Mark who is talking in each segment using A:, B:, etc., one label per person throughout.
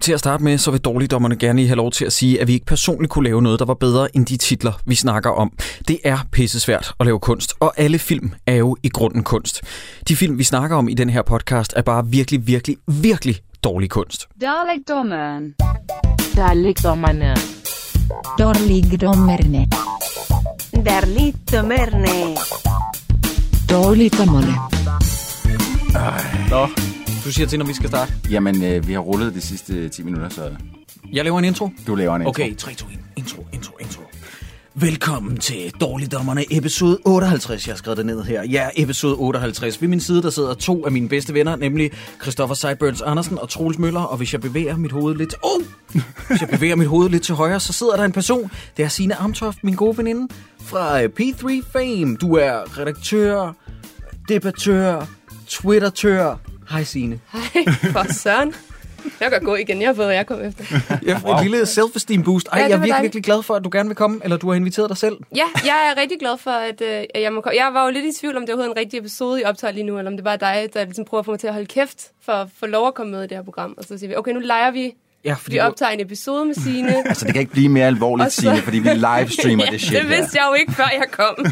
A: Til at starte med, så vil dårligdommerne gerne lige have lov til at sige, at vi ikke personligt kunne lave noget, der var bedre end de titler, vi snakker om. Det er pissesvært at lave kunst, og alle film er jo i grunden kunst. De film, vi snakker om i den her podcast, er bare virkelig, virkelig, virkelig dårlig kunst.
B: Dalekdommeren.
C: Der ligger man
B: Dårligdommerne.
D: Darlittomerne.
C: dårligdommerne.
A: Nå, du siger til, når vi skal starte.
E: Jamen, øh, vi har rullet de sidste 10 minutter, så
A: Jeg laver en intro.
E: du laver en intro.
F: Okay, 3, 2, 1. Intro, intro, intro. Velkommen til Dårligdommerne episode 58. Jeg har skrevet det ned her. Ja, episode 58. Ved min side, der sidder to af mine bedste venner, nemlig Christoffer Seiburns Andersen og Troels Møller. Og hvis jeg bevæger mit hoved lidt... Oh! Hvis jeg bevæger mit hoved lidt til højre, så sidder der en person. Det er Signe Amtoft, min gode veninde, fra øh, P3 Fame. Du er redaktør, debattør, twittertør. Hej Signe.
G: Hej, for søren. Jeg kan gå igen, jeg har fået, hvad jeg kom efter.
F: Jeg wow. Et lille self-esteem boost. Ej,
G: Ja,
F: ja,
G: det
F: jeg er
G: var
F: virkelig,
G: dejligt.
F: virkelig glad for, at du gerne vil komme, eller du har inviteret dig selv.
G: Ja, jeg er rigtig glad for, at øh, at jeg må komme. Jeg var jo lidt i tvivl, om det overhovedet er en rigtig episode, I optager lige nu, eller om det bare er dig, der ligesom prøver at få mig til at holde kæft for at få lov at komme med i det her program. Og så siger vi, okay, nu leger vi.
F: Ja, fordi
G: Vi
F: du-
G: optager en episode med Signe.
E: Altså, det kan ikke blive mere alvorligt,
G: Og så-
E: Signe, fordi vi livestreamer
G: ja,
E: det shit
G: det
E: her.
G: vidste jeg jo ikke, før jeg kom,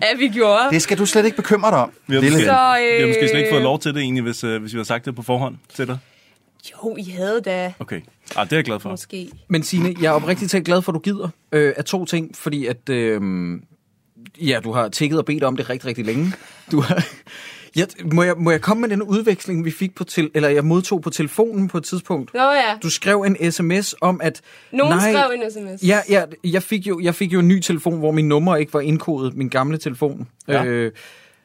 G: at vi gjorde.
E: Det skal du slet ikke bekymre dig om.
H: Vi har,
E: Lille
H: måske,
E: ven.
G: Så,
H: vi har måske
G: øh,
H: slet ikke fået lov til det egentlig, hvis, øh, hvis vi har sagt det på forhånd til dig.
G: Jo, I havde da
H: Okay. Ah, det er jeg glad for.
G: måske.
F: Men Signe, jeg er oprigtigt talt glad for, at du gider øh, af to ting, fordi at, øh, ja, du har tækket og bedt om det rigtig, rigtig længe. Du har, ja, må, jeg, må jeg komme med den udveksling, vi fik på til, eller jeg modtog på telefonen på et tidspunkt?
G: Nå ja,
F: Du skrev en sms om, at...
G: nogen
F: nej,
G: skrev en sms.
F: Ja, ja jeg, fik jo, jeg fik jo en ny telefon, hvor min nummer ikke var indkodet, min gamle telefon. Ja.
H: Ja.
F: Øh,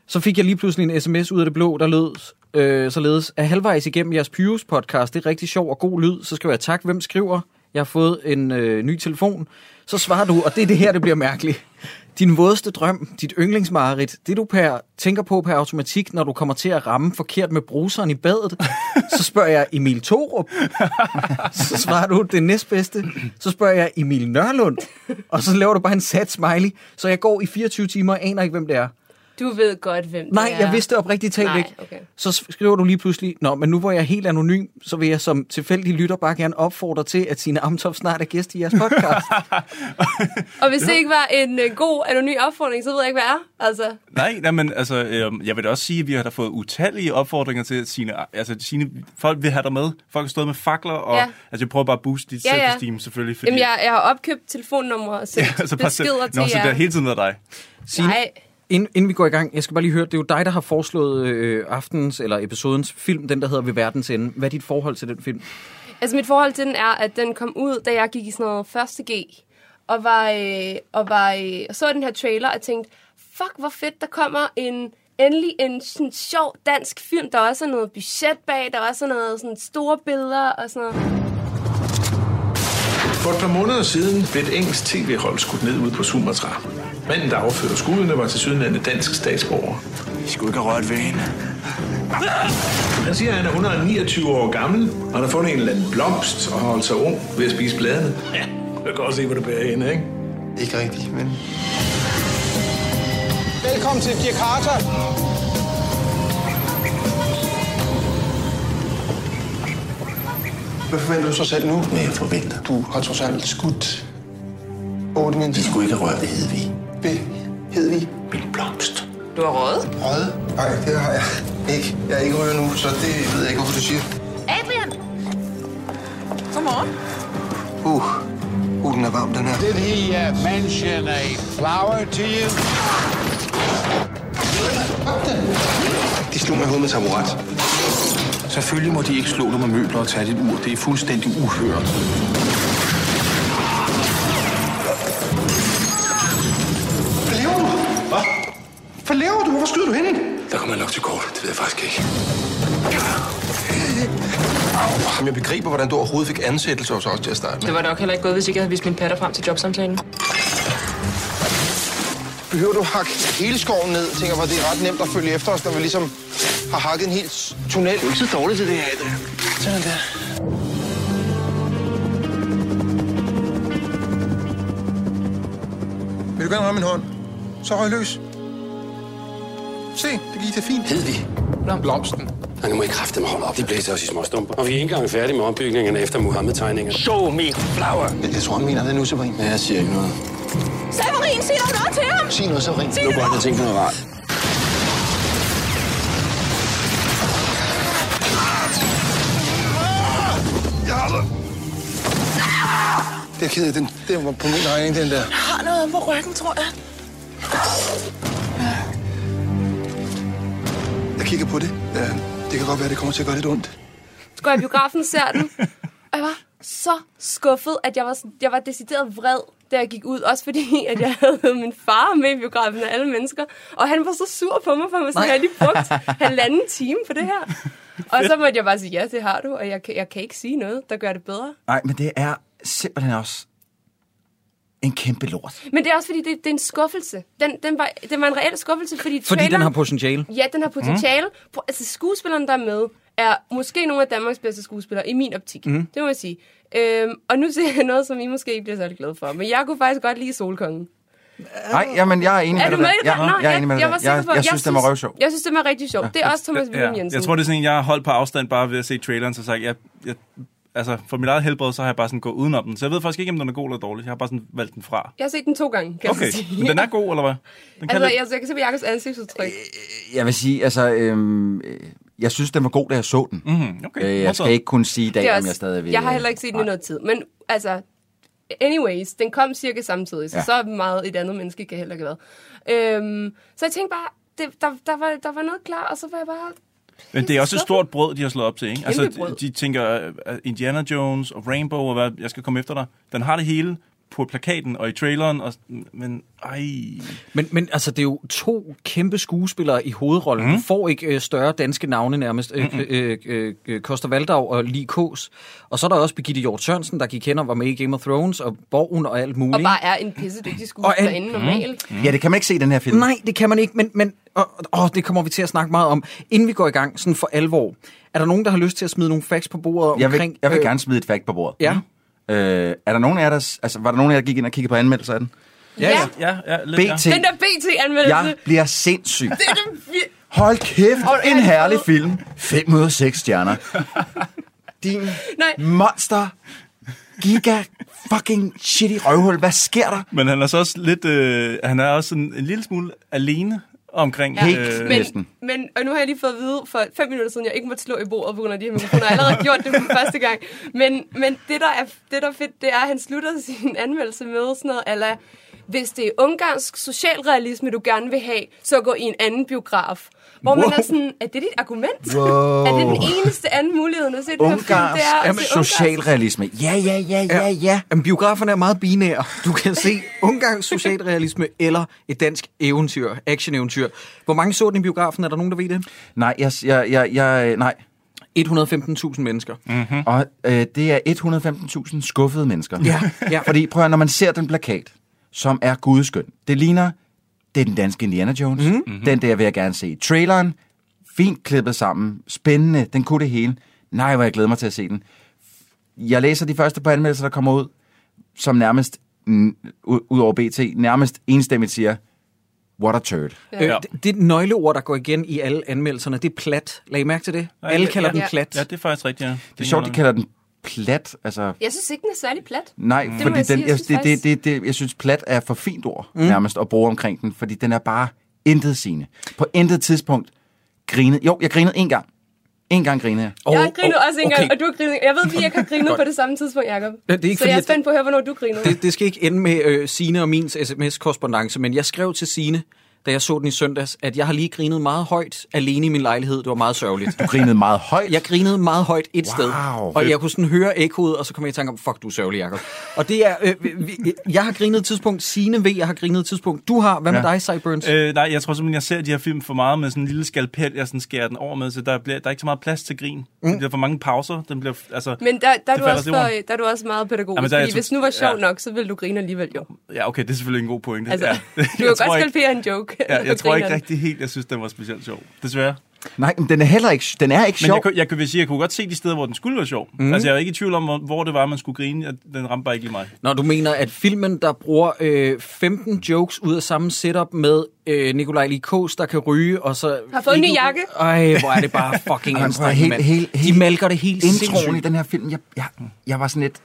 F: så fik jeg lige pludselig en sms ud af det blå, der lød øh, således, at halvvejs igennem jeres Pyrus podcast, det er rigtig sjov og god lyd, så skriver jeg tak, hvem skriver? Jeg har fået en øh, ny telefon. Så svarer du, og det er det her, det bliver mærkeligt. Din vådeste drøm, dit yndlingsmareridt, det du per, tænker på per automatik, når du kommer til at ramme forkert med bruseren i badet, så spørger jeg Emil Thorup, så svarer du det næstbedste. Så spørger jeg Emil Nørlund. Og så laver du bare en sat smiley. Så jeg går i 24 timer og aner ikke, hvem det er.
G: Du ved godt, hvem det
F: Nej,
G: er.
F: jeg vidste det oprigtigt talt
G: Nej,
F: ikke.
G: okay.
F: Så skriver du lige pludselig, Nå, men nu hvor jeg er helt anonym, så vil jeg som tilfældig lytter bare gerne opfordre til, at Signe Amtoff snart er gæst i jeres podcast.
G: Og hvis det ikke var en øh, god, anonym opfordring, så ved jeg ikke, hvad er. Altså,
H: Nej, nej, men altså, øh, jeg vil da også sige, at vi har da fået utallige opfordringer til Signe. Altså, Signe, folk vil have dig med. Folk har stået med fakler, og
G: Ja.
H: ja. altså, jeg prøver bare at booste dit
G: Ja, ja.
H: self-esteem, selvfølgelig. Fordi,
G: Jamen, jeg, jeg har opkøbt telefonnumre og sendt ja, altså
H: bare
G: beskeder
H: selv-
G: til
H: Nå, så
G: jer.
H: det har hele tiden været dig.
F: Signe,
G: Nej,
F: inden, inden vi går i gang, jeg skal bare lige høre, det er jo dig, der har foreslået øh, aftens eller episodens film, den der hedder Ved verdens ende. Hvad er dit forhold til den film?
G: altså mit forhold til den er, at den kom ud, da jeg gik i sådan noget 1. G, og, var, øh, og, var, øh, og så den her trailer og tænkte, fuck hvor fedt, der kommer en endelig en sådan sjov dansk film, der også er noget budget bag, der også er noget sådan store billeder og sådan noget.
I: For et par måneder siden blev et engelsk tv-hold skudt ned ude på Sumatra. Manden, der affyrede skuddene, var til sydenlande dansk statsborger.
E: I skulle ikke have rørt ved hende.
I: Han siger, at han er 129 år gammel, og han har fundet en eller anden blomst og har holdt sig ung ved at spise bladene. Ja, du kan godt se, hvor det bærer hende, ikke?
E: Ikke rigtigt, men...
J: Velkommen til Jakarta. Hvad forventer du så selv nu?
E: Hvad jeg forventer?
J: Du har trods alt skudt otte
E: I
J: mennesker
E: skulle ikke have rørt ved Hedvig.
J: ved Hedvig.
E: Min blomst.
G: Du har råd.
J: Røde? Nej, det har jeg ikke. Jeg er ikke ryger nu, så det ved jeg ikke, hvorfor du siger.
D: Adrian!
J: Uh, uh den er varm, den her.
K: Did he uh, mention a flower to you?
J: De slog mig i hovedet med taburet.
I: Selvfølgelig må de ikke slå dig med møbler og tage dit ur. Det er fuldstændig uhørt.
J: Hvad laver du? Hvad? Hvad laver du? Hvor skyder du henne?
I: Der kommer jeg nok til kort. Det ved jeg faktisk ikke.
J: Jamen, jeg begriber, hvordan du overhovedet fik ansættelse hos os til at starte med.
C: Det var nok heller ikke gået, hvis ikke jeg havde vist min patter frem til jobsamtalen.
J: Behøver du hakke hele skoven ned? Jeg tænker bare, det er ret nemt at følge efter os, når vi ligesom har hakket en hel s- tunnel.
I: Du er ikke så dårlig til det her, Adrian.
J: Sådan der. Vil du gerne ramme min hånd? Så røg løs. Se, det gik da fint. Hedvig. Blomsten.
B: Og nu må I kraftedeme holde op. De blæser os i små stumper. Og vi er ikke engang færdige med opbygningerne efter Muhammed-tegninger. Show me flower!
E: Jeg, jeg tror, han mener det nu, Severin. Ja, jeg siger ikke noget.
D: Savarin, sig dog noget til ham!
E: Sig noget, Severin.
D: Sig nu
E: jeg tænke på noget rart.
J: Jeg har det. Det er ked af, den, den var på min regning, den der.
D: Jeg har noget på ryggen, tror jeg.
J: Jeg kigger på det. Ja, det kan godt være, det kommer til at gøre lidt ondt.
G: Så går jeg i biografen, ser den, og jeg var så skuffet, at jeg var, sådan- jeg var decideret vred, da jeg gik ud. Også fordi, at jeg havde min far med i biografen af alle mennesker. Og han var så sur på mig, for mig sådan, jeg har lige brugt halvanden time på det her. Og så måtte jeg bare sige, ja, det har du, og jeg, kan- jeg kan ikke sige noget, der gør det bedre.
L: Nej, men det er simpelthen også en kæmpe lort.
G: Men det er også fordi, det, det er en skuffelse. Den, den, var, den var en reel skuffelse, fordi,
F: Fordi den
G: traileren-
F: har potentiale.
G: Ja, den har potentiale. Mm. Altså, skuespilleren, der er med, er måske nogle af Danmarks bedste skuespillere, i min optik.
F: Mhm.
G: Mm. Det må jeg sige. Øhm, og nu ser jeg noget, som I måske ikke bliver særlig glade for, men jeg kunne faktisk godt lide Solkongen.
L: Nej, jamen, jeg er enig
G: er
L: med dig.
G: du med i
L: der.
G: det?
L: Ja,
G: Nå,
L: jeg er enig med dig.
G: jeg,
L: der.
G: var sikker
L: Jeg,
G: på-
L: jeg synes, den var røvsjov.
G: Jeg synes, den var rigtig sjov. Det er også Thomas Wilhelm Jensen.
H: Jeg tror, det er sådan en, jeg har holdt på afstand bare ved at se traileren, så sagt, jeg, jeg, altså for mit eget helbred, så har jeg bare sådan gået udenom den. Så jeg ved faktisk ikke, om den er god eller dårlig. Jeg har bare sådan valgt den fra.
G: Jeg har set den to gange, kan
H: Okay,
G: jeg så sige.
H: men den er god, eller hvad? Den kan
G: Altså,
H: lidt-
G: jeg, jeg kan se på Jakobs ansigtsudtryk.
L: Jeg vil sige, altså, øhm, øh, jeg synes, den var god, da jeg så den.
H: Mm-hmm, okay.
L: Øh, jeg skal ikke kunne sige i
G: Det er
L: dag, om
G: også-
L: jeg stadig vil... øh,
G: Jeg har heller ikke set den i noget tid. Men altså, anyways, den kom cirka samtidig, så,
L: Ja.
G: ja. så meget et andet menneske kan heller ikke have været. Øhm, så jeg tænkte bare, det, der, der, var, der var noget klar, og så var jeg bare...
H: Men det er også et stort brød, de har slået op til, ikke?
G: Kæmpe
H: Altså, de,
G: brød.
H: de tænker, øh, Indiana Jones og Rainbow og hvad, jeg skal komme efter dig. Den har det hele på plakaten og i traileren, og, men ej...
F: Men, men altså, det er jo to kæmpe skuespillere i hovedrollen. Mm. Du får ikke øh, større danske navne nærmest. Øh,
H: Mm-mm.
F: øh, øh, øh, Koster Valdau og Lee Kås. Og så er der også Birgitte Hjort Sørensen, der gik hen og var med i Game of Thrones og Borgen og alt muligt.
G: Og bare er en pissedygtig skuespillerinde normalt.
L: Ja, det kan man ikke se i den her film.
F: Nej, det kan man ikke, men, men og, og, det kommer vi til at snakke meget om. Inden vi går i gang, sådan for alvor, er der nogen, der har lyst til at smide nogle facts på bordet
L: Jeg
F: omkring...
L: vil, jeg vil
F: øh,
L: gerne smide et fact på bordet.
F: Ja.
L: Øh, er der nogen af jer, der, s- altså, var der nogen af jer, der gik ind og kiggede på anmeldelser af den?
G: Ja.
H: ja, ja
L: lidt, ja. BT.
G: Den der BT-anmeldelse.
L: Jeg bliver sindssyg.
G: Det er den vir-
L: Hold kæft,
G: Hold
L: en
G: ærligt.
L: herlig film. 5 ud af 6 stjerner. Din
G: Nej.
L: monster, giga, fucking shitty røvhul. Hvad sker der?
H: Men han er så også lidt... Øh, han er også sådan en lille smule alene omkring... øh,
G: Ja.
F: Øh,
G: men, men, og nu har jeg lige fået at vide for fem minutter siden, jeg ikke måtte slå i bordet på grund af de her mikrofoner. Jeg har allerede gjort det for første gang. Men, men det, der er, det, der er fedt, det er, at han slutter sin anmeldelse med sådan noget, ala, hvis det er ungarsk socialrealisme, du gerne vil have, så gå i en anden biograf. Hvor wow. man
L: Wow.
G: er sådan, er det dit argument?
L: Wow.
G: Er det den eneste anden mulighed, at se det her film? Det
L: Ungarsk
G: er at
L: Jamen,
G: se ungarsk.
L: socialrealisme. Ja, ja, ja, ja, ja.
F: øh, Jamen, biograferne er meget binære. Du kan se Ungarns socialrealisme eller et dansk eventyr, action-eventyr. Hvor mange så den i biografen? Er der nogen, der ved det?
L: Nej, jeg, jeg, jeg, jeg nej.
F: 115.000 mennesker.
H: Mm.
L: Mm-hmm. Og øh, det er 115.000 skuffede mennesker.
F: Ja, ja.
L: Fordi prøv at, høre, når man ser den plakat, som er gudskøn, det ligner, det er den danske Indiana Jones. Mm-hmm. Den der vil jeg gerne se i traileren. Fint klippet sammen. Spændende. Den kunne det hele. Nej, hvor jeg glæder mig til at se den. Jeg læser de første par anmeldelser, der kommer ud, som nærmest, mm, u- ud over BT, nærmest enstemmigt siger, what a turd.
F: Øh, det, det nøgleord, der går igen i alle anmeldelserne, det er plat. Lag I mærke til det? Alle kalder
H: ja.
F: den plat.
H: Ja, det er faktisk rigtigt, ja.
L: Det er sjovt, de kalder den plat. Altså,
G: Jeg synes ikke, den er særlig plat.
L: Nej,
G: Det må
L: det fordi
G: jeg
L: jeg
G: sige,
L: den, jeg, det,
G: jeg synes
L: det,
G: faktisk-
L: det, det, jeg synes, plat er for fint ord
G: Mm.
L: mm. nærmest at bruge omkring den, fordi den er bare intet sigende. På intet tidspunkt grinede... Jo, jeg grinede en gang. En gang grinede jeg.
G: Jeg har grinet også engang, og du har grinet. Jeg ved, at vi ikke har grinet på det samme tidspunkt, Jacob.
F: Ja, det er ikke
G: så
F: fordi,
G: jeg er
F: at-
G: spændt på at høre, hvornår du griner.
F: Det, det skal ikke ende med øh, Sine og min sms korrespondance men jeg skrev til Sine, da jeg så den i søndags, at jeg har lige grinet meget højt alene i min lejlighed. Det var meget sørgeligt.
L: Du grinede meget højt?
F: Jeg grinede meget højt et wow, sted. Og jeg kunne sådan høre ekkoet, og så kom jeg i tanke om, fuck, du er sørgelig, Jacob. Og det er, øh, vi- vi, jeg har grinet et tidspunkt, Sine ved, jeg har grinet et tidspunkt. Du har, hvad med dig, Cyburns?
H: Øh, nej, jeg tror simpelthen, jeg ser de her film for meget med sådan en lille skalpel, jeg sådan skærer den over med, så der, bliver, der er ikke så meget plads til grin. Mm. Der bliver for mange pauser. Den bliver, altså,
G: Men der, der, er
H: det
G: du
H: falder
G: også
H: til
G: for,
H: jorden.
G: der er du også meget
H: Jamen,
G: pædagogisk,
H: der er
G: ja, fordi
H: jeg to-
G: hvis nu var sjovt
H: ja.
G: nok, så ville du grine alligevel jo.
H: Ja, okay, det er selvfølgelig en god pointe.
G: Altså,
H: ja.
G: Du kan godt skalpere en joke. okay.
H: Ja, jeg tror ikke rigtig helt, jeg synes, den var specielt sjov. Desværre.
L: Nej, men den er heller ikke, den er ikke
H: Men
L: sjov.
H: jeg, kunne- jeg, kunne, vil sige, jeg kunne godt se de steder, hvor den skulle være sjov.
F: Mhm.
H: Mm. Altså, jeg er ikke i tvivl om, hvor, hvor det var, man skulle grine. Jeg- Den ramte bare ikke lige mig.
F: Når du mener, at filmen, der bruger øh, 15 jokes ud af samme setup med øh, Nikolaj Likos, der kan ryge, og så...
G: Har fået en ny jakke.
F: Ej, hvor er det bare fucking
L: Ej, men prøv at-
F: anstrengende,
L: helt-
F: mand.
L: helt-
F: De malker det helt
L: Introen i
F: sindssygt.
L: den her film, jeg, jeg, jeg var sådan lidt...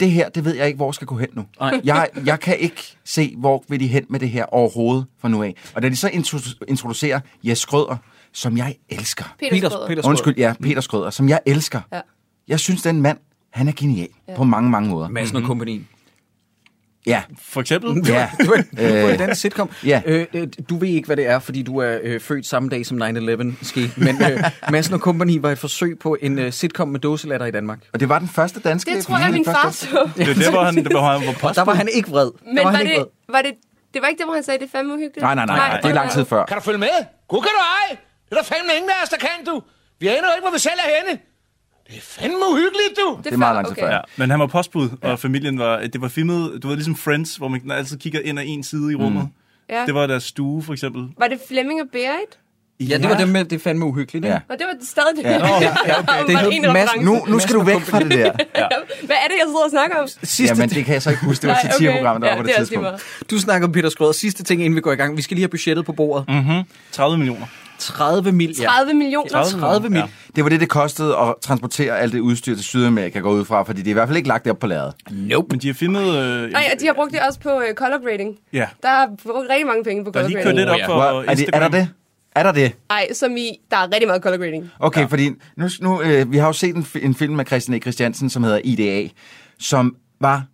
L: Det her, det ved jeg ikke, hvor skal gå hen nu.
F: Nej.
L: Jeg, jeg kan ikke se, hvor vil de hen med det her overhovedet fra nu af. Og da de så intro- introducerer Jes Skrøder, som jeg elsker.
G: Peter Peter- Schrøder. Peter Schrøder.
L: Undskyld, ja, Peter Skrøder, som jeg elsker.
G: Ja.
L: Jeg synes, den mand, han er genial
G: Ja.
L: ja. på mange, mange måder.
F: Madsen og kompagni.
L: Ja.
H: For eksempel?
L: Mhm. Ja.
F: det var en, det var en
L: Øh,
F: dansk sitcom.
L: ja.
F: Øh, øh, du ved ikke, hvad det er, fordi du er øh, født samme dag, som 9-11 skete. Men øh, Madsen og Company var et forsøg på en øh, sitcom med dåselatter i Danmark.
L: Og det var den første danske...
G: Det tror jeg, min far så.
H: Det er der, hvor han, hvor han var
F: Og der var han ikke vred.
G: Men
F: der var
G: var,
F: han ikke
G: det, var det, det var ikke det, hvor han sagde, det er fandme uhyggeligt?
L: Nej, nej, nej, nej, det er lang tid før.
K: Kan du følge med? Gud kan du ej! Det er der fandme ingen af os, der kan, du! Vi aner jo ikke, hvor vi selv er henne! Det er fandme uhyggeligt, du!
G: Det er meget
L: lang tid før.
H: Ja, men han var postbud, ja. og familien var, det var filmet, du ved, ligesom Friends, hvor man altid kigger ind ad en side i rummet. Mm.
G: Ja.
H: Det var deres stue, for eksempel.
G: Var det Flemming og Berit?
F: vred. Ja, det var dem med, det er fandme uhyggeligt. ikke?
L: Ja.
G: Og det var stadig det.
F: Ja. Nå, ja, okay. Det
G: Var
F: hed
G: en reference?
F: Mads-
L: Nu, nu skal du væk fra det der.
G: Hvad er det, jeg sidder og snakker om?
F: Sidste
L: Jamen, det kan jeg så ikke huske. Det var
G: Nej, okay.
L: satirprogrammet, der
G: Ja,
L: var på
G: det
L: det
G: er også lige
L: tidspunkt.
F: Du snakker om Peter Skrøder. Sidste ting, inden vi går i gang. Vi skal lige have budgettet på bordet.
H: Mm-hmm. 30 millioner.
F: 30 mil. Ja.
G: 30 millioner.
F: 30 mil.
H: Ja.
L: Det var det, det kostede at transportere alt det udstyr til Sydamerika, går ud fra, fordi det er i hvert fald ikke lagt det op på lageret.
F: Nope.
H: Men de har filmet... Øh,
G: Nej, og de har brugt det også på øh, color grading.
H: ja,
G: Der er brugt rigtig mange penge på
H: der er
G: color
H: lige kørt
G: grading.
H: lidt op
F: ja.
H: for
L: Hvor, er, det, er der
H: Instagram.
L: det? Er der det?
G: Nej, som i, der er rigtig meget color grading.
L: Okay, ja. fordi nu, nu øh, vi har jo set en, fi- en film med Christian E. Christiansen, som hedder IDA, som var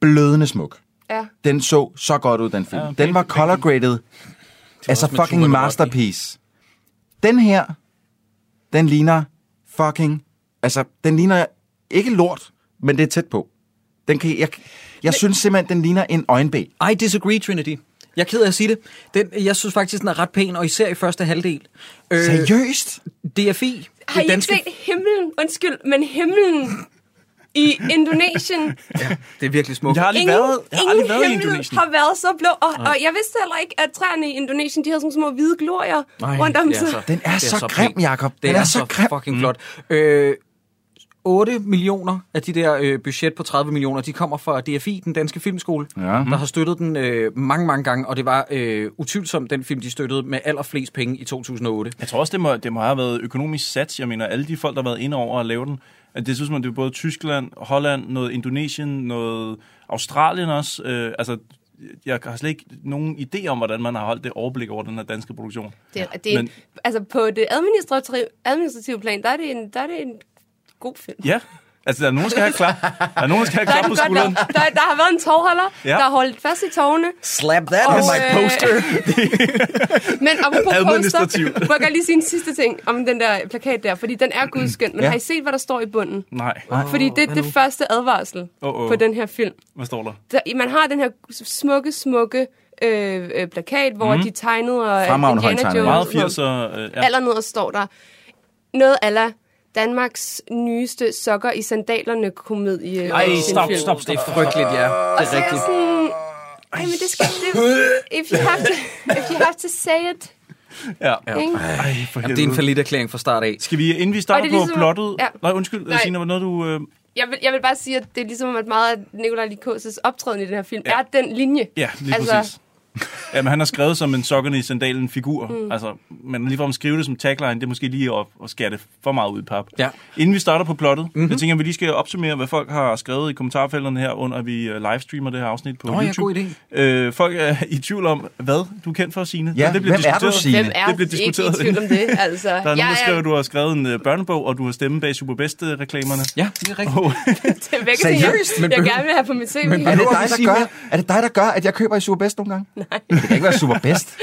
L: blødende smuk.
G: Ja.
L: Den så så godt ud, den film.
H: Ja,
L: Ja, den
H: pænt-
L: var color graded.
F: også
L: Altså
F: med
L: fucking
F: Tuba
L: masterpiece. Den her, den ligner fucking... Altså, den ligner ikke lort, men det er tæt på. Den kan, jeg, jeg synes simpelthen, den ligner en øjenbæg.
F: I disagree, Trinity. Jeg er ked af at sige det. Den, jeg synes faktisk, den er ret pæn, og især i første halvdel. Øh,
L: Seriøst?
F: DFI.
G: Har I
F: det
G: ikke set himlen? Undskyld, men himlen i Indonesien.
F: Det er virkelig smukt.
H: Jeg har aldrig
G: Ingen,
H: været, jeg har aldrig
G: ingen
H: været i
G: himmel
H: Indonesien.
G: har været så blå. Og, og jeg vidste heller ikke, at træerne i Indonesien, de havde sådan små hvide glorier
F: Ej,
G: rundt om
F: det er
G: sig.
F: så-
L: Den er,
F: det
L: er så, grim,
F: pænt.
L: Jacob.
F: Den,
L: Den er så grim.
F: fucking flot. Øh, 8 millioner af de der øh, budget på 30 millioner, de kommer fra DFI, den danske filmskole, ja. der har støttet den øh, mange, mange gange, og det var øh, utvivlsomt den film, de støttede med allerflest penge i 2008.
H: Jeg tror også, det må, det må have været økonomisk sats. Jeg mener, alle de folk, der har været inde over at lave den, at det synes man, det er både Tyskland, Holland, noget Indonesien, noget Australien også. Øh, altså, jeg har slet ikke nogen idé om, hvordan man har holdt det overblik over den her danske produktion.
G: Det, er- det er,
H: Men-
G: altså på det administrative, administrative plan, der er det en, der er det en god film.
H: Ja, altså, der er nogen, der skal have klap. Der er nogen, der skal have
G: Der, er
H: klap
G: den
H: på
G: godt
H: skulderen.
G: nok, der, der har været en tovholder, ja.
H: Ja.
G: der har holdt fast i tovene.
F: Slap that
G: Og, øh, Men apropos poster,
H: Administrativt.
G: må jeg godt lige sige en sidste ting om den der plakat der, fordi den er gudskøn, men ja.
L: Ja.
G: har I set, hvad der står i bunden?
H: Nej,
G: Fordi det er det første advarsel
H: Åh, åh.
G: på den her film.
H: hvad står der?
G: Der, man har den her smukke, smukke øh, øh, plakat, hvor mm. de tegnede og
L: Fremragende højtegnet.
H: Meget
G: hvor-
H: 80'er... Øh, ja.
G: allernederst står der noget ala Danmarks nyeste sokker i sandalerne komedie.
F: Ej,
G: øh,
F: stop,
G: film.
F: stop, stop. Det er frygteligt, ja. Det er
G: Så er jeg
F: rigtigt.
G: sådan, Ej, men det skal det. If you have to, if you have to say it.
H: ja.
G: Ikke?
H: Ej, for
F: Jamen, det er en
H: helvede.
F: fallit erklæring fra start af.
H: Skal vi, inden vi
G: Og
H: starter
G: det er
H: på
G: ligesom-
H: plottet...
G: ja.
H: Ja. Nej, undskyld,
G: Nej.
H: Nej. Signe, var noget, du... Øh,
G: Jeg vil, jeg vil bare sige, at det er ligesom, at meget af Nikolaj Likos' optræden i den her film ja.
H: Ja.
G: er den linje.
H: Ja, lige altså...
G: Altså-
H: præcis. Jamen, han har skrevet som en sokkerne i sandalen figur. Mm. Altså, men ligefrem at skrive det som tagline, det er måske lige at, at skære det for meget ud i pap.
F: Ja. Mhm.
H: Inden vi starter på plottet, mm-hmm. jeg tænker, at vi lige skal opsummere, hvad folk har skrevet i kommentarfelterne her, under at vi øh, livestreamer det her afsnit på
F: Nå, ja,
H: YouTube.
F: god idé.
H: Øh, folk er i tvivl om, hvad du er kendt for, Signe.
L: Ja,
H: det
L: hvem er du, Signe?
G: Hvem er
H: Det blev
G: ikke i
H: diskuteret.
G: tvivl om det? Altså,
H: Der er nogen, der
G: jeg
H: skriver, at du har skrevet en øh, børnebog, og du har stemme bag Superbest-reklamerne.
F: Ja, det er rigtigt.
H: Og,
G: det er væk, jeg,
F: Seriøst? Men
G: jeg, jeg
F: behøver-
G: gerne vil have på mit CV.
F: Men
L: Er det,
F: behøver vi
L: dig,
F: sige
L: der gør,
F: mere?
L: er det dig, der gør, at jeg køber i Superbest nogle gange? Nej. Det kan ikke være Superbest.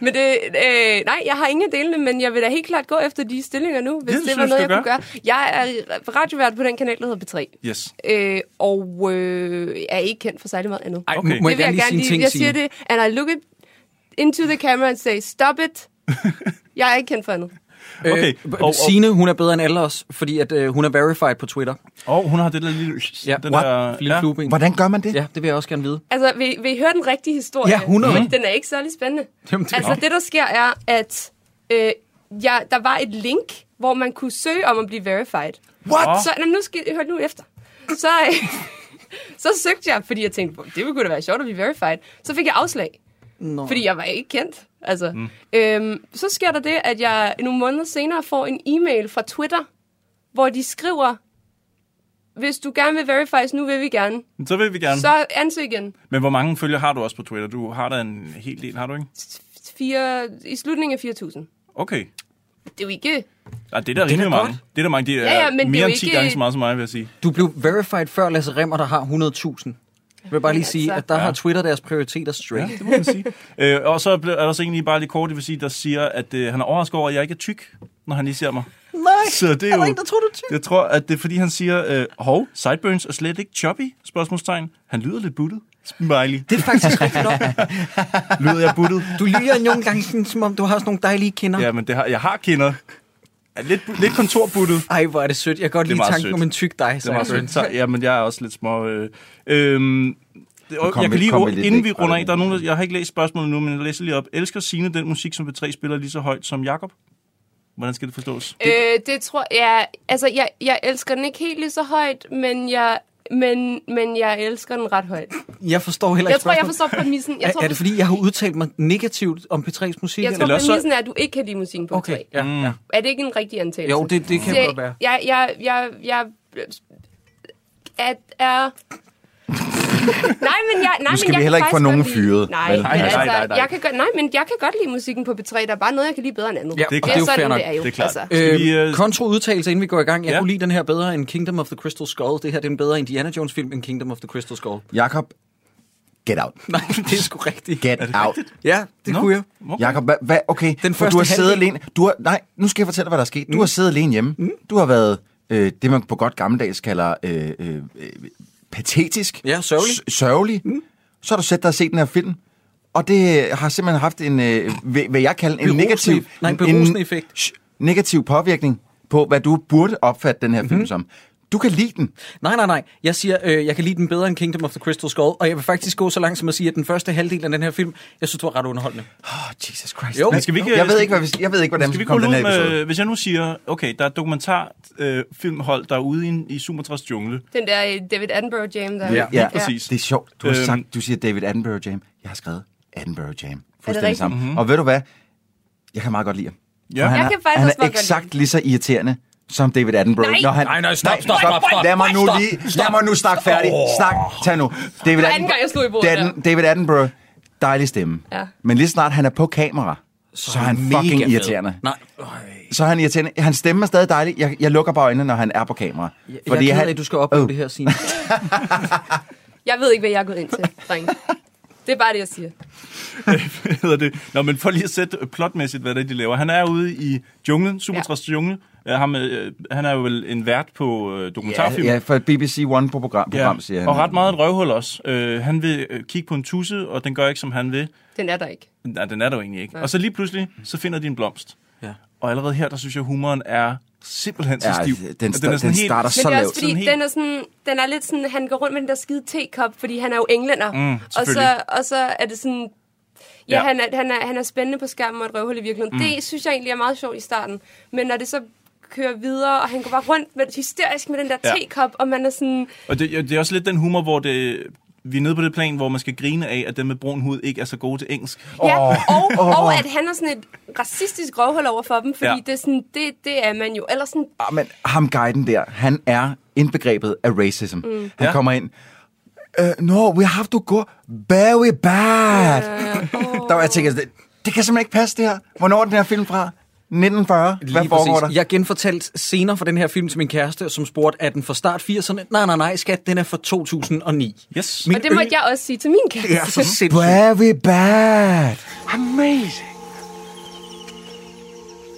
G: Men det, øh, nej, jeg har ingen af delene, men jeg vil da helt klart gå efter de stillinger nu, hvis det, det
H: Det synes
G: var noget, jeg
H: du
G: kunne
H: gør.
G: gøre. Jeg er radiovært på den kanal, der hedder P3,
H: yes.
G: øh, og øh, er ikke kendt for særlig meget andet.
F: Ej,
H: Okay.
F: okay. må jeg
G: det
F: gerne lige sige en ting,
G: Jeg siger
F: Signe?
G: det, and I look it into the camera and say, stop it. Jeg er ikke kendt for andet.
H: Okay,
F: Øh,
H: og- og-
F: og, Signe, hun er bedre end alle os, fordi at, øh, hun er verified på Twitter.
H: Og hun har det der lille...
F: Ja,
H: den der-
F: lille
H: ja.
F: flueben.
L: Hvordan gør man det?
F: Ja, det vil jeg også gerne vide.
G: Altså, vil, vil I høre den rigtige historie?
F: Ja, 100.
G: Men den er ikke særlig spændende.
F: Jamen, det-
G: altså,
F: Nå.
G: det der sker er, at øh, ja, der var et link, hvor man kunne søge om at blive verified.
D: What?
G: Så, nå, nu skal I høre nu efter. Så, øh, så søgte jeg, fordi jeg tænkte, "Hvor, det ville kunne da være sjovt at blive verified. Så fik jeg afslag,
F: Nå.
G: fordi jeg var ikke kendt. Altså, mm. øhm, så sker der det, at jeg nogle måneder senere får en e-mail fra Twitter, hvor de skriver, hvis du gerne vil verifies, nu vil vi gerne.
H: Så vil vi gerne.
G: Så ansøg igen.
H: Men hvor mange følgere har du også på Twitter? Du har da en hel del, har du ikke?
G: fire, i slutningen af 4.000.
H: Okay.
G: Det er jo ikke...
H: Ja, det er da rimelig mange. Det er da mange. Det er
G: Ja, ja, men det er
H: mere
G: jo
H: end 10
G: ikke-
H: gange så meget som mig, vil jeg sige.
F: Du blev verified før Lasse Remmer, der har 100.000. Jeg vil bare lige sige, at der
H: Ja.
F: har Twitter deres prioriteter straight.
H: Ja, det må man sige. Øh, og så blev- er der også egentlig bare lige kort, jeg vil sige, der siger, at øh, han er overrasket over, at jeg ikke er tyk, når han lige ser mig.
F: Nej,
H: så det er jo,
F: tror du tyk.
H: jeg tror, at det er, fordi han siger, øh, hov, sideburns er slet ikke choppy, spørgsmålstegn. Han lyder lidt buttet. Smiley.
F: Det er faktisk rigtigt nok.
H: lyder jeg buttet?
F: Du lyder nogle gange, sådan, som om du har sådan nogle dejlige kinder.
H: Ja, men det har, jeg har kinder. Er lidt, bu- lidt kontorbuttet.
F: Ej, hvor er det sødt. Jeg kan godt
H: Det er
F: lide
H: meget
F: tanken
H: sødt.
F: om en tyk dig.
H: Det er meget sødt. altså, Så- Ja, men jeg er også lidt små... Øh, øhm, det, og
L: kom
H: jeg
L: med-
H: kan lige,
L: kom med
H: ru-
L: lidt
H: inden vi
L: væk fra
H: runder
L: det.
H: af, der er nogen, der- jeg har ikke læst spørgsmålet nu, men jeg læser lige op. Elsker Signe den musik, som P3 spiller lige så højt som Jakob? Hvordan skal det forstås?
G: Øh, det tror jeg... Altså, jeg, jeg elsker den ikke helt lige så højt, men jeg, men, men jeg elsker den ret højt.
F: Jeg forstår heller ikke
G: Jeg tror, jeg
F: spørgsmålet.
G: forstår præmissen. Jeg
F: Er,
G: tror,
F: er det fordi, jeg har udtalt mig negativt om P3's musik?
G: Jeg tror,
F: eller?
G: præmissen er, at du ikke kan lide musikken på
F: Okay,
G: okay.
H: Mm.
F: ja. ja.
G: Er det ikke en rigtig antagelse?
F: Jo, det- det kan
G: Så
F: godt være.
G: Jeg, jeg, jeg, jeg, at er... nej, men jeg, nej,
L: Nu skal
G: men
L: vi
G: jeg
L: heller
G: kan
L: ikke få
G: faktisk
L: nogen
G: godt lide-
L: fyret,
G: Nej,
L: vel? Nej, nej,
G: altså,
L: nej, nej.
G: Jeg kan gøre, nej, men jeg kan godt lide musikken på B3. Der er bare noget, jeg kan lide bedre end andet.
F: Ja, det er, det er jo
G: sådan,
F: fair nok.
G: det er jo.
F: Øh,
H: vi, øh,
F: Kontraudtalelse, inden vi går i gang. Jeg
H: Ja.
F: kunne lide den her bedre end Kingdom of the Crystal Skull. Det her det er en bedre Indiana Jones-film end Kingdom of the Crystal Skull.
L: Jakob, get out.
F: Nej, det er sgu rigtigt.
L: Get out.
F: Ja, det
L: Nå,
F: kunne jeg.
L: Okay. Jakob, hvad, hvad, okay, Den for
F: første
L: du har siddet
F: halvdel. Mm.
L: alene. Du har, nej, nu skal jeg fortælle, hvad der er sket. Du har siddet alene hjemme. Du har været øh, det, man på godt gammeldags kalder øh, øh, øh, patetisk.
F: Ja, sørgelig.
L: S- sørgelig. Mm. Så har du sat dig og set den her film. Og det øh, har simpelthen haft en, øh, hvad hvad jeg kalder en
F: Berusende-
L: negativ...
F: nej, en berusende effekt.
L: sh- negativ påvirkning på, hvad du burde opfatte den her film
F: Mhm.
L: mm-hmm. som. Du kan lide den.
F: Nej, nej, nej. Jeg siger, øh, jeg kan lide den bedre end Kingdom of the Crystal Skull, og jeg vil faktisk gå så langt som at sige, at den første halvdel af den her film, jeg synes, det var ret underholdende.
L: Oh, Jesus Christ.
F: Jo.
L: Men
H: skal vi ikke-
L: jeg, ved ikke, hvad, vi- jeg ved ikke, hvordan
H: Skal vi gå
L: komme
H: ud
L: den her episode.
H: med, hvis jeg nu siger, okay, der er et dokumentarfilmhold, øh, filmhold, der er ude i, en- i Sumatras jungle.
G: Den der øh, David Attenborough jam der.
L: Ja, ja.
H: præcis.
L: Det er sjovt. Du har
H: Øhm.
L: sagt, du siger David Attenborough Jam. Jeg har skrevet Attenborough Jam. Fuldstændig
G: rigtigt?
L: sammen.
G: Mhm.
L: Mm-hmm. Og ved du hvad? Jeg kan meget godt lide ham.
H: Ja.
L: For han
G: Jeg
L: er,
G: kan faktisk
L: han
G: også
L: er
G: meget godt
L: eksakt lige så irriterende som David Attenborough.
G: Nej.
L: Når han,
F: Nej, nej, stop, stop, stop, stop.
L: Lad mig nu
F: Stop,
L: lige,
F: stop.
L: lad mig nu snakke færdig.
F: Åh.
L: Snak, tag nu. David
G: Anden gang jeg slog i bordet
L: Datten- David Attenborough, dejlig stemme.
G: Ja.
L: Men lige snart han er på kamera, så er han
F: mega
L: fucking
F: fed.
L: irriterende.
F: Nej,
L: Så er han irriterende. Hans stemme er stadig dejlig. Jeg, jeg lukker bare øjnene, når han er på kamera.
F: jeg, Fordi jeg er ked af, at du skal opleve det her, Signe.
G: Jeg ved ikke, hvad jeg er gået ind til, dreng. Det er bare det, jeg siger.
H: Hvad hedder det? Nå, men for lige at sætte plotmæssigt, hvad det er, de laver. Han er ude i junglen, Sumatras ja. jungle. Øh, ham, øh, han er jo vel en vært på øh, dokumentarfilm.
L: Ja, ja, for BBC One på program, program siger han.
H: Og ret meget et røvhul også. Øh, han vil øh, kigge på en tusse, og den gør ikke, som han vil.
G: Den er der ikke.
H: Nej, den er der jo egentlig ikke.
G: Nej.
H: Og så lige pludselig, så finder de en blomst.
F: Ja.
H: Og allerede her, der synes jeg, humoren er simpelthen så
L: Ja,
H: stiv.
L: den
H: At
L: sta- den starter
G: Men
L: så
G: det er
L: lavt.
G: også fordi,
H: Sådan helt-
G: den er, sådan, den er lidt sådan, han går rundt med den der skide tekop, fordi han er jo englænder.
H: Mm,
G: og, så,
H: selvfølgelig.
G: og så er det sådan, ja,
H: Ja.
G: ja. Han, er, han, er, han er spændende på skærmen og et røvhul i virkeligheden. Mm. Det synes jeg egentlig er meget sjovt i starten. Men når det så kører videre, og han går bare rundt med, hysterisk med den der
H: Ja.
G: tekop, og man er sådan,
H: Og det, ja, det er også lidt den humor, hvor det, vi er nede på det plan, hvor man skal grine af, at dem med brun hud ikke er så gode til engelsk.
G: Ja, og,
L: Åh.
G: og at han er sådan et racistisk røvhul over for dem, fordi
H: Ja.
G: ja. det, er sådan, det, det er man jo. Eller sådan,
L: Ah, men ham guiden der, han er indbegrebet af racism. Mm. Han
H: Ja.
L: ja. kommer ind. Uh, no, we have to go very bad. Uh, oh. Der var jeg tænker, det, det kan simpelthen ikke passe det her. Hvornår er den her film fra? 1940? Lige Hvad
F: Lige
L: foregår
F: præcis.
L: der?
F: Jeg genfortalte scener fra den her film til min kæreste, som spurgte, er den fra start 80'erne? Nej, nej, nej, skat, den er fra 2009.
H: Yes.
F: Min
G: og det måtte jeg også sige til min kæreste.
F: Ja,
L: Mhm.
F: så sindssygt.
L: Very bad.
M: Amazing.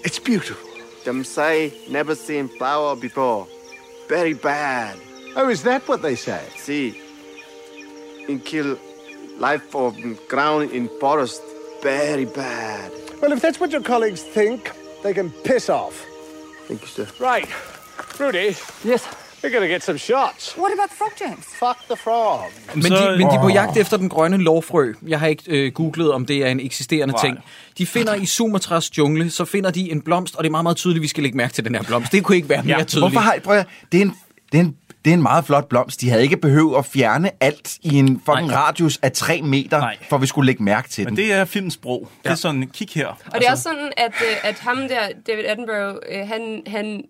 M: It's beautiful. Them say never seen flower before. Very bad. Oh, is that what they say? See, in kill life of ground in forest. Very bad.
N: Well, if that's what your colleagues think, They can piss off.
M: Thank you, sir.
N: Right. Rudy. Yes. We're gonna get some shots.
O: What about the frog, James?
N: Fuck the frog.
F: Men de, men de er på jagt efter den grønne lovfrø. Jeg har ikke øh, googlet, om det er en eksisterende
H: Nej.
F: ting. De finder i Sumatras jungle, så finder de en blomst, og det er meget, meget tydeligt, vi skal lægge mærke til den her blomst. Det kunne ikke være mere tydeligt.
L: Hvorfor har, prøv at, høre, det, er en, det, er en, det er en meget flot blomst. De havde ikke behøvet at fjerne alt i en fucking
H: Nej.
L: radius af 3 meter, Nej. for vi skulle lægge mærke til
H: Men
L: den.
H: det er filmens sprog. Ja. Det er sådan, kig her.
G: Og det er også sådan, at, øh, at ham der, David Attenborough, øh, han, han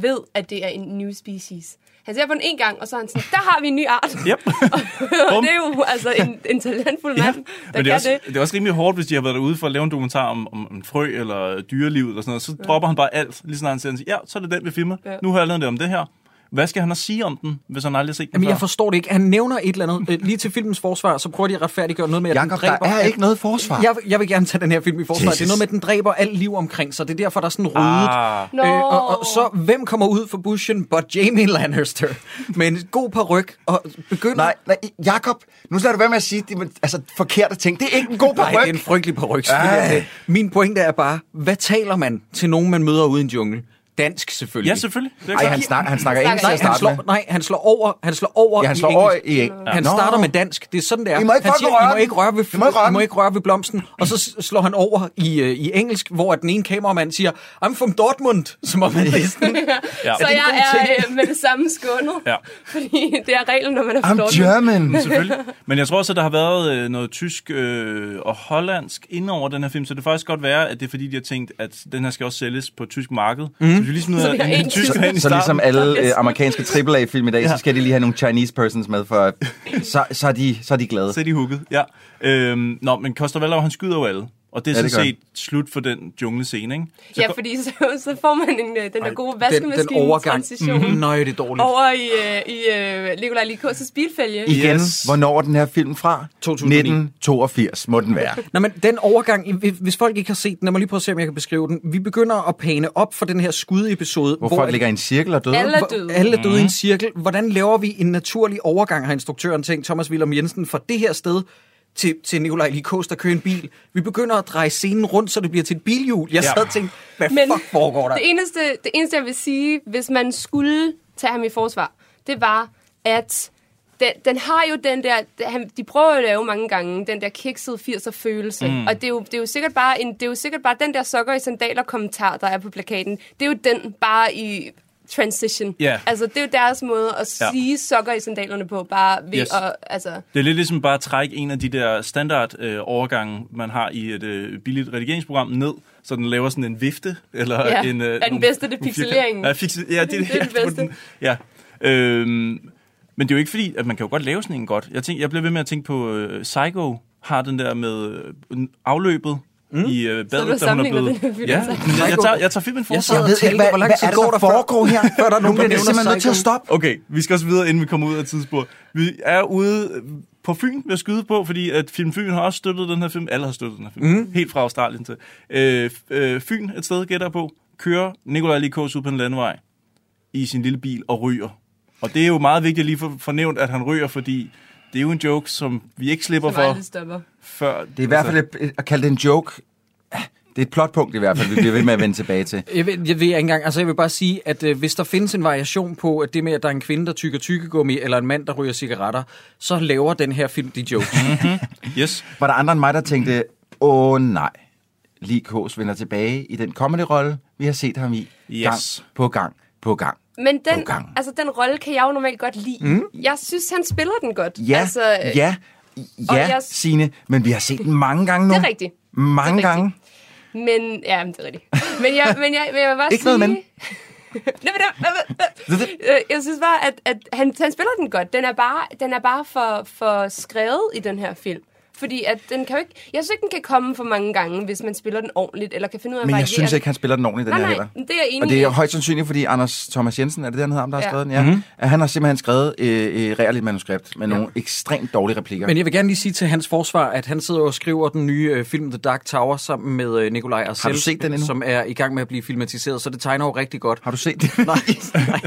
G: ved, at det er en new species. Han ser på den en gang, og så er han sådan, der har vi en ny art.
H: Yep.
G: og det er jo altså en, en talentfuld mand, ja, der
H: Men det
G: kan
H: er, også,
G: det.
H: det er også rimelig hårdt, hvis de har været derude for at lave en dokumentar om, om en frø eller dyreliv eller sådan noget. Så
G: Ja.
H: dropper han bare alt, lige sådan han siger, ja, så er det den, vi filmer.
F: Ja.
H: Ja. Nu har jeg lavet det om det her. Hvad skal han at sige om den, hvis han aldrig har set den
F: Jamen,
H: før?
F: jeg forstår det ikke. Han nævner et eller andet. Øh, Lige til filmens forsvar, så prøver de at retfærdiggøre noget med, at
L: Jakob,
F: den dræber...
L: der er
F: alt-
L: ikke noget forsvar.
F: Jeg, jeg vil gerne tage den her film i forsvar. Jesus.
L: Jesus.
F: Det er noget med, at den dræber alt liv omkring sig. Det er derfor, der er sådan ryddet.
L: Ah.
F: Ah. Øh, og, og så, hvem kommer ud for bushen? But Jamie Lannister. Med en god paryk og begynder...
L: Nej, nej, Jakob, nu lader du være med at sige det, altså, forkerte ting. Det er ikke en god
F: Nej,
L: paryk.
F: det er en frygtelig paryk.
L: Ej.
F: Min pointe er bare, hvad taler man til nogen, man møder ude i en jungle? Dansk selvfølgelig.
L: Ja, selvfølgelig. Det er Ej, klart. han snak- han snakker engelsk til
F: nej,
L: at
F: han
L: starte
F: slår,
L: med.
F: nej, han slår over, han slår over
L: Ja, han slår
F: i
L: over
F: engelsk.
L: i eng-
F: Han
L: Nå.
F: starter med dansk. Det er sådan, det er.
L: I må ikke
F: han
L: fucking
F: siger, I
L: røre
F: må
L: den.
F: ikke røre ved,
L: I må ikke røre
F: I må
L: den."
F: ikke røre ved blomsten. Og så s- slår han over i, øh, i engelsk, hvor den ene kameramand siger, I'm from Dortmund, som om han er sådan.
G: ja. Så
F: Er det en
G: jeg
F: god
G: er
F: ting?
G: øh, med det samme skånet.
H: Ja.
G: Fordi det er reglen, når man er
H: I'm
G: forstået.
H: German. Selvfølgelig. Men jeg tror også, at der har været øh, noget tysk øh, og hollandsk ind over den her film, så det kan faktisk godt være, at det er fordi, de har tænkt, at den her skal også sælges på et tysk marked. Mm. Så vi lige
L: Så
H: smider
L: vi
H: en,
L: har
H: en
L: en
H: tysk
L: tysker.
H: ind i
L: Så ligesom
H: starten.
L: alle øh, amerikanske AAA-film i dag,
H: Ja.
L: så skal de lige have nogle Chinese persons med, for så, så, er, de, så er de glade.
H: Så er de hugget, ja. Øhm, nå, men Koster Valov, han skyder jo alle. Og det er
L: Ja, det
H: sådan
L: gør
H: set slut for den junglescene, ikke?
G: Ja, fordi så, så får man en, øh, den der gode vaskemaskine-transition.
F: Mhm. Nej, det er dårligt.
G: Over i, øh, i øh, Nikolaj Likos' bilfælge.
L: Igen, hvornår er den her film fra?
F: 2009.
L: 1982 må den være.
F: Nå, men den overgang, i- hvis- hvis folk ikke har set den, lad mig lige prøve at se, om jeg kan beskrive den. Vi begynder at pane op for den her skudepisode.
L: Hvor folk ligger i en cirkel og døde.
F: Alle er
L: Hvor-
F: døde. Alle er døde
L: Mhm.
F: i en cirkel. Hvordan laver vi en naturlig overgang, har instruktøren tænkt, Thomas Willem Jensen, fra det her sted til, til Nikolaj Likos, der kører en bil. Vi begynder at dreje scenen rundt, så det bliver til et bilhjul. Jeg
G: Ja.
F: sad og tænkte, hvad
G: Men
F: Men fuck foregår der?
G: Det eneste, det eneste, jeg vil sige, hvis man skulle tage ham i forsvar, det var, at den, den har jo den der, han- de prøver jo at lave mange gange, den der kiksede 80'er følelse.
P: Mm.
G: Mm. Og det er, jo, det, er jo sikkert bare en, det er jo sikkert bare den der sokker i sandaler kommentar, der er på plakaten. Det er jo den bare i transition.
H: Ja.
G: Altså, det er jo deres måde at
H: Ja.
G: sige sokker i sandalerne på, bare ved
H: Yes.
G: yes. at, altså...
H: Det er lidt ligesom bare at trække en af de der standard øh, overgange, man har i et øh, billigt redigeringsprogram ned, så den laver sådan en vifte. Eller
G: Ja,
H: en, øh,
G: er den bedste, det er
H: nogle firkanter.
G: pixeleringen.
H: Ja, pixel, ja, det,
G: Det
H: det
G: er
H: er
G: den
H: det bedste.
G: bedste.
H: Den, ja. Øhm, men det er jo ikke fordi, at man kan jo godt lave sådan en godt. Jeg, tænker, jeg bliver ved med at tænke på øh, Psycho har den der med øh, afløbet mm. i øh, badet, da hun er
L: sammenligner
H: blevet...
L: den her film
H: ja,
L: med
H: men
L: Psycho?
H: jeg, jeg, tager, jeg tager filmen for
L: Jeg sidder og tænker, hvad- hvad er det, der foregår her? Før der er nogen, der nævner Psycho.
H: stoppe. Okay, vi skal også videre, inden vi kommer ud af tidsspor. Vi er ude øh, på Fyn, vi har skyde på, fordi at Film Fyn har også støttet den her film. Alle har støttet den her film.
F: Mhm.
H: Mm. Helt fra Australien til. Øh, f- øh, Fyn, et sted gætter jeg på, kører Nikolaj Likos ud på en landevej i sin lille bil og ryger. Og det er jo meget vigtigt lige for, fornævnt, at han ryger, fordi det er jo en joke, som vi ikke slipper
G: Som
H: for.
G: aldrig stopper.
H: Før,
L: Det er i hvert fald
F: Altså-
L: et, at kalde det en joke. ah, Det er et plotpunkt i hvert fald, vi bliver ved med at vende tilbage til.
F: Jeg ved, jeg ved ikke engang, altså jeg vil bare sige, at øh, hvis der findes en variation på at det med, at der er en kvinde, der tykker tykkegummi, eller en mand, der ryger cigaretter, så laver den her film de jokes.
H: Altså, yes.
L: Var der andre end mig, der tænkte, åh nej, Lee Kås vender tilbage i den kommende rolle, vi har set ham i gang
H: Yes.
L: på gang på gang.
G: Men den, altså, den rolle kan jeg jo normalt godt lide.
L: Mm.
G: Jeg synes, han spiller den godt.
L: Ja,
G: altså,
L: altså, ja,
G: og
L: ja,
G: jeg-
L: Signe, men vi har set den mange gange nu.
G: Det er rigtigt.
L: Mange
G: Det er
L: gange.
G: Men, ja, men det er rigtigt. Men jeg, men jeg, men jeg vil bare
L: Ikke
G: sige...
L: noget men.
G: Nej, men jeg- jeg- jeg- øh, Jeg synes bare, at, at han, han spiller den godt. Den er bare, den er bare for, for skrevet i den her film. Fordi at den kan jo ikke, jeg synes ikke, den kan komme for mange gange, hvis man spiller den ordentligt, eller kan finde ud af at
L: Men jeg
G: variere
L: synes
G: den.
L: ikke, han spiller den ordentligt, den
G: Nej,
L: her
G: nej,
L: heller.
G: men det er jeg enig
L: Og det er
G: i.
L: højst sandsynligt, fordi Anders Thomas Jensen, er det det, han hedder, ham, der har
G: Ja.
L: skrevet den? Ja.
F: Mhm.
L: Mm-hmm. Han har simpelthen skrevet øh, et reelt manuskript med nogle ekstremt dårlige replikker.
F: Men jeg vil gerne lige sige til hans forsvar, at han sidder og skriver den nye øh, film The Dark Tower sammen med øh, Nikolaj Arcel,
L: du set den endnu?
F: som er i gang med at blive filmatiseret, så det tegner jo rigtig godt.
L: Har du set det?
F: Nej.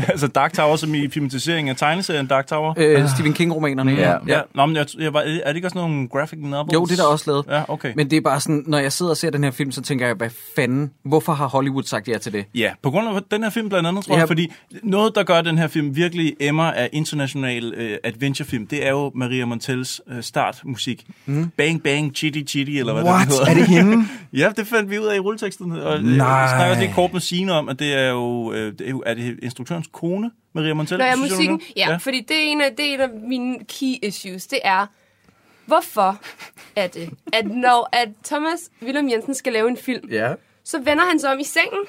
H: altså Dark Tower, som i filmatiseringen af tegneserien Dark Tower.
F: Øh, Stephen King-romanerne.
H: Ja.
F: ja.
H: ja. Nå, men jeg, jeg var, er det ikke også nogle graphic Nobles?
F: Jo, det er der også lavet.
H: Ja, okay.
F: Men det er bare sådan, når jeg sidder og ser den her film, så tænker jeg, hvad fanden, hvorfor har Hollywood sagt ja til det?
H: Ja, på grund af den her film blandt andet, tror jeg,
F: Ja.
H: fordi noget, der gør den her film virkelig emmer af international øh, adventurefilm, det er jo Maria Montels øh, startmusik. Mm. Bang Bang Chitty Chitty, eller hvad
L: What?
H: det hedder.
L: Er det hende?
H: ja, det fandt vi ud af i rulleteksten. Og, øh,
L: Nej.
H: Jeg snakker også lige kort med Signe om, at det er jo, øh, det er, jo er det instruktørens kone, Maria Montel?
G: Når jeg
H: synes jeg,
G: musikken,
H: hun er?
G: ja, ja, fordi det er, en af, det er en af mine key issues, det er, hvorfor er det, at når at Thomas Willem Jensen skal lave en film,
F: Ja.
G: så vender han sig om i sengen,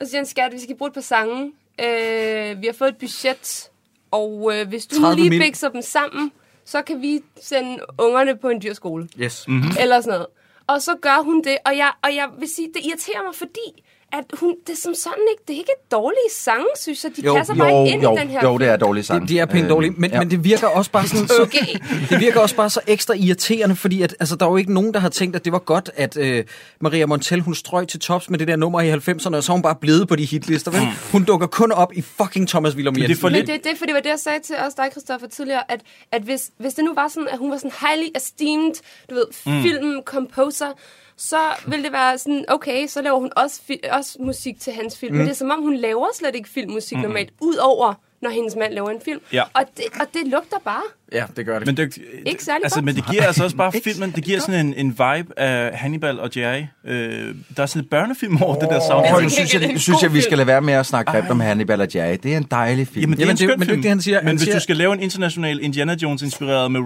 G: og siger han, skat, vi skal bruge et par sange, øh, vi har fået et budget, og øh, hvis du
F: 30
G: lige
F: mil.
G: bikser dem sammen, så kan vi sende ungerne på en dyr skole.
F: Yes. Mm-hmm.
G: Eller sådan noget. Og så gør hun det, og jeg, og jeg vil sige, det irriterer mig, fordi at hun, det er som sådan ikke, det er ikke dårlige sange, synes jeg. De jo, passer jo, Altså, bare ikke ind
L: jo,
G: i den her
L: jo, det er dårlige sange.
F: Det, de er pænt
L: Øh,
F: dårlige, men,
L: ja.
F: ja. men det virker også bare sådan, så,
G: Okay.
F: det virker også bare så ekstra irriterende, fordi at, altså, der er jo ikke nogen, der har tænkt, at det var godt, at øh, Maria Montel, hun strøg til tops med det der nummer i 90'erne, og så er hun bare blevet på de hitlister. Vel? Hun dukker kun op i fucking Thomas Willum Jensen.
G: Mm. Men det er det, for det var det, jeg sagde til os dig, Christoffer, tidligere, at, at hvis, hvis det nu var sådan, at hun var sådan highly esteemed, du ved,
O: Mm.
G: mm. film, composer, så ville det være sådan, okay, så laver hun også, fi- også musik til hans film.
O: Mm.
G: Mm. Men det er som om, hun laver slet ikke filmmusik
H: Mm-mm.
G: mm. normalt, ud over, når hendes mand laver en film.
H: Ja.
G: Og, det, og det lugter bare.
F: Ja, det gør det.
H: Men det,
G: Ikke særlig
H: altså,
G: godt.
H: men det giver altså også bare filmen, det giver sådan en, en vibe af Hannibal og Jerry. Øh, der er sådan et børnefilm over oh, det der soundtrack.
G: Altså,
L: Prøv, nu synes jeg, synes jeg, vi skal lade være med at snakke grimt om Hannibal og Jerry. Det er en dejlig film.
H: Jamen, det er en skøn film. Men
L: Men
H: hvis
L: du
H: du skal lave en international Indiana Jones-inspireret med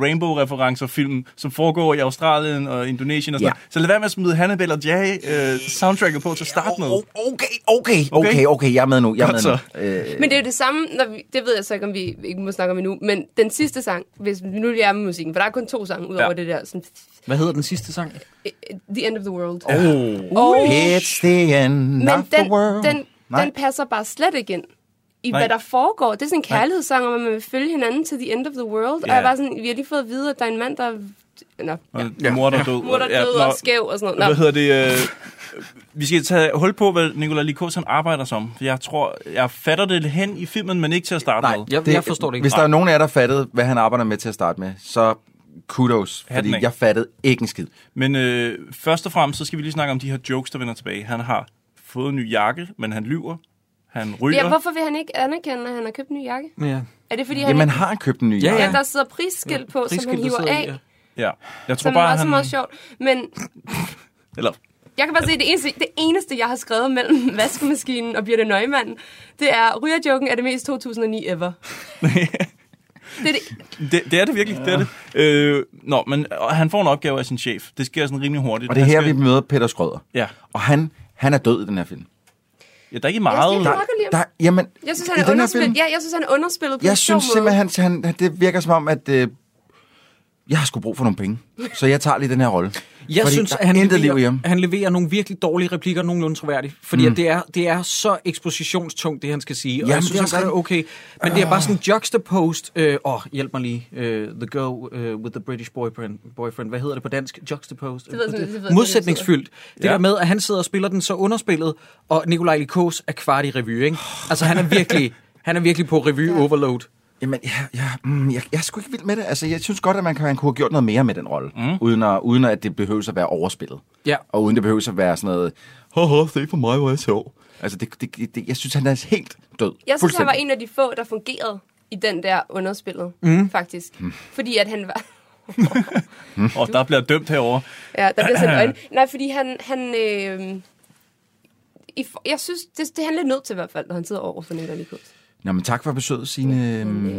H: Rainbow-referencer-film, som foregår i Australien og Indonesien og sådan
L: Ja.
H: ja. så lad være med at smide Hannibal og Jerry øh, soundtracket på til at starte med. Altså,
L: Okay, okay, okay, okay, jeg er med nu. Jeg er
H: Godt
L: med
H: så.
L: nu. Øh,
G: Men det er jo det samme, når vi, det ved jeg så ikke, om vi ikke må snakke om endnu, men den sidste sang, hvis vi nu lige er med musikken, for der er kun to sange, ud over
F: Ja.
G: ja. det der, sådan, eh,
F: Hvad hedder den sidste sang?
G: The End of the World.
L: Oh. It's the end
G: Men
L: of the
G: den,
L: world.
G: den,
L: Nej.
G: den passer bare slet ikke ind i,
L: Nej.
G: Nej. hvad der foregår. Det er sådan en
L: Nej.
G: kærlighedssang, om at man vil følge hinanden til the end of the world. Yeah.
H: Ja.
G: Og jeg var sådan, vi har lige fået at vide, at der er en mand, der... Nå,
H: Og ja. mor, der er død.
G: Mor, der er død og skæv og sådan noget. Nå.
H: Hvad hedder det? Øh, vi skal tage hul på, hvad Nicolai Likos han arbejder som. For Jeg tror, jeg fatter det hen i filmen, men ikke til at starte Nej, med.
L: Hvis der er nogen af jer, der fattede, hvad han arbejder med til at starte med, så kudos,
H: Hatten
L: fordi
H: af.
L: jeg fattede ikke en skid.
H: Men øh, først og fremmest, så skal vi lige snakke om de her jokes, der vender tilbage. Han har fået en ny jakke, men han lyver. Han ryger.
G: Ja, hvorfor vil han ikke anerkende, at han har købt en ny jakke?
F: Ja.
G: Er det fordi, han...
L: Jamen,
G: ikke-
L: har han købt en ny
G: Ja,
L: jakke?
G: ja. der sidder prisskilt på, som han hiver af. Ja.
H: Ja. Jeg tror
G: Som
H: bare,
G: er også
H: han...
G: meget sjovt. Men
H: Eller,
G: jeg kan bare se, at det eneste, det eneste, jeg har skrevet mellem vaskemaskinen og Birte Nøgman, det er, rygerjoken er det mest 2009 ever. det er det
H: det, det er det virkelig, det er det. Øh, nå, men og han får en opgave af sin chef. Det sker sådan rimelig hurtigt.
L: Og det er
H: Han
L: her,
H: skal...
L: vi møder Peter Skrøder.
H: Ja.
L: Og han, han er død i den her film.
H: Ja, der er ikke meget...
G: Jeg skal lige
L: Der, jamen,
G: Jeg synes,
L: i
G: han er
L: den her film,
G: underspillet. Ja, jeg synes, han er underspillet på en
L: jeg
G: sjov
L: synes
G: måde.
L: simpelthen, han, han, det virker som om, at øh, jeg har sgu brug for nogle penge. Så jeg tager lige den her rolle.
F: Jeg
L: Fordi
F: synes,
L: der
F: at
L: er
F: han
L: intet
F: leverer,
L: liv i ham.
F: han leverer nogle virkelig dårlige replikker, nogenlunde troværdigt. Fordi
L: Mm.
F: mm. at det, er, det er så ekspositionstungt, det han skal sige. Og
L: Jamen,
F: Jamen, jeg
L: det er
F: synes, det er
L: rigtigt. Ah.
F: okay. Men det er bare sådan en juxtapost. Åh, øh, oh, hjælp mig lige. Øh, the girl øh, with the British boyfriend. boyfriend. Hvad hedder det på dansk? Juxtapost.
G: Det ved jeg simpelthen- det ved jeg
F: Modsætningsfyldt. Det
H: Ja.
F: der med, at han sidder og spiller den så underspillet, og Nikolaj Likos er kvart i revy, ikke? Altså, han er virkelig, han er virkelig på revy overload.
L: Jamen, ja, ja, mm, jeg, jeg er sgu ikke vild med det. Altså, jeg synes godt, at man, kan, man kunne have gjort noget mere med den rolle, mm. uden, at, uden at det behøves at være overspillet.
F: Ja.
L: Og uden det behøves at være sådan noget, haha, se for mig, hvor jeg sjov. Altså, det, det, det, jeg synes, han er helt død.
G: Jeg synes, han var
L: Fuldstændig.
G: en af de få, der fungerede i den der underspillet,
L: Mm.
G: mm. faktisk.
L: Mm.
G: Mm. Fordi at han var...
H: Og der bliver dømt herover.
G: Ja, der blev sådan øjne. Nej, fordi han... han øh, i, for- jeg synes, det, det er han lidt nødt til i hvert fald, når han sidder over for Nicolai Likos.
L: Nå, men tak for besøget, Signe. Mm.
G: øh.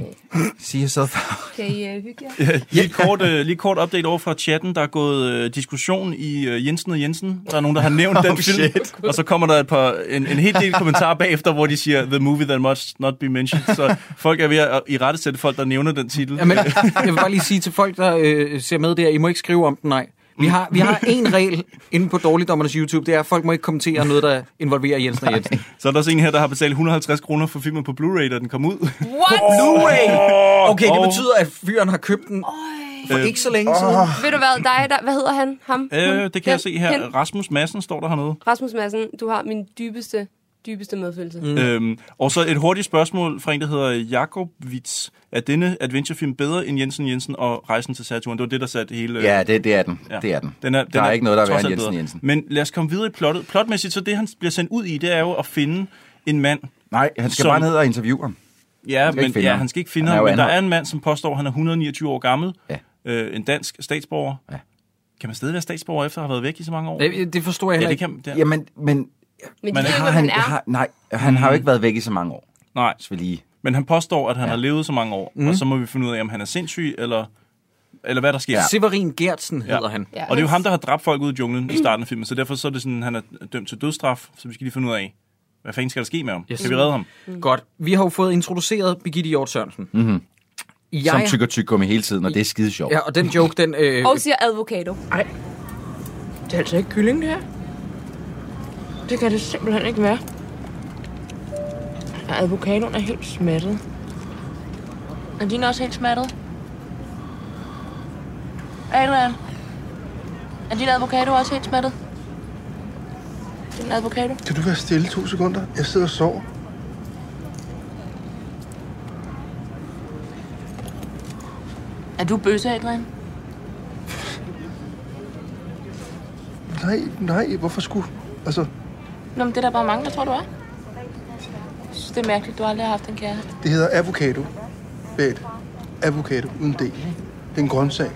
L: Sige, jeg sad
G: Kan I øh, hygge jer?
H: Ja, lige, kort, øh, lige kort update over fra chatten. Der er gået øh, diskussion i øh, Jensen og Jensen. Der er nogen, der har nævnt
L: Oh,
H: den film.
L: shit.
H: Og så kommer der et par, en, en hel del kommentarer bagefter, hvor de siger, the movie that must not be mentioned. Så folk er ved at i rette sætte folk, der nævner den titel.
F: Jamen, jeg vil bare lige sige til folk, der øh, ser med der, I må ikke skrive om den, nej. Vi har, vi har en regel inde på Dårligdommernes YouTube, det er, at folk må ikke kommentere noget, der involverer Jensen og Jensen.
H: Så er der også en her, der har betalt 150 kroner for filmen på Blu-ray, da den kom ud.
G: What?
H: Åh,
F: Okay, det
H: og-
F: betyder, at fyren har købt den for
H: Øh,
F: ikke så længe siden.
G: Ved du hvad, dig, der, hvad hedder han? Ham?
H: Øh,
G: Hun?
H: det kan
G: Den?
H: jeg se her.
G: Hen?
H: Rasmus Madsen står der hernede.
G: Rasmus Madsen, du har min dybeste, Dybeste medfølelse.
H: Mm. Øhm, og så et hurtigt spørgsmål fra en, der hedder Jakob Witz. Er denne adventurefilm bedre end Jensen Jensen og Rejsen til Saturn? Det var det, der satte hele...
L: Ja, det- det er den. Det er den. Der er ikke noget, der er værre
H: trods
L: end
H: alt
L: Jensen
H: bedre.
L: Jensen.
H: Men lad os komme videre i plottet. Plotmæssigt, så det, han bliver sendt ud i, det er jo at finde en mand...
L: Nej, han skal bare ned og interviewe ham.
H: Ja,
L: Han skal ikke
H: men,
L: finde
H: ja,
L: ham.
H: han skal ikke finde
L: Han er
H: ham,
L: jo
H: men der er
L: anholdt.
H: en mand, som påstår, at han er 129 år gammel,
L: ja.
H: øh, en dansk statsborger.
L: Ja.
H: Kan man stadig være statsborger, efter at have været væk i så mange år?
F: Det, det forstår jeg
H: ja,
F: heller
H: det
F: ikke.
H: kan, det er-
L: Jamen, men...
G: Men
H: de ved jo,
L: har
H: hvem
L: han,
H: han er.
L: Har, nej, han
G: Mm.
L: har jo ikke været væk i så mange år.
H: Nej.
L: Så vi lige...
H: Men han påstår, at han ja. har levet så mange år, mm. og så må vi finde ud af, om han er sindssyg, eller, eller hvad der sker.
F: Ja. Severin Gertsen
H: Ja.
F: hedder ja. han.
H: Ja. Og det er jo ham, der har dræbt folk ud i junglen i starten af filmen, så derfor så er det sådan, han er dømt til dødsstraf, så vi skal lige finde ud af, hvad fanden skal der ske med ham? Yes. Kan vi redde ham?
F: Mm. Godt. Vi har jo fået introduceret Birgitte Hjort Sørensen.
H: Mhm.
L: Mm-hmm.
F: Jeg-
L: Som tykker tyk gummi hele tiden, og det er skide sjovt.
F: Ja, og den joke, den... Øh,
G: Og siger advokato.
D: Nej. Det er altså ikke kylling, det her. Det kan det simpelthen ikke være. Ja, Avocadoen er helt smattet. Er din også helt smattet? Adrian, er din avocado også helt smattet? Din avocado?
J: Kan du være stille to sekunder? Jeg sidder og sover.
D: Er du bøsse, Adrian?
J: Nej, nej, hvorfor skulle... Altså,
D: Nå, men det er der bare mange, der tror, du er. Jeg synes, det er mærkeligt, du aldrig har haft en kæreste.
J: det hedder avocado. Bæt. Avocado uden D. Det er en grøntsag.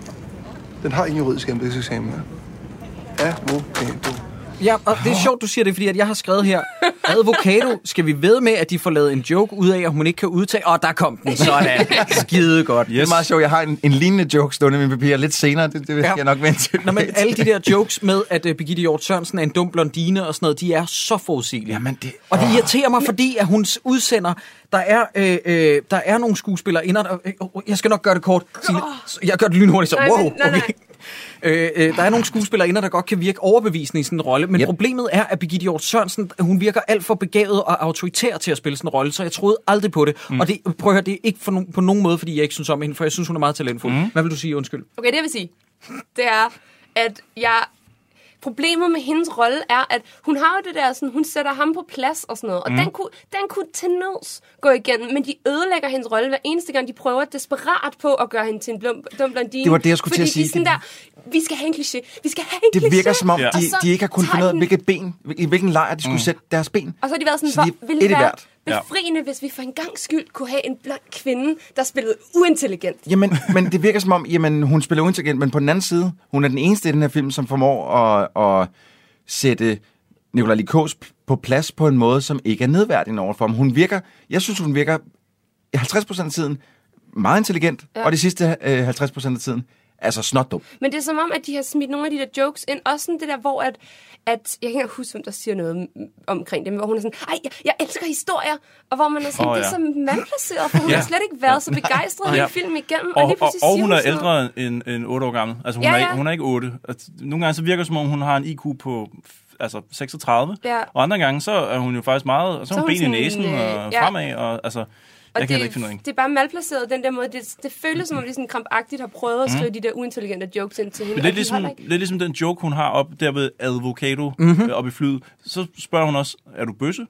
J: Den har ingen juridisk embedseksamen. ja. Avocado.
F: Ja, og det er sjovt, du siger det, fordi at jeg har skrevet her, advokato, skal vi ved med, at de får lavet en joke ud af, at hun ikke kan udtale... Åh, oh, der kom den. Sådan. Skide godt.
L: Yes. Det er meget sjovt. Jeg har en, en lignende joke stående i mine papirer lidt senere. Det, det skal
F: Ja.
L: jeg nok vente til.
F: Nå, men alle de der jokes med, at uh, Birgitte Hjort Sørensen er en dum blondine og sådan noget, de er så forudsigelige.
L: Jamen, det...
F: Og det irriterer mig, fordi at hun s- udsender, der er, øh, øh, der er nogle skuespillere inden, og, øh, øh, jeg skal nok gøre det kort, Signe. jeg gør det lynhurtigt, så
G: Nej, men-
F: wow,
G: nej, nej.
F: okay. Øh, øh, der er nogle skuespillere inden, der godt kan virke overbevisende i sådan en rolle, men yep. problemet er, at Birgitte Hjort Sørensen, hun virker alt for begavet og autoritær til at spille sådan en rolle, så jeg troede aldrig på det. Mm. Og det, prøv at høre, det er ikke for no- på nogen måde, fordi jeg ikke synes om hende, for jeg synes, hun er meget talentfuld. Mm. Hvad vil du sige, undskyld?
G: Okay, det jeg vil sige, det er, at jeg... Problemet med hendes rolle er, at hun har jo det der, sådan, hun sætter ham på plads og sådan noget.
L: Mhm.
G: Og mm.
O: Mm.
G: den, kunne, den kunne til nøds gå igennem, men de ødelægger hendes rolle hver eneste gang, de prøver desperat på at gøre hende til en blom, dum blondine.
L: Det var det, jeg skulle til
G: fordi
L: at sige.
G: De er sådan der, vi skal have en kliché, vi skal have en kliché.
L: Det virker som om,
G: Og
L: de,
G: så
L: de ikke har kunnet
G: tager
L: finde ud af,
G: den-
L: hvilket ben, i hvilken lejr de skulle mm. sætte deres ben.
G: Og så har de været sådan,
L: Så de er
G: hvor ville det
L: et i
G: være
L: hvert. Ja.
G: befriende, hvis vi for en gang skyld kunne have en blond kvinde, der spillede uintelligent.
L: Jamen, men det virker som om, jamen, hun spiller uintelligent, men på den anden side, hun er den eneste i den her film, som formår at, at sætte Nicolai Likos på plads på en måde, som ikke er nedværdigende overfor ham. Hun virker, jeg synes, hun virker 50% af tiden meget intelligent,
G: Ja.
L: ja. og de sidste øh, 50% af tiden, altså snotdum.
G: Men det er som om, at de har smidt nogle af de der jokes ind. Også sådan det der, hvor at, at jeg kan ikke huske, hvem der siger noget om- omkring det, men hvor hun er sådan, ej, jeg, jeg elsker historier. Og hvor man er sådan,
H: Åh,
G: oh, ja.
H: ja.
G: det er så mandplaceret, for hun
H: Ja.
G: ja. har slet ikke været så
H: Nej.
G: begejstret
H: Ja.
G: hele filmen igennem.
H: Og,
G: lige
H: og, og,
G: pludselig
H: og
G: siger
H: hun er
G: sådan noget.
H: ældre end, end 8 år gammel. Altså, hun,
G: Ja,
H: ja, ja. Er,
G: ja.
H: ikke- hun er ikke 8. Altså, nogle gange så virker det, som om hun har en IQ på f- altså 36,
G: Ja.
H: og andre gange så er hun jo faktisk meget... Og så,
G: Så
H: har
G: er
H: hun
G: hun
H: ben i
G: sådan,
H: næsen
G: øh,
H: og
G: ja.
H: fremad, og altså... Jeg
G: Og
H: kan
G: det,
H: heller ikke finde ud af hende.
G: det er bare malplaceret, den der måde. Det, det føles, som om de sådan krampagtigt har prøvet at
H: Mm.
G: skrive mm. de der uintelligente jokes ind til hende.
H: Men
G: og
H: lidt
G: de
H: ligesom,
G: holder ikke.
H: lidt ligesom den joke, hun har op der ved Advocado
F: Mhm.
H: mm-hmm. øh, oppe i flyet. Så spørger hun også, er du bøsse?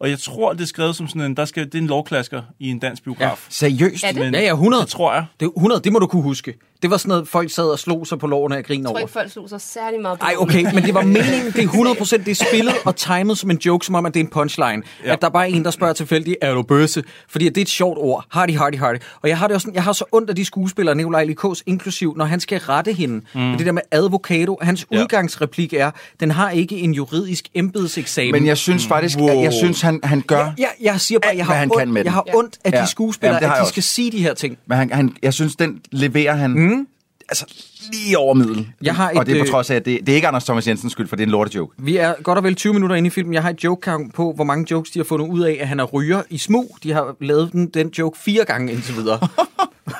H: Og jeg tror, det er skrevet som sådan en, der skal, det er en lovklasker i en dansk biograf.
L: Ja. Seriøst?
G: Er det?
H: Men,
F: Ja, ja, 100. Det
H: tror jeg.
F: Det, 100, det må du kunne huske. Det var sådan noget, folk sad og slog sig på lårene af grin
G: Jeg tror
F: over.
G: ikke, folk slog sig særlig meget på
F: Ej,
G: det.
F: okay, men det var meningen, det er 100%, det er spillet og timet som en joke, som om, at det er en punchline. Ja. At der bare er en, der spørger tilfældigt, er du bøsse? Fordi at det er et sjovt ord. Hardy, hardy, hardy. Og jeg har det også sådan, jeg har så ondt af de skuespillere, Nikolaj Likos inklusiv, når han skal rette hende. Mm.
L: Mm.
F: Men det der med advokado, hans ja. udgangsreplik er, den har ikke en juridisk embedseksamen.
L: Men jeg synes faktisk, wow. jeg, jeg synes, han, han gør...
F: Jeg, jeg, jeg siger bare, jeg
L: hvad
F: har,
L: han kan
F: ondt,
L: med
F: jeg
L: den.
F: har ondt af
L: Ja.
F: de skuespillere,
L: Jamen, det har
F: at
L: jeg
F: de
L: også.
F: skal sige de her ting.
L: Men han, han, jeg synes, den leverer han mm. altså, lige over middel.
F: Jeg har et,
L: og det er
F: øh,
L: på trods af, at det, det er ikke Anders Thomas Jensens skyld, for det er en lortejoke.
F: Vi er godt og vel 20 minutter inde i filmen. Jeg har et joke på, hvor mange jokes de har fundet ud af, at han er ryger i smug. De har lavet den, den joke fire gange indtil videre.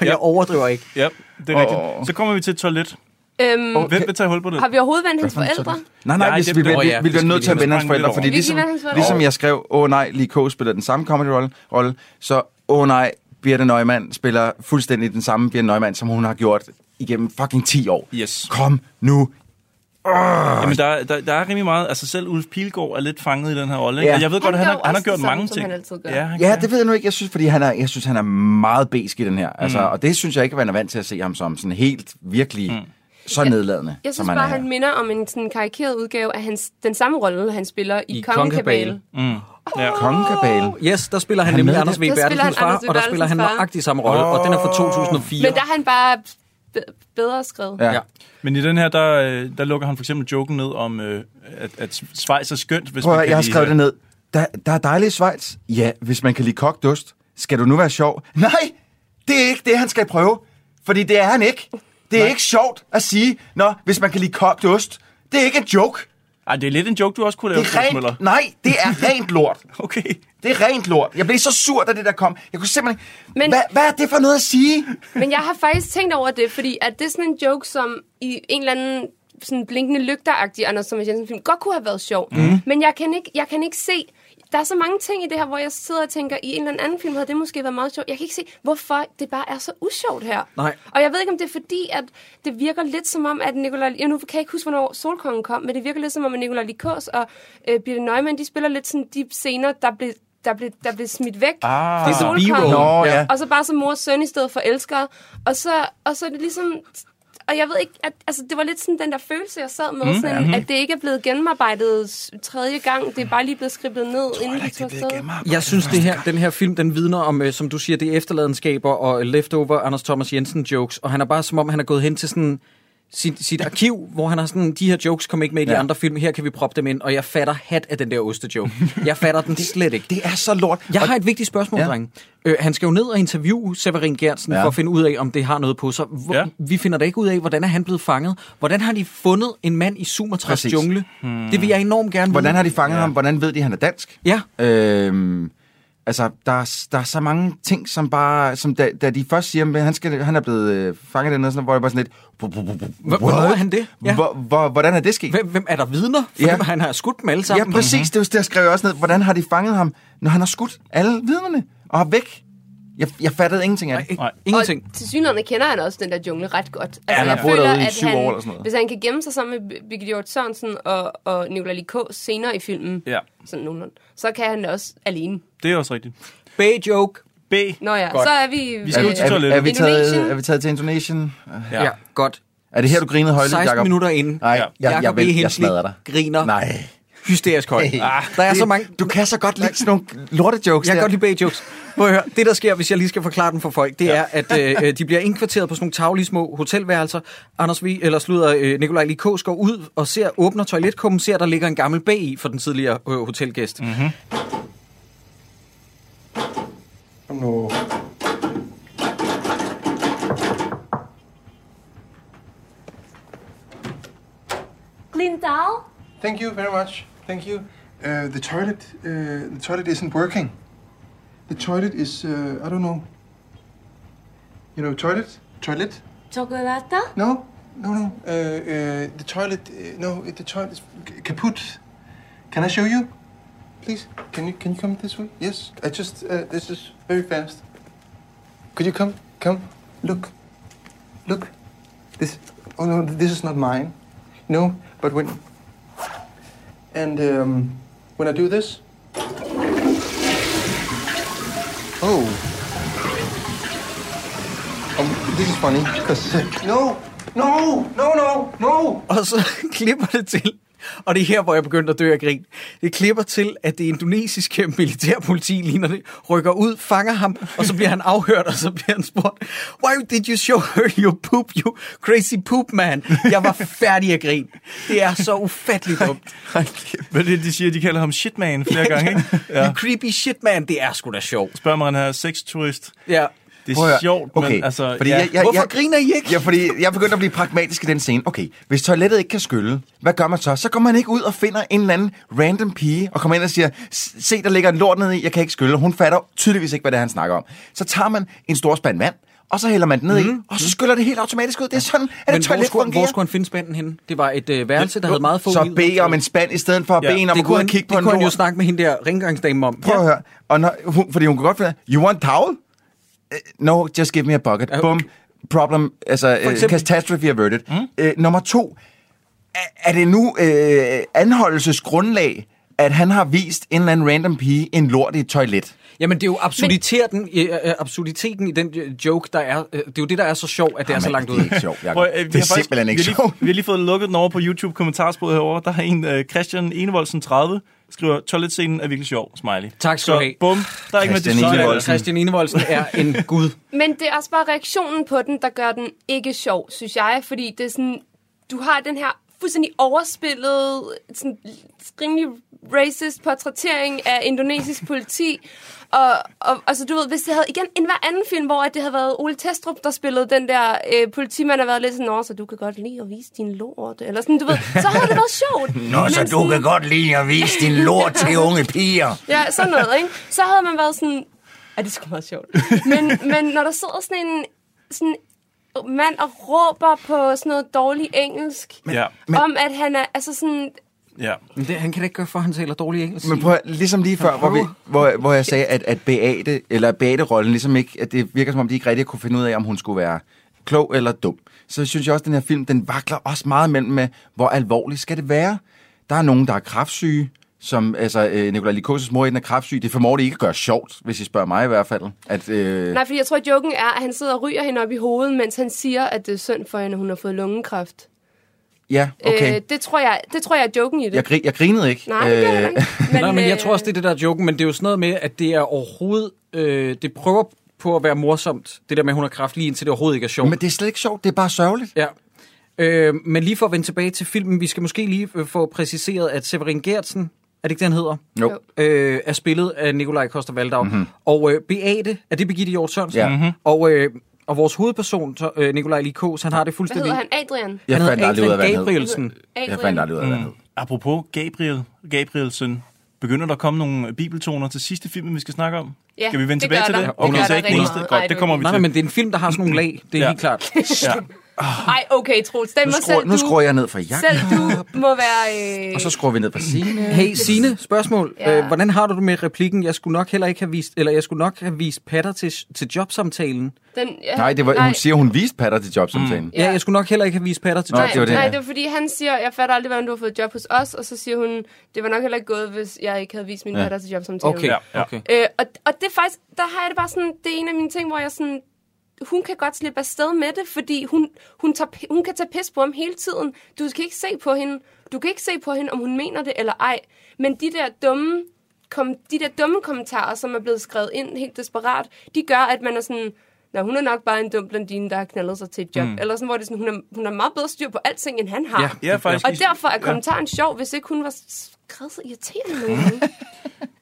F: jeg overdriver ikke.
H: Ja, det er rigtigt. Så kommer vi til et toilet.
G: Øhm,
H: Hvem vil tage hul på det?
G: Har vi overhovedet vendt hendes
H: Hvad fanden så
G: forældre?
L: Nej, nej,
H: Nej,
L: hvis
H: det
L: vi, bliver,
H: blev- Åh,
L: vi,
H: ja,
L: vi
H: det
L: bliver
H: skal
L: nødt
H: vi
L: til at
H: lige
L: vende hans
H: sprænge
L: forældre,
H: lidt over.
L: fordi
H: Vi
L: ligesom,
G: kan vende hans forældre.
L: ligesom jeg skrev, åh oh, nej, Lee K. spiller den samme comedy rolle, rolle så åh oh, nej, Birte Neumann spiller fuldstændig den samme Birte Neumann, som hun har gjort igennem fucking 10 år.
H: Yes.
L: Kom nu
H: Jamen, der, er- der, der er rimelig meget... Altså, selv Ulf Pilgaard er lidt fanget i den her rolle. Ja. Og jeg ved godt, at han, han, har, han har gjort mange ting. Ja, han
L: ja, det ved jeg nu ikke. Jeg synes, fordi han er, jeg synes, han er meget besk i den her. Altså,
H: Mm.
L: Og det synes jeg ikke, man er vant til at se ham som sådan helt virkelig mm. så nedladende,
G: Jeg
L: som
G: synes bare,
L: er.
G: han minder om en sådan karikeret udgave af hans, den samme rolle, han spiller i, Kongekabale.
H: Mm. Ja.
L: Kongekabale?
F: Yes, der spiller han
L: Han
F: nemlig
L: med
F: Anders V.
L: det?
G: Der spiller han
F: Bertelsens far,
G: Anders V.
F: og der spiller han
G: Bertelsens far.
F: nøjagtig samme rolle, og den er fra 2004.
G: Men der er han bare be- bedre skrevet.
H: Ja. Men i den her, der, øh, der lukker han for eksempel joken ned om, øh, at, at Schweiz er skønt, hvis
L: Prøv at,
H: man
L: høre,
H: kan
L: jeg har
H: lide-
L: skrevet det ned. Der, der er dejligt i Schweiz. Ja, hvis man kan lide kogt ost, skal du nu være sjov? Nej, det er ikke det, han skal prøve. Fordi det er han ikke. Det er Nej. ikke sjovt at sige, nå, hvis man kan lide kogt ost. Det er ikke en joke.
H: Ej, det er lidt en joke, du også kunne lave,
L: det
H: Troels
L: er
H: Møller.
L: rent, Nej, det er rent lort.
H: okay.
L: Det er rent lort. Jeg blev så sur, da det der kom. Jeg kunne simpelthen... Men... Hvad, hvad er det for noget at sige?
G: Men jeg har faktisk tænkt over det, fordi at det er sådan en joke, som i en eller anden sådan blinkende lygteragtig Anders Thomas Jensen film godt kunne have været sjov.
L: Mhm.
O: Mm.
G: Men jeg kan, ikke, jeg kan ikke se... Der er så mange ting i det her, hvor jeg sidder og tænker, i en eller anden film havde det måske været meget sjovt. Jeg kan ikke se, hvorfor det bare er så usjovt her.
F: Nej.
G: Og jeg ved ikke, om det er fordi, at det virker lidt som om, at Nicolai... Jeg nu kan jeg ikke huske, hvornår Solkongen kom, men det virker lidt som om, at Nicolai Likos og øh, Birte Neumann, de spiller lidt sådan de scener, der blev der blev, der blev smidt væk
L: Ah.
G: fra
L: Det er the
G: Solkongen.
L: B-roll. Nå, ja.
G: Og så bare som mor og søn i stedet for elskere. Og så, og så er det ligesom... Og jeg ved ikke, at, altså, det var lidt sådan den der følelse, jeg sad med,
L: Mm,
G: mm, sådan,
L: ja, mhm.
G: at det ikke er blevet gennemarbejdet s- tredje gang. Det er bare lige blevet skriblet ned, inden vi tog afsted.
F: Jeg synes, det her, den her film, den vidner om, øh, som du siger, det er efterladenskaber og øh, leftover Anders Thomas Jensen jokes, og han er bare som om, han er gået hen til sådan sit, sit arkiv, hvor han har sådan, de her jokes kom ikke med i de
L: Ja.
F: ja. andre film, her kan vi proppe dem ind, og jeg fatter hat af den der ostejoke. Jeg fatter den slet ikke.
L: Det er så lort.
F: Jeg har et vigtigt spørgsmål, ja.
L: Ja.
F: drenge. Øh, han skal jo ned og interviewe Severin Gertsen ja.
L: Ja.
F: for at finde ud af, om det har noget på sig. Hvor, ja.
L: Ja.
F: Vi finder da ikke ud af, hvordan er han blevet fanget? Hvordan har de fundet en mand i Sumatras
L: Præcis.
F: jungle? Hmm. Det vil jeg enormt gerne vide.
L: Hvordan har de fanget ja. ham? Hvordan ved de, at han er dansk?
F: Ja.
L: Øhm, altså, der, er- der er så mange ting, som bare... Som da, da de først siger, at han, skal, han er blevet øh, fanget dernede, sådan, hvor jeg bare sådan lidt...
F: Hvornår er han det?
L: Ja. Hvor, hvor, hvordan er det sket?
F: Hvem, Mhm. hvem er der vidner? For
L: Ja.
F: ja. han har skudt dem alle sammen.
L: Ja, præcis. Det, er jo- det skrev jeg også ned. Hvordan har de fanget ham, når han har skudt alle vidnerne og er væk? Jeg, jeg fattede ingenting af det.
F: Nej, ingenting.
G: Til synligheden kender han også den der jungle ret godt. Altså,
L: han har
G: jeg
L: boet
G: føler,
L: derude i
G: at
L: syv
G: han,
L: år eller sådan noget.
G: Hvis han kan gemme sig sammen med Birgit Hjort Sørensen og, og Nicolai Likos senere i filmen,
H: Ja.
G: sådan nogenlunde, så kan han også alene.
H: Det er også rigtigt.
F: B-joke.
H: B.
G: Nå ja, så er vi... øh,
L: er, er, vi taget,
G: Indonesien.
L: er vi taget til Indonesien?
F: Ja. ja, godt.
L: Er det her, du grinede højlydt,
F: 16
L: Jacob?
F: minutter inden.
L: Nej, jeg, jeg, jeg,
F: Jacob E.
L: jeg, jeg
F: Hensley
L: smadrer dig.
F: griner
L: Nej.
F: hysterisk højt.
L: Hey.
F: Ah, der er
L: Det-
F: så mange...
L: Du kan så godt lide sådan nogle lortejokes
F: Jeg kan
L: der.
F: godt lide B-jokes. Prøv at høre, det der sker, hvis jeg lige skal forklare den for folk, det ja. er, at øh, øh, de bliver indkvarteret på sådan nogle taglige små hotelværelser. Anders Vi, eller slutter øh, Nikolaj Likos går ud og ser, åbner toiletkummen, ser, der ligger en gammel B i for den tidligere øh,
L: Mm.
F: hotelgæst. Mm-hmm.
J: Kom nu.
O: Glindal?
J: Thank you very much. Thank you. Uh, the toilet, uh, the toilet isn't working. The toilet is, uh, I don't know. You know, toilet, toilet.
O: Chocolata?
J: No, no, no. Uh, uh, the toilet, uh, no, the toilet is k- kaput. Can I show you? Please, can you can you come this way? Yes, I just uh, this is very fast. Could you come? Come, look, look. This, oh no, this is not mine. No, but when and um, when I do this, oh, um, this is funny because no, no, no, no, no.
F: Og så klipper det til, og det er her, hvor jeg begyndte at dø af grin. Det klipper til, at det indonesiske militærpoliti, ligner det, rykker ud, fanger ham, og så bliver han afhørt, og så bliver han spurgt, Why did you show her your poop, you crazy poop man? Jeg var færdig af grin. Det er så ufatteligt dumt.
H: Hvad er det, de siger? De kalder ham shitman flere gange, ikke? Ja.
F: You creepy shit man, det er sgu da sjovt.
H: Spørger man, han er sexturist.
F: Ja.
H: Det
L: Prøv at
H: er
L: høre.
H: sjovt,
L: okay.
H: men altså...
L: Fordi
H: ja.
L: jeg, jeg, jeg,
F: griner I ikke?
L: Ja, fordi jeg begynder at blive pragmatisk i den scene. Okay, hvis toilettet ikke kan skylle, hvad gør man så? Så går man ikke ud og finder en eller anden random pige, og kommer ind og siger, "S- se, der ligger en lort nede i, jeg kan ikke skylle. Hun fatter tydeligvis ikke, hvad det er, han snakker om. Så tager man en stor spand vand, og så hælder man den ned i, og så skyller det helt automatisk ud. Det er sådan, at
F: Mhm. Men
L: et
F: hvor
L: toilet
F: skulle, hvor
L: fungerer.
F: skulle han finde spanden henne? Det var et øh, værelse, der havde meget få
L: Så
F: liv. altså?
L: bede om en spand, i stedet for at bede en om
F: det
L: at gå
F: kunne
L: ud og
F: han,
L: kigge på
F: det
L: en
F: kunne han jo
L: lort.
F: snakke med hende der rengøringsdame om.
L: Prøv at høre. Og når, hun, fordi hun kunne godt finde, you want towel? Eh, No, just give me a bucket. Bum. Problem, altså
F: eksempel-
L: uh, catastrophe averted. Mm? Uh, nummer Eh, to, er det nu øh, anholdelsesgrundlag, at han har vist en eller anden random pige en lort i et toilet?
F: Jamen, det er jo absurditeten, i- øh, øh, absurditeten i den øh, joke, der er. øh, Det er jo det, der er så sjov, at det er så langt ud.
L: det er ikke sjovt, Jacob. Det er simpelthen ikke
H: vi har Lige, vi har lige fået lukket den over på YouTube kommentarsporet herovre. Der er en øh, Christian Enevoldsen 30 skriver, toiletscenen er virkelig sjov, smiley.
F: Tak skal du have.
H: Bum, der er ikke med
F: Christian
H: det
F: Enevoldsen. Christian Enevoldsen er en gud.
G: Men det er også bare reaktionen på den, der gør den ikke sjov, synes jeg. Fordi det er sådan, du har den her fuldstændig overspillede, sådan, rimelig racist portrættering af indonesisk politi. Og, og altså, du ved, hvis det havde igen en hver anden film, hvor at det havde været Ole Testrup, der spillede den der øh, politimand, der været lidt sådan, Nå, så du kan godt lide at vise din lort, eller sådan, du ved, så havde det været sjovt. Men sådan-
L: godt lide at vise din lort til unge piger.
G: Ja, sådan noget, ikke? Så havde man været sådan, ja, det er sgu meget sjovt. Men, men når der sidder sådan en sådan mand og råber på sådan noget dårlig engelsk,
H: Ja.
G: men, om at han er, altså sådan,
H: Ja.
F: Men det, han kan da ikke gøre for, at han taler dårlig engelsk.
L: Men prøv, at- ligesom lige før, hvor, vi, hvor, hvor jeg sagde, at, at Beate, eller Beate-rollen ligesom ikke, at det virker som om, de ikke rigtig kunne finde ud af, om hun skulle være klog eller dum. Så synes jeg også, at den her film, den vakler også meget mellem med, hvor alvorligt skal det være? Der er nogen, der er kraftsyge, som, altså, øh, Nicolai Likoses mor, den er kraftsyg. Det formår det ikke at gøre sjovt, hvis I spørger mig i hvert fald. At, øh,
G: nej, fordi jeg tror, at joken er, at han sidder og ryger hende op i hovedet, mens han siger, at det er synd for hende, at hun har fået lungekræft.
L: ja, okay. Øh,
G: det, tror jeg, det tror jeg er joken i det.
L: jeg, Øh, gri- jeg grinede ikke.
G: Nej, det gjorde jeg ikke. øh,
F: Men, Nej, men jeg tror også, det er det, der er joken, men det er jo sådan noget med, at det er overhovedet... Øh, det prøver på at være morsomt, det der med, at hun er kraft, lige indtil det overhovedet ikke er sjovt.
L: Øh, Men det er slet ikke sjovt, det er bare sørgeligt.
F: Ja. Øh, men lige for at vende tilbage til filmen, vi skal måske lige øh, få præciseret, at Severin Gertsen, er det ikke det, han hedder?
L: Jo.
F: Øh, er spillet af Nikolaj Koster Valdau. Mm-hmm. Og øh, Beate, er det Birgitte Hjort Sørensen?
L: Mhm. Ja. Mhm.
F: Og, øh, og vores hovedperson, så, øh, Nikolaj Likos, han har det
G: Hvad
F: fuldstændig...
G: hedder han? Adrian?
L: Jeg
F: Han
L: fandt
F: hedder
L: aldrig ud af, hvad
F: Adrian
L: han hed.
F: Gabrielsen.
G: Adrian.
L: Jeg fandt aldrig ud af, hvad han hed.
H: Apropos Gabriel, Gabrielsen, begynder der at komme nogle bibeltoner til sidste film, vi skal snakke om?
G: Ja,
H: skal vi vende
G: det
H: tilbage
G: gør
H: til
G: der.
H: det?
G: Det gør
H: så
G: der
H: ikke
G: rigtig
H: den eneste.
G: meget.
H: Godt,
G: Ej,
H: det kommer vi
F: Nej, nej,
H: til.
F: men det er en film, der har sådan nogle lag. Det er
H: Ja.
F: ja. helt klart.
H: Ja.
G: Ej, okay, Troels, den
L: Nu
G: må
L: skruer,
G: selv
L: nu
G: du,
L: skruer jeg ned for jakken,
G: selv du må være... Øh,
L: og så skruer vi ned for Signe.
F: Hey Sine, spørgsmål.
G: Ja.
F: Ja. Øh, hvordan har du det med replikken? Jeg skulle nok heller ikke have vist, eller jeg skulle nok have vist patter til, til jobsamtalen.
G: den, ja,
L: Nej, det var, hun siger, hun viste patter til jobsamtalen. Mm.
F: Ja. ja, jeg skulle nok heller ikke have vist patter til
L: Nå,
G: Nej,
F: jobsamtalen.
L: det var det.
G: nej,
L: ja.
G: det var fordi, han siger, jeg fatter aldrig, hvordan du har fået job hos os, og så siger hun, det var nok heller ikke gået, hvis jeg ikke havde vist min
F: Ja.
G: ja. patter til jobsamtalen.
F: Okay, ja, okay.
G: Øh, og, og det er faktisk, der har jeg det bare sådan, det er en af mine ting, hvor jeg sådan, hun kan godt slippe afsted med det, fordi hun, hun, tager, pi- hun kan tage pis på ham hele tiden. Du skal ikke se på hende, du kan ikke se på hende, om hun mener det eller ej. Men de der dumme, kom, de der dumme kommentarer, som er blevet skrevet ind helt desperat, de gør, at man er sådan, Nå, hun er nok bare en dum blondine, der har knaldet sig til et job.
H: Mm.
G: Mm. Eller sådan, hvor det er sådan, hun er, hun er meget bedre styr på alting, end han har.
H: Ja, ja, faktisk.
G: Og derfor er
H: Ja.
G: kommentaren sjov, hvis ikke hun var skrevet så irriterende nogle gange.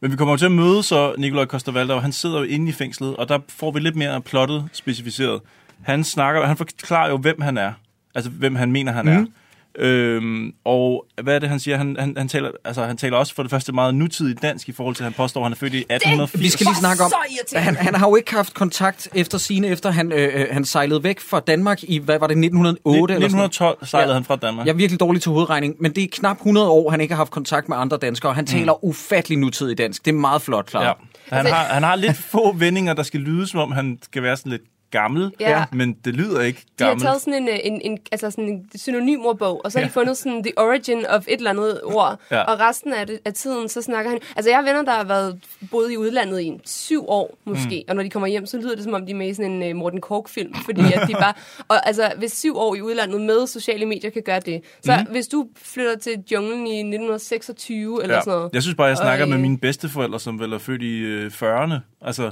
H: Men vi kommer jo til at møde så Nikolaj Koster han sidder jo inde i fængslet, og der får vi lidt mere af plottet specificeret. Han snakker, han forklarer jo, hvem han er. Altså, hvem han mener, han er.
F: Mhm.
H: Øhm, og hvad er det, han siger? Han, han, han, taler, altså, han taler også for det første meget nutidigt dansk i forhold til, at han påstår, at han er født i 1880.
F: Vi skal lige snakke om, at han, han har jo ikke haft kontakt efter sine efter han, øh, øh, han sejlede væk fra Danmark i, hvad var det, 1908? eller sådan noget?
H: 1912 sejlede
F: Ja.
H: han fra Danmark.
F: Jeg er virkelig dårlig til hovedregning, men det er knap 100 år, han ikke har haft kontakt med andre danskere. Han taler mm. ufattelig nutidig dansk. Det er meget flot, klart.
H: Ja.
F: Ja.
H: Han, har, han har lidt få vendinger, der skal lyde, som om han skal være sådan lidt gammel,
G: Ja.
H: men det lyder ikke
G: De har
H: gammel.
G: taget sådan en, øh, en, en, altså sådan en synonymordbog, og så har
H: Ja.
G: de fundet sådan the origin of et eller andet ord.
H: Ja.
G: Ja. Og resten af, det, af tiden, så snakker han... Altså, jeg har venner, der har været boet i udlandet i en syv år, måske.
H: Mm.
G: Mm. Og når de kommer hjem, så lyder det, som om de er med i sådan en uh, Morten Kork-film. Fordi at de bare... Og altså, hvis syv år i udlandet med sociale medier kan gøre det. Så
H: Mhm.
G: mm. hvis du flytter til junglen i 1926 eller
H: Ja.
G: sådan noget...
H: Jeg synes bare, jeg snakker
G: og,
H: med
G: øh,
H: mine bedsteforældre, som vel er født i øh, 40'erne, altså,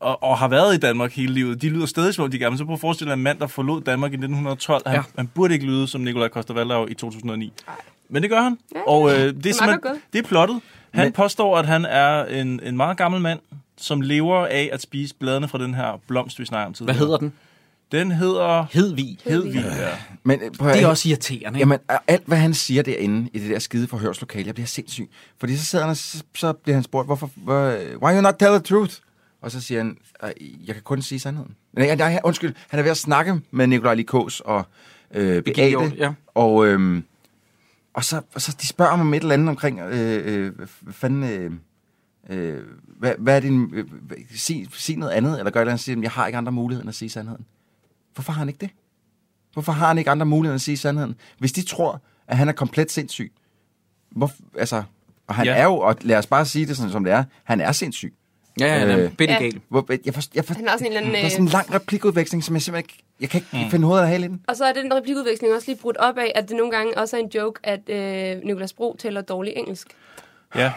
H: og, og har været i Danmark hele livet. De lyder stadig som om de er gamle. Så prøv at forestille dig en mand, der forlod Danmark i 1912. Han, ja.
F: Ja.
H: han burde ikke lyde som Nikolaj Koster i 2009. Men det gør han. Ja, og øh, det, er det,
G: godt.
H: det er plottet. Han Men...
L: Men-
H: påstår, at han er en, en meget gammel mand, som lever af at spise bladene fra den her blomst, vi snakker om tidligere.
F: Hvad hedder den?
H: Den hedder...
F: Hedvig.
H: Hedvig, ja.
L: Men, øh, prøv at-
F: Det er også irriterende. ikke?
L: Jamen, a- alt hvad han siger derinde i det der skide forhørslokale, jeg bliver sindssyg. Fordi så sidder han, og så, så bliver han spurgt, hvorfor, hvor, why you not tell the truth? Og så siger han, "Øh, jeg kan kun sige sandheden. Nej, nej, undskyld, han er ved at snakke med Nikolaj Likos og øh, Beate.
F: Hjort, ja.
L: Og, øhm, og, så, og så de spørger mig om et eller andet omkring, øh, øh, hvad fanden, øh, øh, hvad, hvad er din, øh, hvad- sig, sig noget andet, eller gør et eller andet, siger, jeg har ikke andre muligheder end at sige sandheden. Hvorfor har han ikke det? Hvorfor har han ikke andre muligheder end at sige sandheden? Hvis de tror, at han er komplet sindssyg. Hvor, altså, og han ja. er jo, og lad os bare sige det sådan, som det er, han er sindssyg.
F: Ja, ja, han er
G: bindegalt. Ja.
L: Hvor, jeg forst, jeg forst,
G: Han har sådan en eller anden, øh,
L: der er sådan en lang replikudveksling, som jeg simpelthen ikke, jeg kan ikke
G: Mm.
L: mm. finde hovedet af halen.
G: Og så er den replikudveksling også lige brudt op af, at det nogle gange også er en joke, at øh, Nicolas Bro taler dårlig engelsk.
H: Ja,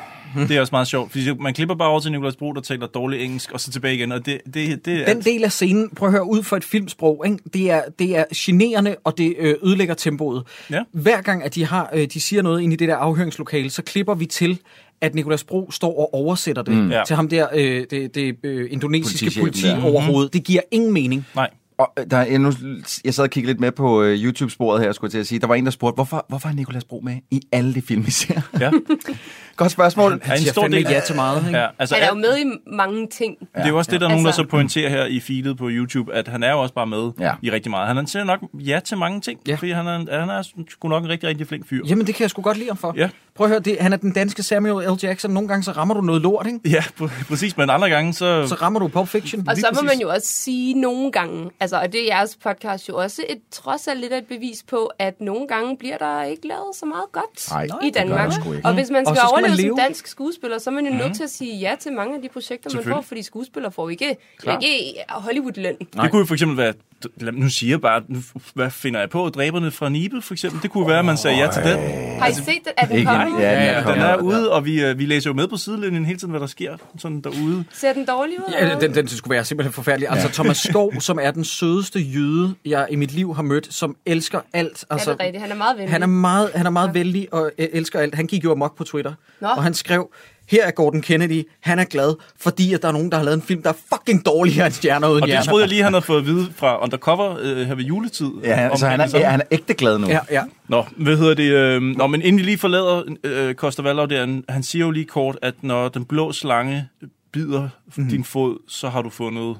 H: det er også meget sjovt. Fordi man klipper bare over til Nicolas Bro, der taler dårlig engelsk, og så tilbage igen. Og det, det, det er
F: Den del af scenen, prøv at høre, ud fra et filmsprog, ikke? Det, er, det er generende, og det øh, ødelægger tempoet.
H: Ja.
F: Hver gang, at de, har, øh, de siger noget ind i det der afhøringslokale, så klipper vi til, at Nicolas Bro står og oversætter det
L: Mm.
F: mm.
L: Ja.
F: til ham der, øh, det, det øh, indonesiske
L: Politichefen
F: politi
L: der.
H: Mhm.
F: overhovedet. Det giver ingen mening.
H: Nej.
L: Og øh, der er endnu, jeg sad og kiggede lidt med på øh, YouTube-sporet her, skulle jeg til at sige. Der var en, der spurgte, hvorfor, hvorfor er Nicolas Bro med i alle de film, vi ser?
H: Ja.
L: Godt spørgsmål. Han,
H: er en stor del Ja,
G: Altså,
H: altså,
G: han er jo
H: al-
G: med i mange ting.
H: det er jo også det, der er nogen, der
G: Altså,
H: så pointerer her i feedet på YouTube, at han er jo også bare med
L: Ja.
H: i rigtig meget. Han siger nok ja til mange ting, ja. fordi han er, han er sgu nok en rigtig, rigtig flink fyr.
F: Jamen, det kan jeg sgu godt lide ham for.
H: Ja.
F: Prøv at høre, det, han er den danske Samuel L. Jackson. Nogle gange så rammer du noget lort, ikke?
H: Ja, pr- præcis, men andre gange så...
F: Så rammer du Pulp Fiction.
G: Og så må man jo også sige nogle gange, altså, og det er jeres podcast jo også et trods alt lidt af et bevis på, at nogle gange bliver der ikke lavet så meget godt
L: Nej,
G: i
L: det gør
G: Danmark.
L: der sgu ikke.
G: Og hvis man
L: Og
G: skal,
L: så skal man
G: overleve
L: leve.
G: som dansk skuespiller, så er man jo
H: Mhm.
G: nødt til at sige ja til mange af de projekter, man får,
H: Selvfølgelig.
G: fordi skuespillere får ikke,
H: Klart.
G: ikke Hollywood-løn.
H: Nej. Det kunne jo for eksempel være, lad- nu siger jeg bare, nu, f- hvad finder jeg på, dræberne fra Nibe for eksempel, det kunne være, at man sagde ja til den.
G: Har I set den? Er den
H: Ikke-
G: kommet?
H: Ja, ja, den
L: kommet.
H: er ude, og vi, øh, vi læser jo med på sidelinjen hele tiden, hvad der sker sådan derude.
G: Ser den dårlig ud? eller
F: Ja,
G: hvad?
F: den, den skulle være simpelthen forfærdelig. Ja. Altså Thomas Skov, som er den sødeste jøde, jeg i mit liv har mødt, som elsker alt. Altså,
G: er det rigtigt? Han er meget venlig.
F: han er meget, han er meget venlig og øh, elsker alt. Han gik jo amok på Twitter,
G: Nå.
F: Nå. og han skrev, her er Gordon Kennedy, han er glad, fordi at der er nogen, der har lavet en film, der er fucking dårligere end Stjerner Uden
H: Og det
F: Hjerner.
H: troede jeg lige, han havde fået at vide fra Undercover øh, her ved juletid.
L: Ja, han- så han er- ja, han er ægte glad nu.
F: Ja, ja.
H: Nå, hvad hedder det? Øh, nå, men inden vi lige forlader øh, Koster Valov der, han- han siger jo lige kort, at når den blå slange bider
F: Mhm.
H: mm. din fod, så har du fundet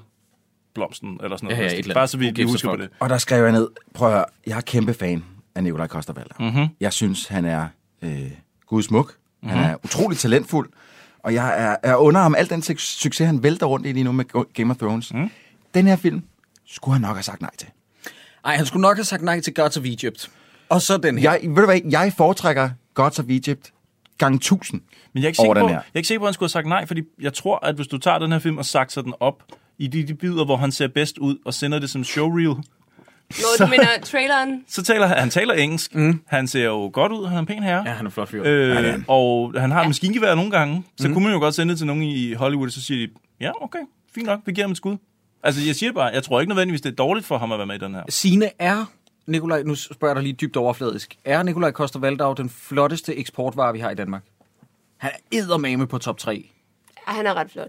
H: blomsten, eller sådan noget.
F: Ja, ja, et eller andet.
H: Bare så vi
F: Who
H: lige
F: gives a
H: husker på
F: fuck?
H: det.
L: Og der skrev jeg ned, prøv at høre, jeg er kæmpe fan af Nikolaj Kostervalder.
H: Mhm.
L: Jeg synes, han er øh, gudsmuk. Han
H: Mhm.
L: er utrolig talentfuld. Og jeg er, er under ham al den suc- succes, han vælter rundt i lige nu med Go- Game of Thrones. Mm. Den her film skulle han nok have sagt nej til.
F: Ej, han skulle nok have sagt nej til Gods of Egypt. Og så den her.
L: Jeg, ved du hvad, jeg foretrækker Gods of Egypt gang 1000
H: Men jeg er, ikke
L: over
H: sikker på,
L: den
H: jeg
L: her.
H: er ikke sikker på, at han skulle have sagt nej, fordi jeg tror, at hvis du tager den her film og sakser den op i de, de bidder, hvor han ser bedst ud, og sender det som showreel,
G: Når du mener traileren,
H: så taler han, han taler engelsk. Mm. Han ser jo godt ud, han er en pæn herre.
F: Mhm. Ja, han er flot fyr. Ja,
H: Øh,
F: det er
H: han. Og han har et maskingevær nogle gange. Så
G: Mhm.
H: mm. kunne man jo godt sende det til nogen i Hollywood, så siger de, ja, okay, fint nok, vi giver ham et skud. Altså, jeg siger bare, jeg tror ikke nødvendigvis, det er dårligt for ham at være med i den her.
F: Sine er Nikolaj, nu spørger jeg dig lige dybt overfladisk. Er Nikolaj Koster Valdau den flotteste eksportvare, vi har i Danmark? Han er eddermame på top 3.
G: ah, han er ret flot.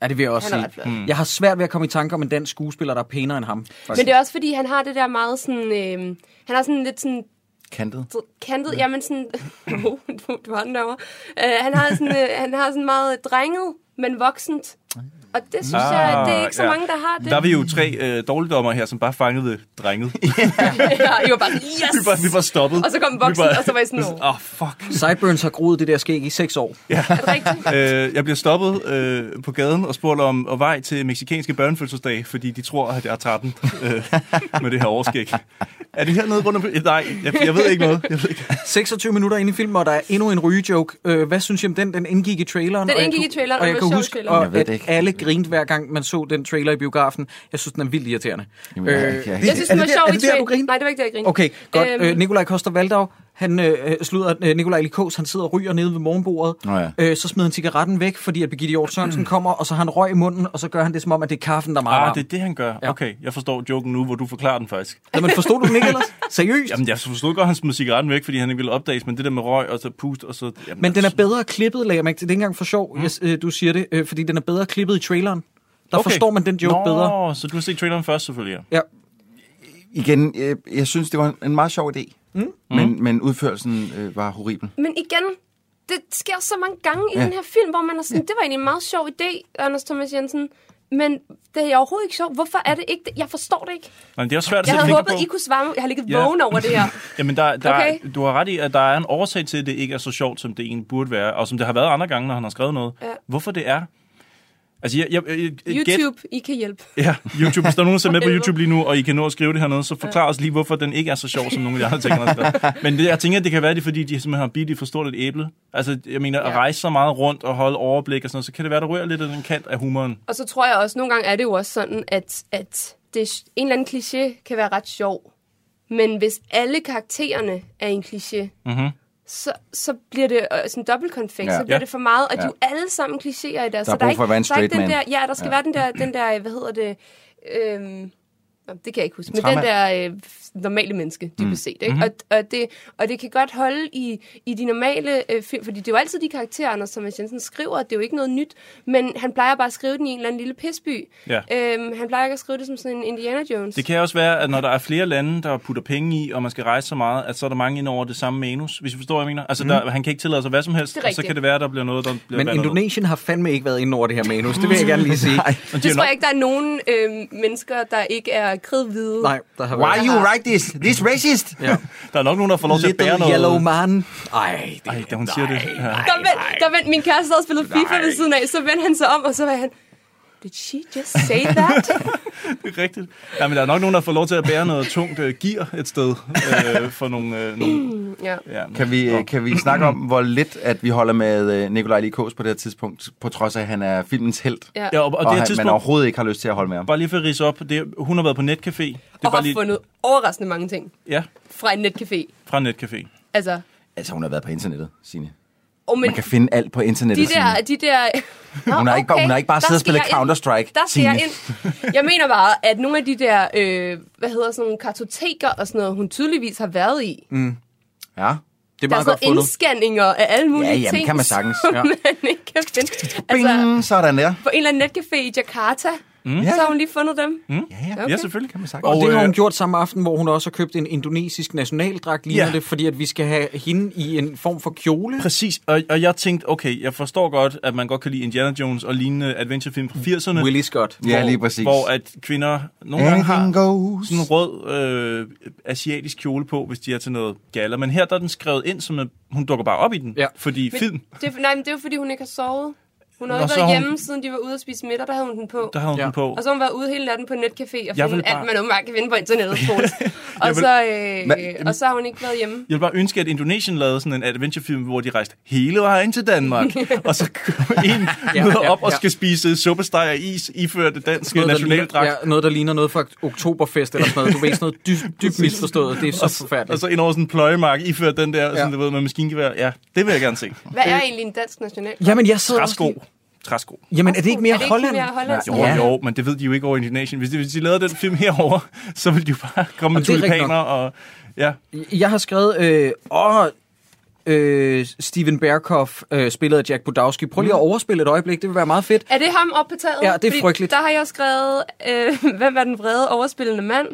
F: Er det ved også
G: Han er ret
F: sige.
G: flot. Mm.
F: Jeg har svært ved at komme i tanke om en dansk skuespiller, der er pænere end ham. Faktisk.
G: Men det er også fordi, han har det der meget sådan... Øh, han har sådan lidt sådan
L: Kantet.
G: kantet, ja. jamen sådan, oh, du, du har den derovre. Uh, han, har sådan, uh, han har sådan meget drenget, men voksent. Og det synes ah, jeg, det er ikke så ja. mange, der har det.
H: Der er vi jo tre øh, dårligdommer her, som bare fangede drenget.
G: ja, I var bare sådan, yes!
H: vi, var, vi var stoppet.
G: Og så kom voksen, og så var I sådan, "Åh."
H: Åh, oh, fuck.
F: Sideburns har groet det der skæg i 6 år.
H: Ja.
G: Er det rigtigt?
H: øh, jeg bliver stoppet øh, på gaden og spurgt om og vej til meksikanske børnefødselsdag, fordi de tror, at jeg er 13 øh, med det her overskæg. Er det hernede rundt om... Eh, Nej, jeg, jeg ved ikke noget. Jeg ved ikke.
F: 26 minutter inde i filmen, og der er endnu en rygejoke. Øh, hvad synes I om den? Den indgik i traileren.
G: Den
F: og jeg
G: indgik
F: kunne-
G: i
F: og
G: traileren, og
F: jeg
G: det
F: kan
G: var sjovt
F: huske,
G: trailer.
F: og,
L: Jeg ved
F: at
L: det ikke.
F: alle grinte hver gang, man så den trailer i biografen. Jeg synes, den er vildt irriterende. Øh,
L: Jamen, jeg- jeg-
G: Jeg synes, den var sjov i traileren. Nej, det var ikke det, jeg grinede.
F: Okay, godt.
G: Øhm,
F: Øhm. Øh, Nikolaj Koster Valdau, han øh, slutter, øh, Nikolaj Likos, han sidder og ryger nede ved morgenbordet.
L: Nå ja.
F: Øh, så smider han cigaretten væk, fordi at Birgitte Hjort Sørensen kommer, og så har han røg i munden, og så gør han det som om, at det er kaffen, der er meget varm.
H: Ah, det er det, han gør. Okay, jeg forstår joken nu, hvor du forklarer den faktisk.
F: Jamen, forstod du den ikke ellers? Seriøst?
H: Jamen, jeg forstod godt, at han smed cigaretten væk, fordi han ikke ville opdages, men det der med røg og så pust og så... Jamen, altså-
F: Men den er bedre klippet, lagde jeg mærke til. Det er ikke engang for sjov, mm. yes, øh, du siger det, øh, fordi den er bedre klippet i traileren. Der okay. forstår man den joke
H: Nå,
F: bedre.
H: så du har set traileren først selvfølgelig.
F: Ja.
L: Igen, øh, jeg synes, det var en meget sjov idé.
G: Mm.
L: Men, men udførelsen øh, var horribel.
G: Men igen, det sker så mange gange i
L: Ja.
G: den her film, hvor man er sådan, det var egentlig en meget sjov idé, Anders Thomas Jensen, men det er overhovedet ikke sjovt. Hvorfor er det ikke det? Jeg forstår det ikke.
H: Men det er også svært
G: Jeg
H: at sætte
G: havde
H: fingre
G: håbet,
H: på.
G: I kunne svare. Jeg har ligget vågen over det her.
H: Jamen, der, der,
G: Okay.
H: okay. du har ret i, at der er en årsag til, at det ikke er så sjovt, som det egentlig burde være, og som det har været andre gange, når han har skrevet noget.
G: Ja.
H: Hvorfor det er? Altså, jeg, jeg, jeg, jeg, gæt-
G: YouTube, I kan hjælpe.
H: Ja, YouTube. Hvis der er nogen, der ser med på
G: Helvede.
H: YouTube lige nu, og I kan nå at skrive det hernede, så forklar os lige, hvorfor den ikke er så sjov, som nogle af de andre ting. der er skrevet. Men det, jeg tænker, det kan være, det er, fordi de simpelthen har bidt i for stort et æble. Altså, jeg mener, at rejse så meget rundt og holde overblik og sådan noget, så kan det være, der rører lidt af den kant af humoren.
G: Og så tror jeg også, nogle gange er det jo også sådan, at, at det, en eller anden kliché kan være ret sjov. Men hvis alle karaktererne er en kliché,
H: Mm-hmm.
G: så, så bliver det øh, sådan dobbelt konfekt,
L: Ja.
G: ja. så bliver
L: Ja.
G: det for meget, og de
L: Ja.
G: er jo alle sammen klichéer i deres.
L: er
G: så
L: brug for at være en
G: der er ikke
L: straight
G: den der,
L: man.
G: Ja, der skal
L: Ja.
G: ja. være den der, den der, hvad hedder det, øhm, nå, det kan jeg ikke huske, men den
L: Træmand.
G: der øh, normale menneske, dybest
L: Mm.
G: set. Ikke?
H: Mm-hmm.
L: Mhm.
G: Og, og, det, og det kan godt holde i, i de normale øh, film, fordi det er jo altid de karakterer, Anders Thomas Jensen skriver, det er jo ikke noget nyt, men han plejer bare at skrive den i en eller anden lille pisby.
H: Ja.
G: Øhm, han plejer ikke at skrive det som sådan en Indiana Jones.
H: Det kan også være, at når der er flere lande, der putter penge i, og man skal rejse så meget, at så er der mange ind over det samme manus, hvis du forstår, hvad jeg mener. Altså,
F: Mhm.
H: der, han kan ikke tillade sig hvad som helst,
G: Det er
H: og så
G: rigtigt.
H: kan det være, der bliver noget, der bliver
F: Men
H: blandet.
F: Indonesien har fandme ikke været inde over det her manus. Det vil jeg gerne lige sige. Nej,
G: Det tror jeg ikke, der er nogen øh, mennesker, der ikke er kridhvide.
F: Nej, der har været- Why you
L: write this? This racist?
F: Ja.
H: Der er nok nogen, der får lov til at
F: Little
H: bære noget.
F: yellow man. Ej,
H: det, Ej, da hun siger det. Ja.
G: Der vent, der vent, min kæreste havde spillet FIFA ved siden af, så vendte han sig om, og så var han, did she just say that?
H: Det er rigtigt. Ja, men der er nok nogen, der får lov til at bære noget tungt øh, gear et sted øh, for nogle... Øh, nogle
G: ja.
H: ja,
L: Kan vi, øh, kan vi snakke om, hvor lidt at vi holder med øh, Nikolaj Likos på det her tidspunkt, på trods af, at han er filmens held,
G: Ja.
H: Ja, og- og det her
L: han, man
H: tidspunkt-
L: overhovedet ikke har lyst til at holde med ham?
H: Bare lige for at rise op. Det, er- hun har været på netcafé. Det er
G: og
H: bare
G: har
H: lige,
G: fundet overraskende mange ting
H: Ja,
G: fra en netcafé.
H: fra netcafé.
G: Altså,
L: Altså, hun har været på internettet, Signe.
G: og men
L: Man kan finde alt på
G: de
L: internettet,
G: der, de der... Nå,
L: Hun har ikke- hun har ikke bare
G: der
L: siddet og
G: skal
L: spillet
G: jeg ind.
L: Counter-Strike,
G: Der skal jeg
L: Signe.
G: ind. Jeg mener bare, at nogle af de der, øh, hvad hedder sådan nogle kartoteker og sådan noget, hun tydeligvis har været i.
F: Mm.
L: Ja.
F: Det er
G: der er
F: meget godt
G: sådan
F: fundet.
G: nogle indscanninger af alle mulige
L: Ja, jamen,
G: ting,
L: kan man sagtens.
G: som
L: Ja.
G: man ikke kan finde. Altså,
L: Bing, sådan der.
G: på en eller anden netcafé i Jakarta,
F: Mm.
G: mm.
F: Ja.
G: så har hun lige fundet dem.
H: Mm.
L: Ja,
G: ja. Ja, selvfølgelig
L: kan man sagt.
F: Og,
L: Og,
F: og det har
L: øh,
F: hun gjort samme aften, hvor hun også har købt en indonesisk nationaldragt, ligner
H: Ja.
F: ja. det, fordi at vi skal have hende i en form for kjole.
H: Præcis, og, og jeg tænkte, okay, jeg forstår godt, at man godt kan lide Indiana Jones og lignende adventurefilm fra 80'erne.
F: Willy Scott.
H: Hvor,
L: Ja, lige præcis.
H: Hvor at kvinder nogle gange har
L: Anything goes.
H: sådan en rød øh, asiatisk kjole på, hvis de er til noget galler. Men her der er den skrevet ind, som at hun dukker bare op i den. Ja. Fordi
G: Men
H: film,
G: Det, nej, men det er jo fordi, hun ikke har sovet. Hun har
H: Nå,
G: jo ikke
H: så
G: været
H: har hun-
G: hjemme, siden de var ude og spise middag, der havde hun den på.
H: der havde hun ja. den på.
G: Og så har hun været ude hele natten på netcafé og
H: Jeg
G: fundet
H: vil bare-
G: alt, man åbenbart kan finde på internettet, Troels.
H: vil-
G: og, så, øh,
H: Men-
G: og så har hun ikke været hjemme.
H: Jeg ville bare ønske, at Indonesien lavede sådan en adventurefilm, hvor de rejste hele vejen til Danmark, og så kom en
F: Ja,
H: ja, møder
F: ja,
H: op og
F: ja.
H: skal spise suppesteg og is, iført det danske
F: Noget, der ligner,
H: nationaldragt.
F: ja, noget, der ligner noget fra Oktoberfest eller sådan noget. Du ved, sådan noget dybt, dybt misforstået. Det er
H: og,
F: så
H: s-
F: forfærdeligt.
H: og så ind over sådan en pløjemark, iført den der, ja. sådan, du ved, med maskingevær. Ja, det vil jeg gerne se.
G: Hvad er egentlig en dansk national?
F: Jamen, jeg sidder også
H: Træsko. Træsko.
F: Jamen, er det ikke mere
G: Er det ikke
F: Holland?
G: mere hollandsk?
H: Jo, ja. jo, men det ved de jo ikke over i Indonesien. Hvis de, hvis de lavede den film herover, så ville de jo bare komme med
F: Jamen, det er rigtigt
H: tulipaner og... Ja.
F: Jeg har skrevet, øh, åh, øh, Steven Berkoff, øh, spillet af Jack Budowski. Prøv lige
H: Mm.
F: at overspille et øjeblik, det vil være meget fedt.
G: Er det ham oppe på taget?
F: Ja, det er
G: Fordi
F: frygteligt.
G: Der har jeg skrevet, øh, hvem er den vrede overspillende mand?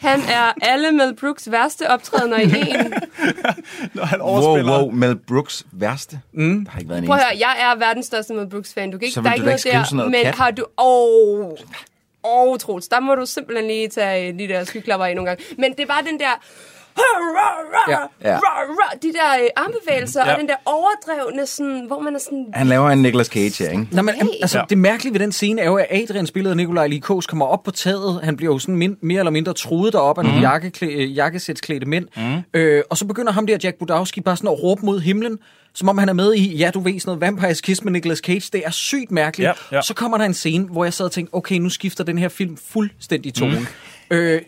G: Han er alle Mel Brooks værste optrædener i en.
H: Når han
L: wow, wow, Mel Brooks værste. Mm. Der har ikke været en
G: Prøv at
L: eneste.
G: høre, jeg er verdens største Mel Brooks-fan. Du kan ikke,
L: Så
G: der er
L: vil
G: ikke
L: du da
G: noget
L: ikke skrive
G: der,
L: sådan noget
G: men
L: pjat?
G: har du... Åh, oh, oh, Troels, der må du simpelthen lige tage øh, de der skyklapper i nogle gange. Men det er bare den der... Ja.
L: Ja.
G: De der øh, armbevægelser, ja.
L: Ja.
G: og den der overdrevne, sådan, hvor man er sådan...
L: Han laver en Nicolas Cage her, ikke?
F: Nå, men, altså, det mærkelige ved den scene er jo, at Adrian spillet af Nikolaj Likos kommer op på taget. Han bliver jo sådan min, mere eller mindre truet deroppe
H: Mhm.
F: af nogle jakkeklæ, øh, jakkesætsklædte mænd. Mm. Øh, og så begynder ham der Jack Budowski bare sådan at råbe mod himlen, som om han er med i, ja, du ved, sådan noget Vampires Kiss med Nicolas Cage. Det er sygt mærkeligt.
H: Ja, ja.
F: Så kommer der en scene, hvor jeg sad og tænkte, okay, nu skifter den her film fuldstændig
H: Mhm.
F: tone. Mm. Øh,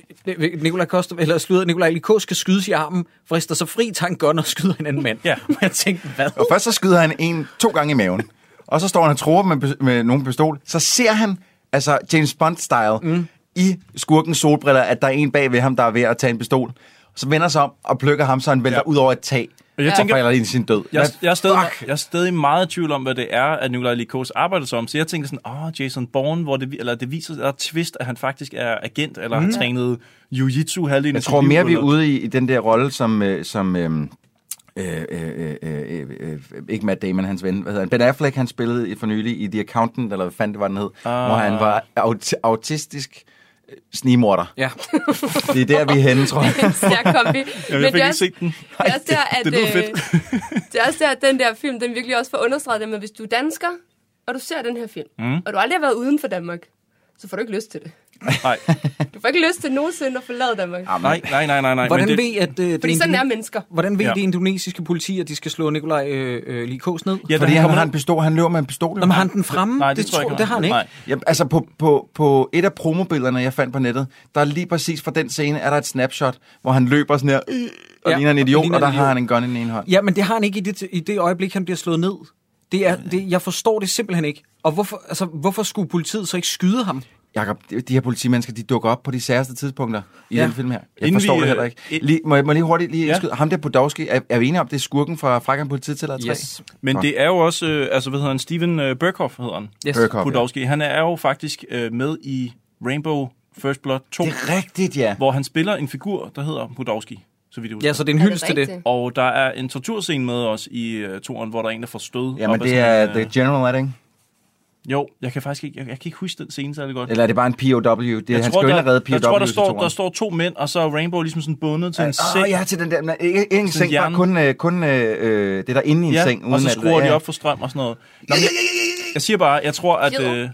F: Nikolaj Koster, eller slutter, Nikolaj Likos skal skydes i armen, frister sig fri, tager en gun og skyder en anden mand.
H: Ja.
F: Jeg tænkte, hvad?
L: Og først så skyder han en to gange i maven. Og så står han og tror med, med nogen pistol. Så ser han, altså James Bond-style, mm. i skurkens solbriller, at der er en bag ved ham, der er ved at tage en pistol. Så vender sig om og plukker ham, så han vælter ja. ud over et tag.
H: Og jeg
L: og
H: tænker-
L: falder ind i sin død.
H: Jeg,
L: Hvad
H: jeg, er stadig, jeg er stadig meget i tvivl om, hvad det er, at Nikolaj Likos arbejder som. Så jeg tænker sådan, åh, oh, Jason Bourne, hvor det, vi- eller det viser sig, der er et twist, at han faktisk er agent, eller har
L: Mm.
H: trænet jiu-jitsu halvdelen af
L: Jeg
H: sit
L: tror
H: liv,
L: mere, vi er
H: eller-
L: ude i, i den der rolle, som... Øh, som øh, Øh, øh, øh, øh, øh, ikke Matt Damon, hans ven. Hvad hedder han? Ben Affleck, han spillede i- for nylig i The Accountant, eller hvad fanden det var, den hed,
H: Ah.
L: ah. hvor han var aut- autistisk øh, snigmorder.
F: Ja.
L: det er der, vi er henne, tror jeg.
G: Det er en stærk kombi. Men det er også-
H: den.
G: Det er også der, at,
L: det lyder
G: øh, det er også der, at den der film, den virkelig også får understreget det med, hvis du er dansker, og du ser den her film,
H: Mm.
G: og du aldrig har været uden for Danmark, så får du ikke lyst til det.
H: Nej.
G: Du får ikke lyst til nogensinde at forlade Danmark.
L: Ah,
H: Nej, nej, nej, nej, nej.
F: Hvordan
H: men
F: ved, at, øh, det
G: Fordi sådan er mennesker.
F: Hvordan ved
H: Ja.
F: ja. det indonesiske politi, at de skal slå Nikolaj øh, øh, Likos ned?
L: Ja, Fordi han, han, har en pistol, han løber med en pistol.
F: Nå, men har han den fremme?
L: Nej, det,
F: Det tror jeg tror- ikke, han det har har. han ikke. Nej.
L: Ja, altså, på, på, på et af promobillederne, jeg fandt på nettet, der er lige præcis fra den scene, er der et snapshot, hvor han løber sådan her, øh, og
F: Ja,
L: ja, ligner en
F: og
L: idiot, og,
F: ligner
L: og der
F: en
L: har
F: idiot.
L: han en gun i den ene hånd.
F: Ja, men det har han ikke i det, i det øjeblik, han bliver slået ned. Det er, det, jeg forstår det simpelthen ikke. Og hvorfor, altså, hvorfor skulle politiet så ikke skyde ham?
L: Jakob, de de her politimennesker, de dukker op på de særste tidspunkter i
F: Ja.
L: ja. den film her. Jeg
F: Inden
L: Inden forstår
F: vi,
L: vi, det heller
F: øh,
L: ikke. Lige, må, jeg, må jeg lige hurtigt lige ja. skyde? Ham der Podolski, er, er vi enige om, det er skurken fra Frakken Politiet til 3?
H: Men det er jo også, øh, altså hvad hedder han, Steven øh, Berkhoff hedder han.
L: Yes. Berghoff, ja.
H: Podolski. Han er jo faktisk øh, med i Rainbow First Blood 2. Det
L: er rigtigt, ja.
H: Hvor han spiller en figur, der hedder Podolski. Så vidt jeg
F: Ja,
H: husker.
F: så det er en Er det hyldest til det. rigtigt?
H: Og der er en torturscene med os i øh, toren, hvor der er en, der får stød.
L: Ja, men
H: op ad
L: det
H: sådan øh?
L: er
H: en, øh,
L: The General, er det ikke?
H: Jo, jeg kan faktisk ikke, jeg, jeg kan ikke huske den scene særlig godt.
L: Eller er det bare en POW? Det,
H: jeg
L: han
H: tror,
L: skal jo ind
H: der,
L: og redde POW.
H: jeg tror, der
L: til
H: står,
L: toeren.
H: der står to mænd, og så er Rainbow ligesom sådan bundet til en
L: Åh,
H: seng.
L: Ah, ja, til den der. men Ikke, ikke en
H: Sådan
L: seng, bare
H: hjernen.
L: kun, øh, kun øh, øh, det der inde i en
H: ja,
L: seng.
H: og så
L: alt det
H: skruer
L: der.
H: de
L: Ja.
H: op for strøm og sådan noget. Nå, men jeg, jeg siger bare, jeg tror, at...
L: Fjeder.
H: Øh,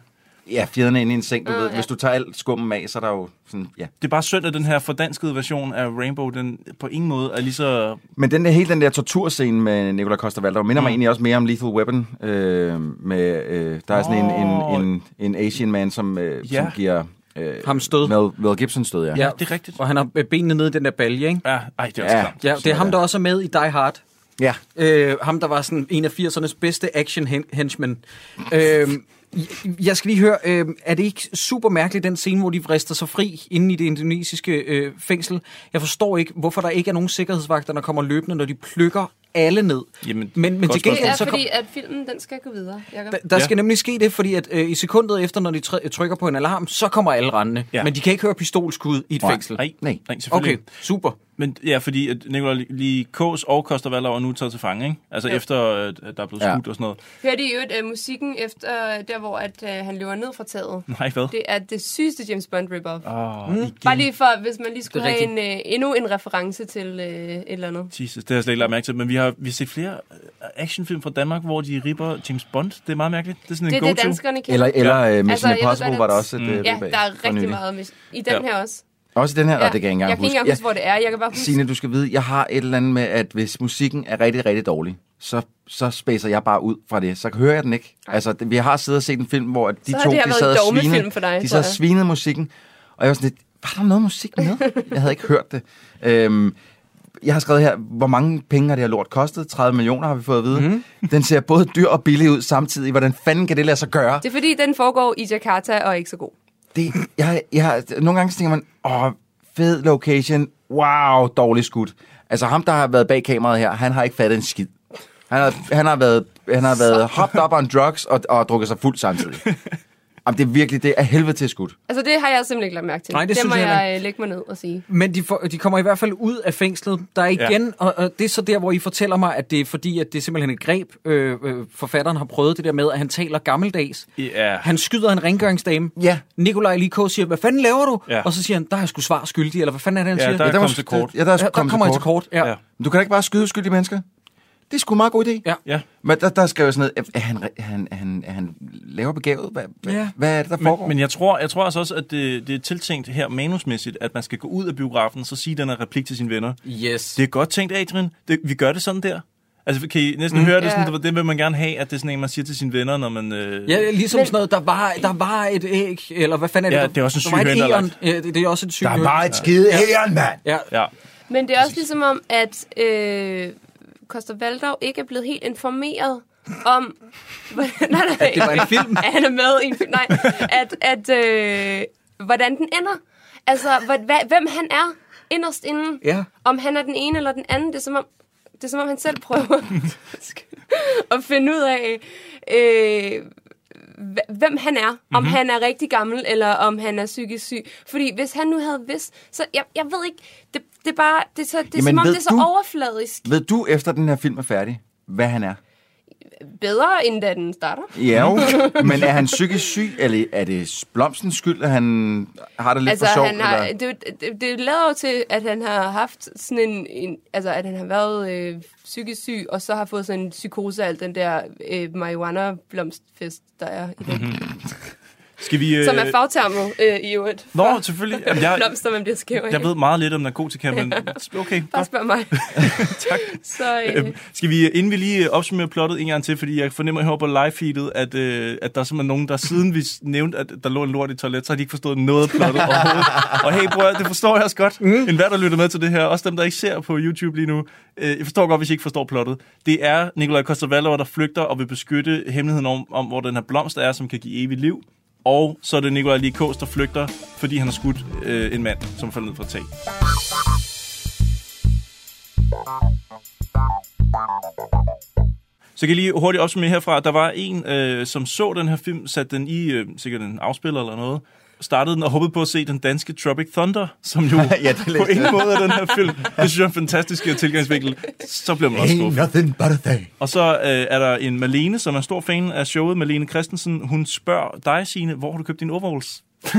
L: Ja, fjederne inde i en seng, du
H: Åh,
L: ved.
H: ja.
L: Hvis du tager alt skummen af, så er der jo sådan, ja.
H: Det er bare synd, at den her fordanskede version af Rainbow, den på ingen måde er lige så...
L: Men den der, hele den der torturscene med Nicolai Coster-Waldau minder mm. mig egentlig også mere om Lethal Weapon. Øh, med, øh, der er sådan
H: Åh.
L: en, en, en, en Asian man, som, øh,
F: Ja.
L: som giver... Øh,
F: Ham stød.
L: Mel, Mel Gibson stød, ja.
F: Ja, det er rigtigt. Og han har øh, benene nede i den der balje, ikke?
H: Ja, ej, det
L: er også Ja. klamt.
F: Ja, det er ham, der også er med i Die Hard.
L: Ja.
F: Øh, ham, der var sådan en af 80'ernes bedste action hen- henchmen. Øh, jeg skal lige høre, øh, er det ikke super mærkeligt, den scene, hvor de vrister sig fri inde i det indonesiske øh, fængsel? Jeg forstår ikke, hvorfor der ikke er nogen sikkerhedsvagter, der kommer løbende, når de plukker alle ned.
H: Jamen,
F: men, men
H: godt
F: til
H: spørgsmål.
F: gengæld,
G: Det
F: så
G: er
F: kom,
G: fordi, at filmen den skal gå videre, Jacob.
F: der, der skal nemlig ske det, fordi at øh, i sekundet efter, når de try- trykker på en alarm, så kommer alle rendende. Ja. Men de kan ikke høre pistolskud i et
H: Nej.
F: fængsel.
H: Nej, nej, nej selvfølgelig.
F: Okay, super.
H: Men ja, fordi at Nicolai lige Kås og Koster Valder er nu taget til fange, ikke? Altså
G: Jo.
H: jo. efter, øh, at der er blevet
G: Ja.
H: skudt og sådan noget.
G: Hørte I øvrigt uh, musikken efter øh, der, hvor at, uh, han løber ned fra taget?
H: Nej, hvad?
G: Det er det sygeste James Bond rip-off.
H: Åh,
L: Hmm?
G: Mm.
H: igen.
G: Bare lige for, hvis man lige skulle
H: Det er
G: have en, øh, endnu en reference til øh, et eller andet.
H: Jesus, det har jeg slet ikke lagt mærke til. Men vi har, vi har set flere øh, actionfilm fra Danmark, hvor de ripper James Bond. Det er meget mærkeligt. Det er sådan
G: Det er
H: en
G: det,
H: go-to.
G: danskerne kan. Eller- eller, øh, Mission Altså, jeg ved Impossible godt, at- var der også
L: Mm. øh,
H: et
G: Ja, der er rigtig meget. Mis- I den
L: Ja.
G: her også.
L: Også den her, ja. og det kan jeg ikke engang
G: jeg kan
L: huske.
G: ikke engang huske,
L: Ja.
G: hvor det er. Jeg kan bare huske,
L: Signe, du skal vide, jeg har et eller andet med, at hvis musikken er rigtig, rigtig dårlig, så, så spacer jeg bare ud fra det. Så hører jeg den ikke. Altså, det, vi har siddet og set en film, hvor at de
G: Så har
L: to,
G: det her
L: de
G: været
L: sad
G: en
L: og
G: dogmefilm
L: svinede,
G: for dig,
L: de
G: tror
L: sad og
G: jeg.
L: svinede musikken. Og jeg var sådan lidt, var der noget musik med? Jeg havde ikke hørt det. Øhm, jeg har skrevet her, hvor mange penge har det her lort kostet? 30 millioner har vi fået at vide. Mm. Den ser både dyr og billig ud samtidig. Hvordan fanden kan det lade sig gøre?
G: det er fordi, den foregår i Jakarta og er ikke så god.
L: det, jeg, jeg, nogle gange så tænker man, åh, fed location, wow, dårligt skudt. Altså ham, der har været bag kameraet her, han har ikke fattet en skid. Han har, han har været, han har været hopped up on drugs og, og drukket sig fuld samtidig. Jamen, det er virkelig, det er helvede til skudt.
G: Altså, det har jeg simpelthen ikke lagt mærke til.
F: Nej, det
G: det
F: synes
G: må
F: jeg heller
G: jeg øh, lægge mig ned og sige.
F: Men de, får, de kommer i hvert fald ud af fængslet. Der er
G: Ja.
F: igen, ja. og, og det er så der, hvor I fortæller mig, at det er fordi, at det er simpelthen et greb. Øh, øh, forfatteren har prøvet det der med, at han taler gammeldags.
H: Ja.
F: Han skyder en rengøringsdame.
L: Ja.
F: Nikolaj Likå siger, hvad fanden laver du?
L: Ja.
F: Og så siger han, der har jeg sgu svar skyldig, eller hvad fanden er det, han
H: Ja,
F: siger?
H: der er Ja, der kommet var- til kort.
L: Ja, der, er ja, kommet
F: kommer
L: til
F: jeg til kort. Ja. ja.
L: Du kan da ikke bare skyde skyldige mennesker. Det er sgu en meget god idé.
F: Ja.
H: ja.
L: Men der, der skrev jeg sådan noget, er han, re- er han, er han, er han laver begavet? Hvad, ja.
H: Ja.
L: hvad er det, der foregår?
H: Men, men jeg tror, jeg tror altså også, at det, det er tiltænkt her manusmæssigt, at man skal gå ud af biografen, så sige den her replik til sine venner.
F: Yes.
H: Det er godt tænkt, Adrian. Det, vi gør det sådan der. Altså, kan I næsten mm.
F: Mm.
H: høre det sådan,
F: Ja.
H: yeah. det vil man gerne have, at det er sådan en, man siger til sine venner, når man... Øh...
F: Ja, ligesom sådan noget, der var, der var et æg, eller hvad fanden er det?
H: Ja,
F: Der-
H: det er også en
F: der var
H: syg
F: et
H: høne, der er
F: æren.
H: lagt.
F: Ja, det, det er også en syg
H: Der
F: høne.
H: var et skide
F: Ja.
H: æren, mand!
F: Ja.
H: ja.
G: Men det er også ligesom om, at øh, Koster Valdau ikke er blevet helt informeret om... hvordan- nej, nej,
F: At det var en film.
G: At han er med i en film. Nej, at, at øh, hvordan den ender. Altså, hvad, hvad, hvem han er inderst inden.
F: Ja.
G: Om han er den ene eller den anden. Det er som om, det er, som om han selv prøver at finde ud af, øh, hv- hvem han er. Om
D: Mhm.
G: mm-hmm. han er rigtig gammel, eller om han er psykisk syg. Fordi hvis han nu havde vidst, så jeg, jeg ved ikke, det, det er bare, det er, så, det er
L: Jamen,
G: som om,
L: ved
G: det er så
L: du-
G: overfladisk.
L: Ved du, efter den her film er færdig, hvad han er?
G: bedre, end da den starter.
L: Ja, jo. men er han psykisk syg, eller er det Blomstens skyld, at han har det lidt
G: altså,
L: for sjovt?
G: han har,
L: eller?
G: det, det, det lader jo til, at han har haft sådan en, en altså at han har været øh, psykisk syg, og så har fået sådan en psykose af al den der øh, marihuana-blomstfest, der er i dag.
H: Mhm. Skal vi...
G: Som er fagtermet øh, i øvrigt.
H: Nå, selvfølgelig. Jamen, jeg-
G: blomster, man bliver skæv af.
H: Jeg ved meget lidt om narkotika, men okay.
G: Bare spørg mig. tak. Så, øh,
H: Øhm, Skal vi, inden vi lige øh, opsummerer plottet en gang til, fordi jeg fornemmer heroppe på live-feedet, at, øh, at der er simpelthen nogen, der siden vi s- nævnte, at der lå en lort i toilet, så har de ikke forstået noget af plottet overhovedet. Og hey bror, det forstår jeg også godt. Mm. En hver, der lytter med til det her, også dem, der ikke ser på YouTube lige nu, øh, jeg forstår godt, hvis I ikke forstår plottet. Det er Nikolaj Kostavallov, der flygter og vil beskytte hemmeligheden om, om, hvor den her blomst er, som kan give evigt liv. Og så er det Nikolaj Likos, der flygter, fordi han har skudt øh, en mand, som faldt ned fra tag. Så kan jeg lige hurtigt opsummere herfra. Der var en, øh, som så den her film, satte den i øh, sikkert en afspiller eller noget, startede den og håbede på at se den danske Tropic Thunder, som jo
L: Ja,
H: ja,
L: det læste
H: på ingen
L: jeg.
H: måde er den her film. Det synes jeg er en fantastisk øh, tilgangsvinkel. Så bliver man også
P: Ain't
H: skuffet.
P: nothing but a thing.
H: Og så øh, er der en Malene, som er stor fan af showet, Malene Christensen. Hun spørger dig, Signe, hvor har du købt dine overalls?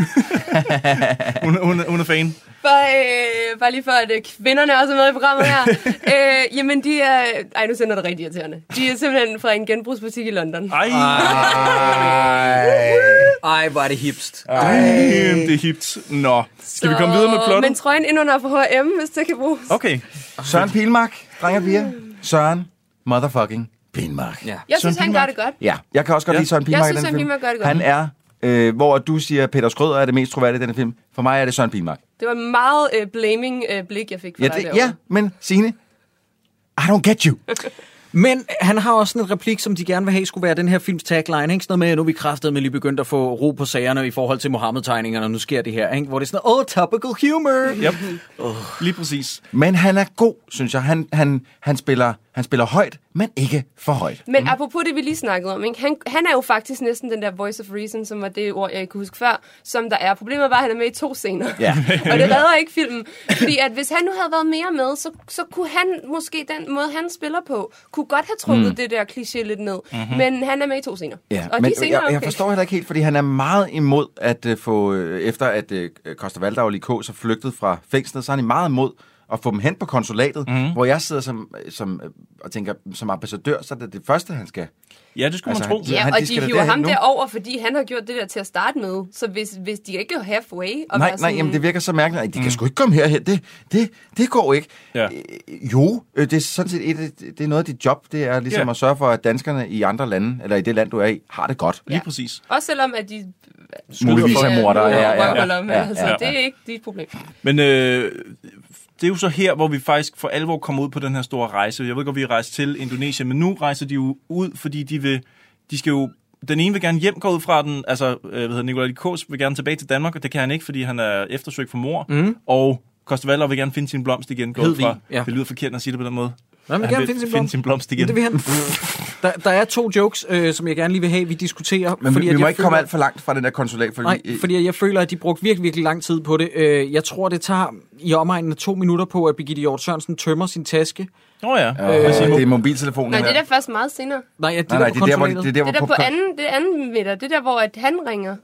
H: hun, hun, hun er fan.
G: For, øh, bare lige for, at øh, kvinderne også er med i programmet her. øh, jamen, de er... Ej, nu sender det rigtig irriterende. De er simpelthen fra en genbrugsbutik i London.
H: Ej.
F: Ej. Ej, hvor er det hipst. Ej.
H: Damn, det er hipt. Nå, skal vi komme videre med plottet?
G: Men trøjen indunder på H&M, hvis det kan bruges.
H: Okay.
L: Søren Pilmark, drenge og piger. Søren motherfucking Pilmark. Ja.
G: Jeg synes, han gør det godt.
L: Ja, jeg kan også godt ja. lide Søren Pilmark
G: Jeg
L: i
G: synes,
L: den
G: Søren
L: film.
G: Pilmark gør det godt.
L: Han er, øh, hvor du siger, Peter Skrøder er det mest troværdige i denne film. For mig er det Søren Pilmark.
G: Det var en meget øh, blaming øh, blik, jeg fik fra
L: Ja,
G: dig
L: det,
G: derovre.
L: ja, men Signe, I don't get you.
F: Men han har også sådan en replik, som de gerne vil have, skulle være den her films tagline. Ikke? Sådan noget med, at nu er vi kræftet med lige begyndt at få ro på sagerne i forhold til Mohammed-tegningerne, og nu sker det her. Ikke? Hvor det er sådan, oh, topical humor.
H: Yep. Lige præcis.
L: Men han er god, synes jeg. Han, han, han, spiller, han spiller højt, men ikke for højt.
G: Men apropos det, vi lige snakkede om, ikke? Han, han er jo faktisk næsten den der voice of reason, som var det ord, jeg ikke kunne huske før, som der er. Problemet var, at han er med i to scener.
L: Ja.
G: og det redder ikke filmen. Fordi at hvis han nu havde været mere med, så, så kunne han måske den måde, han spiller på, kunne godt have trukket
L: Mm.
G: mm. det der kliché lidt ned.
L: Mhm.
G: Mm-hmm. Men han er med i to scener.
L: Ja,
G: og
L: men
G: de scener
L: jeg,
G: er okay.
L: jeg forstår heller ikke helt, fordi han er meget imod at uh, få, øh, efter at uh, Koster Valdau og Likås er flygtet fra fængslet, så er han meget imod at få dem hen på konsulatet, mm. hvor jeg sidder som, som, øh, og tænker, som ambassadør, så er det det første, han skal.
H: Ja, det skulle
L: Altså,
H: man tro.
L: han-
G: Ja,
L: han-
G: og
L: de skal
G: de
L: da
G: hiver
L: derhen
G: ham
L: nu.
G: derover, fordi han har gjort det der til at starte med. Så hvis, hvis de ikke er halfway... Og
L: nej, nej,
G: være sådan,
L: jamen det virker så mærkeligt. Ej, de kan sgu ikke komme herhen. Det, det, det går ikke.
H: Ja.
L: Jo, øh, det er sådan set et, det er noget af dit job, det er ligesom
H: Ja.
L: ja. at sørge for, at danskerne i andre lande, eller i det land, du er i, har det godt.
H: Lige præcis.
G: Også selvom, at de...
L: Muligvis er mordere, ja, ja, ja.
G: Røvhuller med,
L: Ja, ja,
G: Øh, altså,
H: ja.
G: Det er ikke dit problem.
H: Men øh, det er jo så her, hvor vi faktisk for alvor kommer ud på den her store rejse. Jeg ved godt, vi er rejst til Indonesien, men nu rejser de jo ud, fordi de vil, de skal jo den ene vil gerne hjem, går ud fra den, altså, øh, hvad hedder det, Nikolaj Likos vil gerne tilbage til Danmark, og det kan han ikke, fordi han er eftersøgt for mor,
G: Mhm.
F: Mm.
H: og Kostevaller vil gerne finde sin blomst igen, går ud
F: Hedvig,
H: fra.
F: ja.
H: Det lyder forkert, når jeg siger det på den måde.
F: Nå, men
H: Han
F: gerne
H: vil
F: finde sin
H: finde
F: blomst.
H: sin blomst igen.
F: Det vil han. Der, der er to jokes, øh, som jeg gerne lige vil have, vi diskuterer.
L: Men vi,
F: at
L: vi må
F: jeg
L: ikke komme alt for langt fra den der konsulat, fordi...
F: Nej,
L: øh,
F: fordi jeg føler, at de brugte virkelig, virkelig lang tid på det. Øh, Jeg tror, det tager i omegnen af to minutter på, at Birgitte Hjort Sørensen tømmer sin taske.
H: Åh oh, ja,
G: Øh,
L: Øh, det er mobiltelefonen.
G: Nej,
L: her.
G: det er der først meget senere.
F: Nej, ja, det
L: Nej, nej, det er der, hvor- det er der,
G: Det er
L: hvor
G: der på
L: popcorn-
G: anden, det er anden middag. Det er der, hvor at han ringer.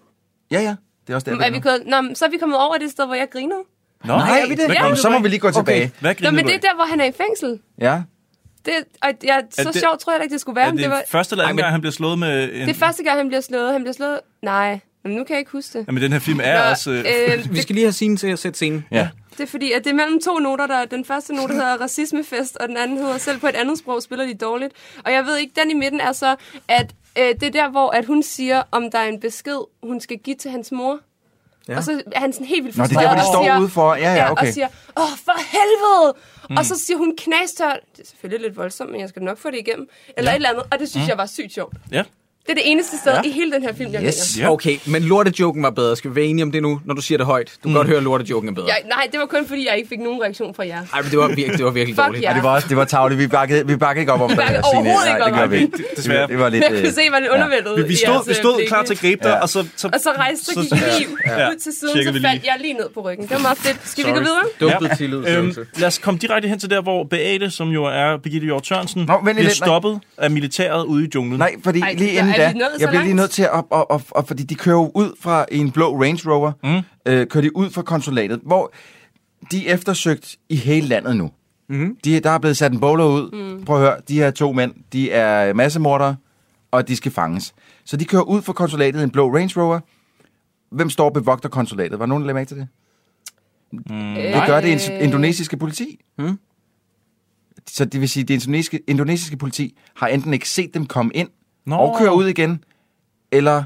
L: Ja, ja. Det er også der,
G: Er vi gået, nå, men så er vi kommet over det sted, hvor jeg grinede.
L: Nå,
G: Nej, er vi det?
L: Hvad
G: Ja.
L: griner du Så må af? vi lige gå tilbage. Okay.
H: Hvad
G: Nå,
H: griner
G: men
H: du
G: det er
H: af?
G: der, hvor han er i fængsel.
L: Ja.
G: Det, og jeg, så
H: det-
G: det, sjovt tror jeg da ikke, det skulle være.
H: Er
G: men
H: det,
G: det, var,
H: første eller anden
G: men-
H: gang, han bliver slået med en...
G: det er første gang, han bliver slået. Han bliver slået... Nej, men nu kan jeg ikke huske det.
H: Jamen, den her film er
G: Nå,
H: også...
G: øh,
F: Vi skal lige have scenen til at sætte scenen.
L: Ja.
G: Det er fordi, at det er mellem to noter. Der, den første note hedder racismefest, og den anden hedder selv på et andet sprog spiller de dårligt. Og jeg ved ikke, den i midten er så, at øh, det er der, hvor at hun siger, om der er en besked, hun skal give til hans mor.
L: Ja.
G: Ja. Og så er han sådan helt vildt
L: Nå, det er
G: frustreret
L: der, hvor de
G: og
L: står
G: siger-
L: udenfor. Ja, ja, okay.
G: Og siger, åh, for helvede!
L: Mm.
G: Mm. Og så siger hun knastør. Det er selvfølgelig lidt voldsomt, men jeg skal nok få det igennem. Eller ja.
H: Ja.
G: et eller andet. Og det synes
H: Mm.
G: mm. jeg var sygt sjovt.
H: Ja.
G: Det er det eneste sted ja. i hele den her film, jeg
F: Yes. Okay, men lortejoken var bedre. Skal vi være enige om det nu, når du siger det højt? Du kan mm. godt høre, at lortejoken er bedre.
G: griner. Jeg, nej, det var kun fordi, jeg ikke fik nogen reaktion fra jer.
F: Nej, men det var virkelig, det var virkelig
G: Fuck
F: dårligt.
G: ja. Ja, det
L: var også, det var tavligt. Vi bakkede, vi bakkede ikke op om
G: Vi
L: det
G: bakkede
L: her scene.
G: overhovedet ikke
L: Nej,
G: op
L: det gør
G: om
L: vi
G: det.
L: ikke.
H: Desværre.
L: Det var lidt...
G: Men jeg kunne se, hvordan undervældet
H: Vi, vi
G: i
H: stod,
G: jeres,
H: vi stod
G: øh,
H: klar til at gribe dig,
L: Ja.
H: og så... så
G: Og så rejste
H: så-
G: gik lige
H: Ja.
G: ud til siden,
H: Tjekker vi
G: så
H: lige.
G: faldt jeg lige ned på ryggen. Det var meget fedt. Skal vi gå
H: Sorry.
G: videre?
F: Dumpet tillid,
H: Øhm,
F: Sørensen.
H: lad os komme direkte hen til der, hvor Beate, som jo er Birgitte Hjort Sørensen,
L: Nå, vent lige
H: bliver
L: lidt, nej.
H: stoppet af militæret ude i junglen.
L: Nej, fordi
H: Ej,
L: Ej, lige
H: der-
L: inden
H: er
L: da,
H: vi nået så
L: jeg bliver lige
H: langt?
L: nødt til at... Og, og, og, fordi de kører jo ud fra en blå Range Rover, mm. øh, kører de ud fra konsulatet, hvor de er eftersøgt i hele landet nu. Mm. De, der er blevet sat en bowler ud. Mm. Prøv at høre, de her to mænd, de er massemordere, og de skal fanges. Så de kører ud fra konsulatet i en blå Range Rover. Hvem står og bevogter konsulatet? Var nogen, der lagde mærke til det? Mm. Det gør det ind-
G: Øh.
L: indonesiske politi. Mm. Så det vil sige, at det indonesiske, indonesiske politi har enten ikke set dem komme ind
H: Nå.
L: Nå. og køre ud igen, eller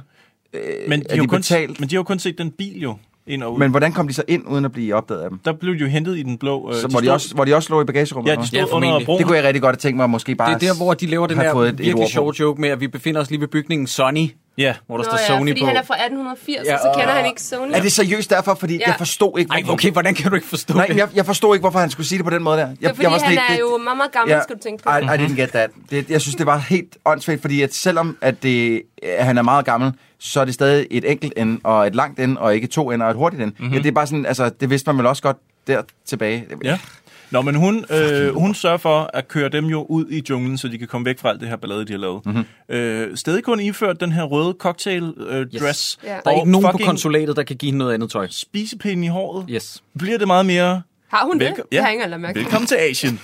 H: Øh, men, de
L: er
H: har
L: de
H: jo kun,
L: betalt?
H: men de har jo kun set den bil jo ind og ud.
L: men hvordan kom de så ind, uden at blive opdaget af dem?
H: Der blev de jo hentet i den blå... øh,
L: Så hvor, de også, hvor de også lå i bagagerummet?
H: Ja, de stod Ja, under formentlig. broen.
L: Det kunne jeg rigtig godt have tænkt mig, at måske bare
F: Det er der, hvor de laver den
L: have
F: her
L: fået et- et ord
F: virkelig
L: på.
F: sjove joke med, at vi befinder os lige ved bygningen Sony,
H: yeah.
F: hvor der
G: Nå
F: står
G: ja,
F: Sony
G: fordi
F: på.
G: han er fra 1880,
F: Ja,
G: ja, så kender
F: og-
G: han ikke Sony.
L: Er det seriøst derfor? Fordi
G: Ja.
L: jeg forstod ikke...
F: Ej, okay, hvordan kan du ikke forstå
L: Nej,
F: det?
L: jeg, jeg forstod ikke, hvorfor han skulle sige det på den måde der. Jeg,
G: Det er fordi,
L: jeg var
G: han
L: sådan lidt-
G: er
L: det-
G: jo meget, meget gammel, skal du tænke på.
L: I, I didn't get that. Det, jeg synes, det var helt åndssvagt, fordi at selvom at det, at han er meget gammel, så er det stadig et enkelt end, og et langt end, og ikke to end, og et hurtigt end.
H: Mhm.
L: Mm-hmm. Ja, det er bare sådan, altså, det vidste man vel også godt der tilbage.
H: Ja. Nå, men hun, øh, hun sørger for at køre dem jo ud i junglen, så de kan komme væk fra alt det her ballade, de har lavet.
L: Mhm.
H: Mm-hmm. Øh, stadig kun iført den her røde cocktail øh, dress.
G: Ja. Der er
F: Der er ikke nogen på
H: fucking
F: konsulatet, der kan give hende noget andet tøj.
H: Spisepinden i håret.
F: Yes.
H: Bliver det meget mere...
G: Har hun det?
H: Velko-
G: Jeg har ikke engang lagt mærke til
H: Velkommen til Asien.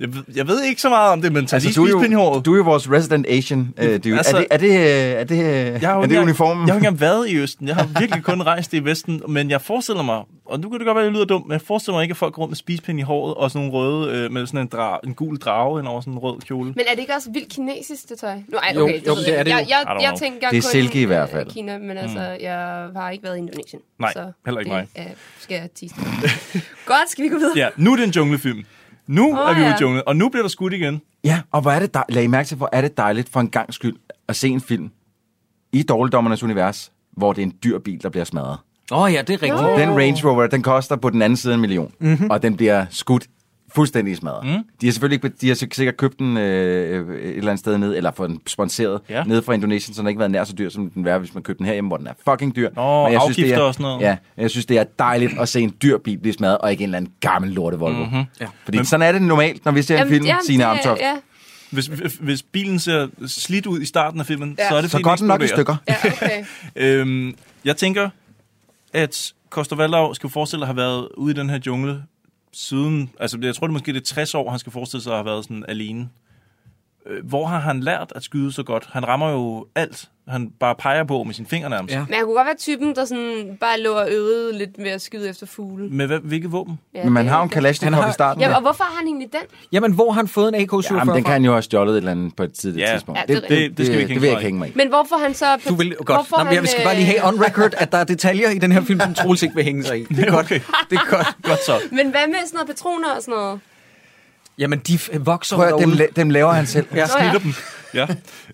H: jeg, ved- jeg ved ikke så meget om det, men tag altså, lige
L: du, er
H: spisepinden i håret.
L: jo, du er jo vores resident Asian, øh, dude.
H: Altså-
L: Altså, er det, er det, øh, er det, øh,
H: Jeg har jo
L: er
H: ikke
L: det
H: engang-
L: uniformen?
H: Jeg har ikke engang været i Østen. Jeg har virkelig kun rejst i Vesten. Men jeg forestiller mig, og nu kan det godt være, at det lyder dumt, men jeg forestiller mig ikke, at folk går rundt med spispind i håret og sådan nogle røde, øh, med sådan en, dra- en gul drage ind over sådan en rød kjole.
G: Men er det ikke også vildt kinesisk, det tøj? Nu, ej,
H: Jo,
G: okay, det,
H: jo,
G: ved
H: det
G: jeg
H: er
G: ikke.
H: det jo.
G: jeg, jeg,
H: I don't
G: jeg
H: know.
G: tænker
H: Det er
G: kun,
H: silke i hvert
G: øh,
H: fald. Mm.
G: Kina, men altså, jeg har ikke været i Indonesien.
H: Nej,
G: så
H: heller ikke
G: det,
H: mig.
G: Øh, skal jeg tisse. Godt, skal vi gå videre?
H: Ja, nu er det en junglefilm. Nu
G: Åh,
H: oh, er vi ude
G: ja.
H: i junglen, og nu bliver der skudt igen.
L: Ja, og hvor er det dej- Lad I mærke til, hvor er det dejligt for en gang skyld at se en film i Dårligdommernes Univers, hvor det er en dyr bil, der bliver smadret.
F: Åh oh, ja, det er rigtigt.
L: Rigtigt. Den Range Rover, den koster på den anden side en million,
G: Mhm.
L: mm-hmm. og den bliver skudt fuldstændig smadret. Mm. De har selvfølgelig ikke, de har sik- sikkert købt den øh, et eller andet sted ned, eller fået den sponsoreret
H: Ja.
L: ja. ned fra Indonesien, så den har ikke været nær så dyr, som den være, hvis man købte den herhjemme, hvor den er fucking dyr.
H: Nå,
L: det
H: afgifter
L: er,
H: og sådan noget.
L: Ja, men jeg synes, det er dejligt at se en dyr bil blive smadret, og ikke en eller anden gammel lorte Volvo.
H: Mhm.
L: Mm-hmm. Ja. Fordi sådan er det normalt, når vi ser en film,
G: jamen,
L: Signe
G: det-
L: Amtoft.
G: Ja,
H: Hvis, hvis- hvis bilen ser slidt ud i starten af filmen,
G: Ja.
H: så er det
L: Så
H: fordi,
L: går den nok i
H: eksploderer.
G: ja okay.
H: øhm, jeg tænker, at Koster Valdau skal forestille at have været ude i den her jungle siden, altså jeg tror det er måske det er 60 år, han skal forestille sig at have været sådan alene. Øh, Hvor har han lært at skyde så godt? Han rammer jo alt, han bare peger på med sine fingre nærmest. Ja.
G: Men jeg kunne godt være typen, der sådan bare lå og øvede lidt med at skyde efter fugle.
H: Med hvad, hvilke våben?
G: Ja, Men man det har jo
L: en Kalashnikov i starten.
G: Ja, og hvorfor har han egentlig den?
F: Jamen, hvor har han fået en AK-47
L: Jamen, den kan
F: fra?
L: han jo have stjålet et eller andet på et tidligt
F: Ja.
L: tidspunkt.
G: Ja, det er rigtigt.
F: Det skal vi ikke
L: det vil jeg
F: hænge
L: ikke hænge mig i.
G: Men hvorfor han så... øh,
F: Du vil godt. Nå, men jeg skal bare lige have on record, at der er detaljer i den her film, som Troels ikke vil hænge sig i. Det er godt. Okay. Det er godt.
H: godt så.
G: Men hvad med sådan noget patroner og sådan noget?
F: Jamen, de f- vokser
L: Prøv at,
F: derude.
L: dem, la- dem laver han selv.
F: Ja.
G: Nå ja. Snitter dem.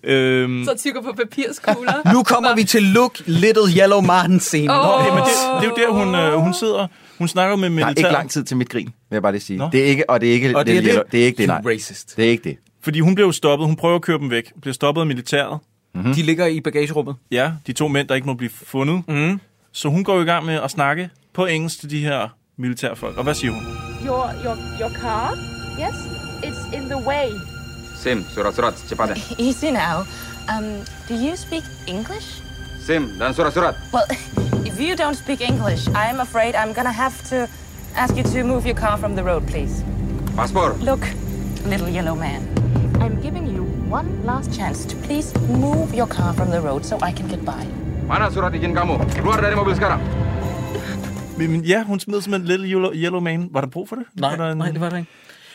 H: Ja. øhm,
G: Så tykker på papirskugler.
F: Nu kommer vi til Look Little Yellow Martin scenen.
G: Åh.
H: Nå, men det, det er jo der, hun, øh, hun sidder, hun snakker med
L: Der er
H: militæret.
L: ikke lang tid til mit grin, vil jeg bare lige sige. Det er ikke, og det er ikke
H: Og det
L: det,
H: er det?
L: er det, er ikke det, nej.
F: You racist.
L: Det er ikke det.
H: Fordi hun blev jo stoppet, hun prøver at køre dem væk, bliver stoppet af militæret.
F: Mm-hmm. De ligger i bagagerummet.
H: Ja, de to mænd, der ikke må blive fundet. Mm. Så hun går jo i gang med at snakke på engelsk til de her militærfolk. Og hvad siger hun?
P: Your your your car? Yes, it's in the way.
Q: Sim, surat-surat, cepat.
R: Easy now. Um, do you speak English?
Q: Sim, dan surat-surat.
R: Well, if you don't speak English, I'm afraid I'm gonna have to ask you to move your car from the road, please.
Q: Paspor.
R: Look, little yellow man. I'm giving you one last chance to please move your car from the road so I can get by.
Q: Mana surat izin kamu? Keluar dari mobil sekarang.
H: Men, men ja, hun smed simpelthen Little Yellow, yellow Man. Var der brug for det?
F: Nej, nej, det var der ikke.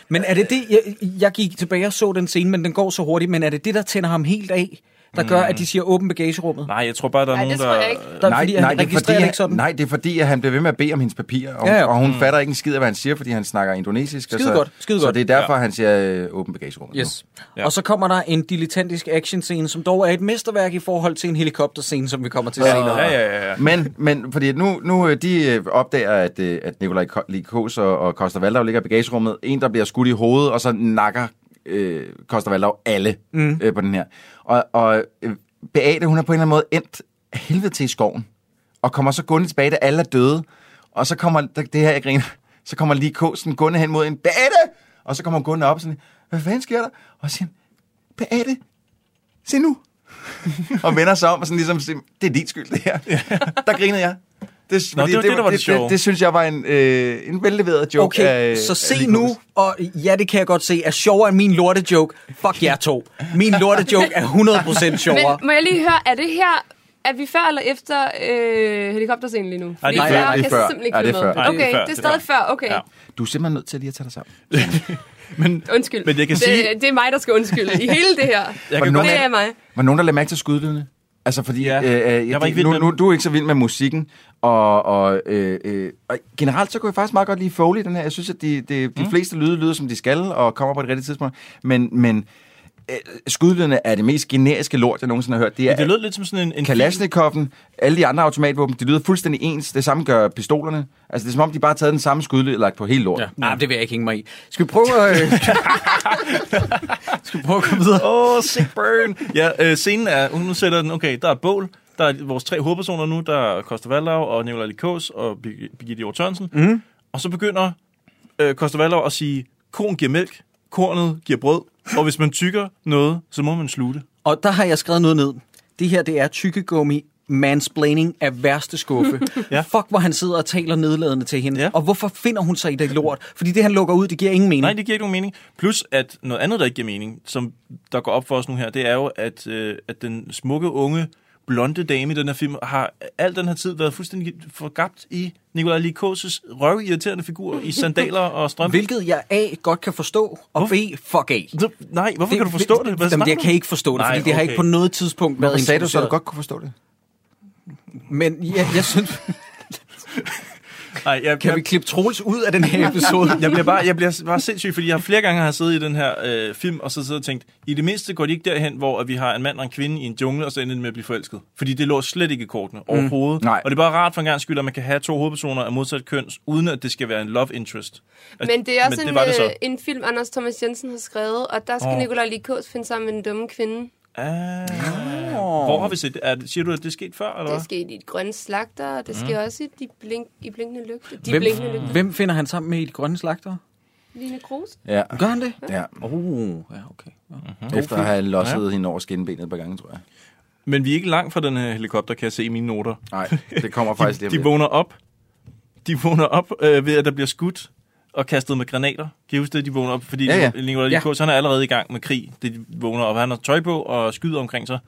F: Men er det det, jeg, jeg gik tilbage og så den scene, men den går så hurtigt, men er det det, der tænder ham helt af? der gør, at de siger åben bagagerummet?
H: Nej, jeg tror bare, der er
F: Ej,
H: nogen,
F: det tror jeg
H: der...
F: ikke. Der-
L: nej,
F: fordi han
L: nej, det er
F: registrerer
L: fordi,
F: det
L: han,
F: ikke sådan.
L: nej, det er fordi, at han bliver ved med at bede om hendes papirer, og,
F: Ja, ja.
L: og hun
F: Mm.
L: fatter ikke en skid af, hvad han siger, fordi han snakker indonesisk. og
F: Skide
L: så,
F: godt, skide
L: så
F: godt.
L: det er derfor,
F: Ja.
L: han siger øh, åben bagagerummet.
F: Yes. Ja. Og så kommer der en dilettantisk actionscene, som dog er et mesterværk i forhold til en helikopterscene, som vi kommer til senere.
L: Men, men fordi nu, nu øh, de øh, opdager, at, øh, at Nikolaj Likos og, og Koster Valdau ligger i bagagerummet. En, der bliver skudt i hovedet, og så nakker øh, Koster Valdau alle
F: Mm.
L: mm. øh, på den her. Og, og øh, Beate, hun er på en eller anden måde endt af helvede til i skoven, og kommer så gående tilbage, da alle er døde. Og så kommer, det det her, jeg griner, så kommer Likosen gående hen mod en, Beate! Og så kommer hun gående op sådan, hvad fanden sker der? Og så siger han, Beate, se nu. og vender sig om og sådan ligesom, siger, det er din skyld, det her. der grinede jeg. Det,
H: Nå,
L: fordi
H: det var det, der var det
L: det,
H: sjove.
L: det, det, synes jeg var en, øh, en velleveret joke. øh,
F: Okay,
L: af-
F: så
L: af
F: se
L: Lee
F: nu,
L: Kås.
F: og ja, det kan jeg godt se, er sjovere end min lortejoke. Fuck jer to. Min lortejoke er 100% sjovere.
G: Men må jeg lige høre, er det her... Er vi før eller efter øh, helikopterscenen lige nu?
L: Ej, det er
G: Fordi
L: før.
G: jeg
L: Det er
G: kan
L: før.
G: simpelthen
L: Ej, det er
G: ikke følge
L: før. Ej,
G: med.
L: det er
G: Okay,
L: før.
G: det er stadig før. Okay,
L: Du er simpelthen nødt til lige at tage dig sammen.
G: undskyld.
L: Men jeg kan
G: det,
L: sige-
G: det er mig, der skal undskylde i hele det her.
L: kan
G: det
L: godt-
G: er mig.
L: Var der nogen, der lagde mærke til skudlydene? Altså, fordi ja. øh, øh,
H: Jeg var
L: de-
H: ikke vild
L: nu,
H: med
L: nu, du er ikke så vild med musikken, og, og, øh, øh, og generelt så kunne jeg faktisk meget godt lide Foley, den her. Jeg synes, at de, de, de mm. fleste lyde lyder, som de skal, og kommer på et rigtigt tidspunkt. Men, men øh, skudlydene er det mest generiske lort, jeg nogensinde har hørt. Det, er,
H: Men det lød lidt som sådan en... en
L: Kalashnikov'en, alle de andre automatvåben, de lyder fuldstændig ens. Det samme gør pistolerne. Altså, det er som om, de bare har taget den samme skudlyd og lagt på hele lortet.
F: Ja. Nej, det vil jeg ikke hænge mig i. Skal vi prøve at... Øh... Skal vi prøve at komme videre?
H: Åh, oh, sick burn! ja, øh, scenen er, hun sætter den, okay, der er et bål, der er vores tre hovedpersoner nu, der er Koster Valdau og Nicolai Likos og Bir- Birgitte Hjort Sørensen.
F: Mm.
H: Og så begynder øh, Koster Valdau at sige, korn giver mælk, kornet giver brød, og hvis man tykker noget, så må man slutte.
F: Og der har jeg skrevet noget ned. Det her, det er tykkegummi mansplaining af værste skuffe. ja. Fuck, hvor han sidder og taler nedladende til hende. Ja. Og hvorfor finder hun sig i det lort? Fordi det, han lukker ud, det giver ingen mening.
H: Nej, det giver ikke nogen mening. Plus, at noget andet, der ikke giver mening, som der går op for os nu her, det er jo, at, øh, at den smukke, unge, blonde dame i den her film har al den her tid været fuldstændig forgabt i Nikolaj Likoses røvirriterende figur i sandaler og strømper.
F: Hvilket jeg A, godt kan forstå, og B, fuck af.
H: Nej, hvorfor kan du forstå det? Hvad
F: Jamen,
H: snakker
F: jeg
H: du?
F: kan ikke forstå det,
H: Nej,
F: fordi det har
H: okay.
F: ikke på noget tidspunkt
L: Hvorfor
F: været
L: sagde du så, at du
F: introduceret.
L: godt kunne forstå det?
F: Men jeg, jeg synes...
H: Ej, jeg,
F: Kan vi klippe Troels ud af den her episode?
H: jeg bliver bare, jeg bliver bare sindssyg, fordi jeg flere gange har siddet i den her øh, film, og så siddet og tænkt, i det mindste går de ikke derhen, hvor at vi har en mand og en kvinde i en jungle, og så ender de med at blive forelsket. Fordi det lå slet ikke i kortene overhovedet.
L: Nej.
H: Og det er bare rart for en gang skyld, at man kan have to hovedpersoner af modsat køn, uden at det skal være en love interest. At-
G: Men det er også
H: men det
G: en,
H: var det så.
G: øh, en film, Anders Thomas Jensen har skrevet, og der skal
H: Åh.
G: oh. Nicolai Likos finde sammen med den dumme kvinde.
H: Ah, hvor har vi set det? Er, det- siger du, at det er sket før, eller
G: Det
H: hvad?
G: er sket i de grønne slagter, og det sker
H: Mm.
G: også i, de blink, i blinkende lygter. De
F: Hvem,
G: blinkende lygter.
F: hvem finder han sammen med i de grønne slagter?
G: Line Kruse.
L: Ja.
F: Gør han det?
L: Ja.
F: Oh, ja, okay. Mm-hmm.
L: Efter at have losset ja. hende over skinbenet et par gange, tror jeg.
H: Men vi er ikke langt fra den her helikopter, kan jeg se i mine noter.
L: Nej, det kommer faktisk lige om
H: de, de
L: lidt.
H: vågner op. De vågner op øh, ved, at der bliver skudt og kastet med granater. Kan I huske det, de vågner op? Fordi
L: Ja,
H: ja,
L: ja.
H: ja. Nikolaj
L: Ja.
H: ja. han er allerede i gang med krig. Det de vågner op. Han har tøj på og skyder omkring sig.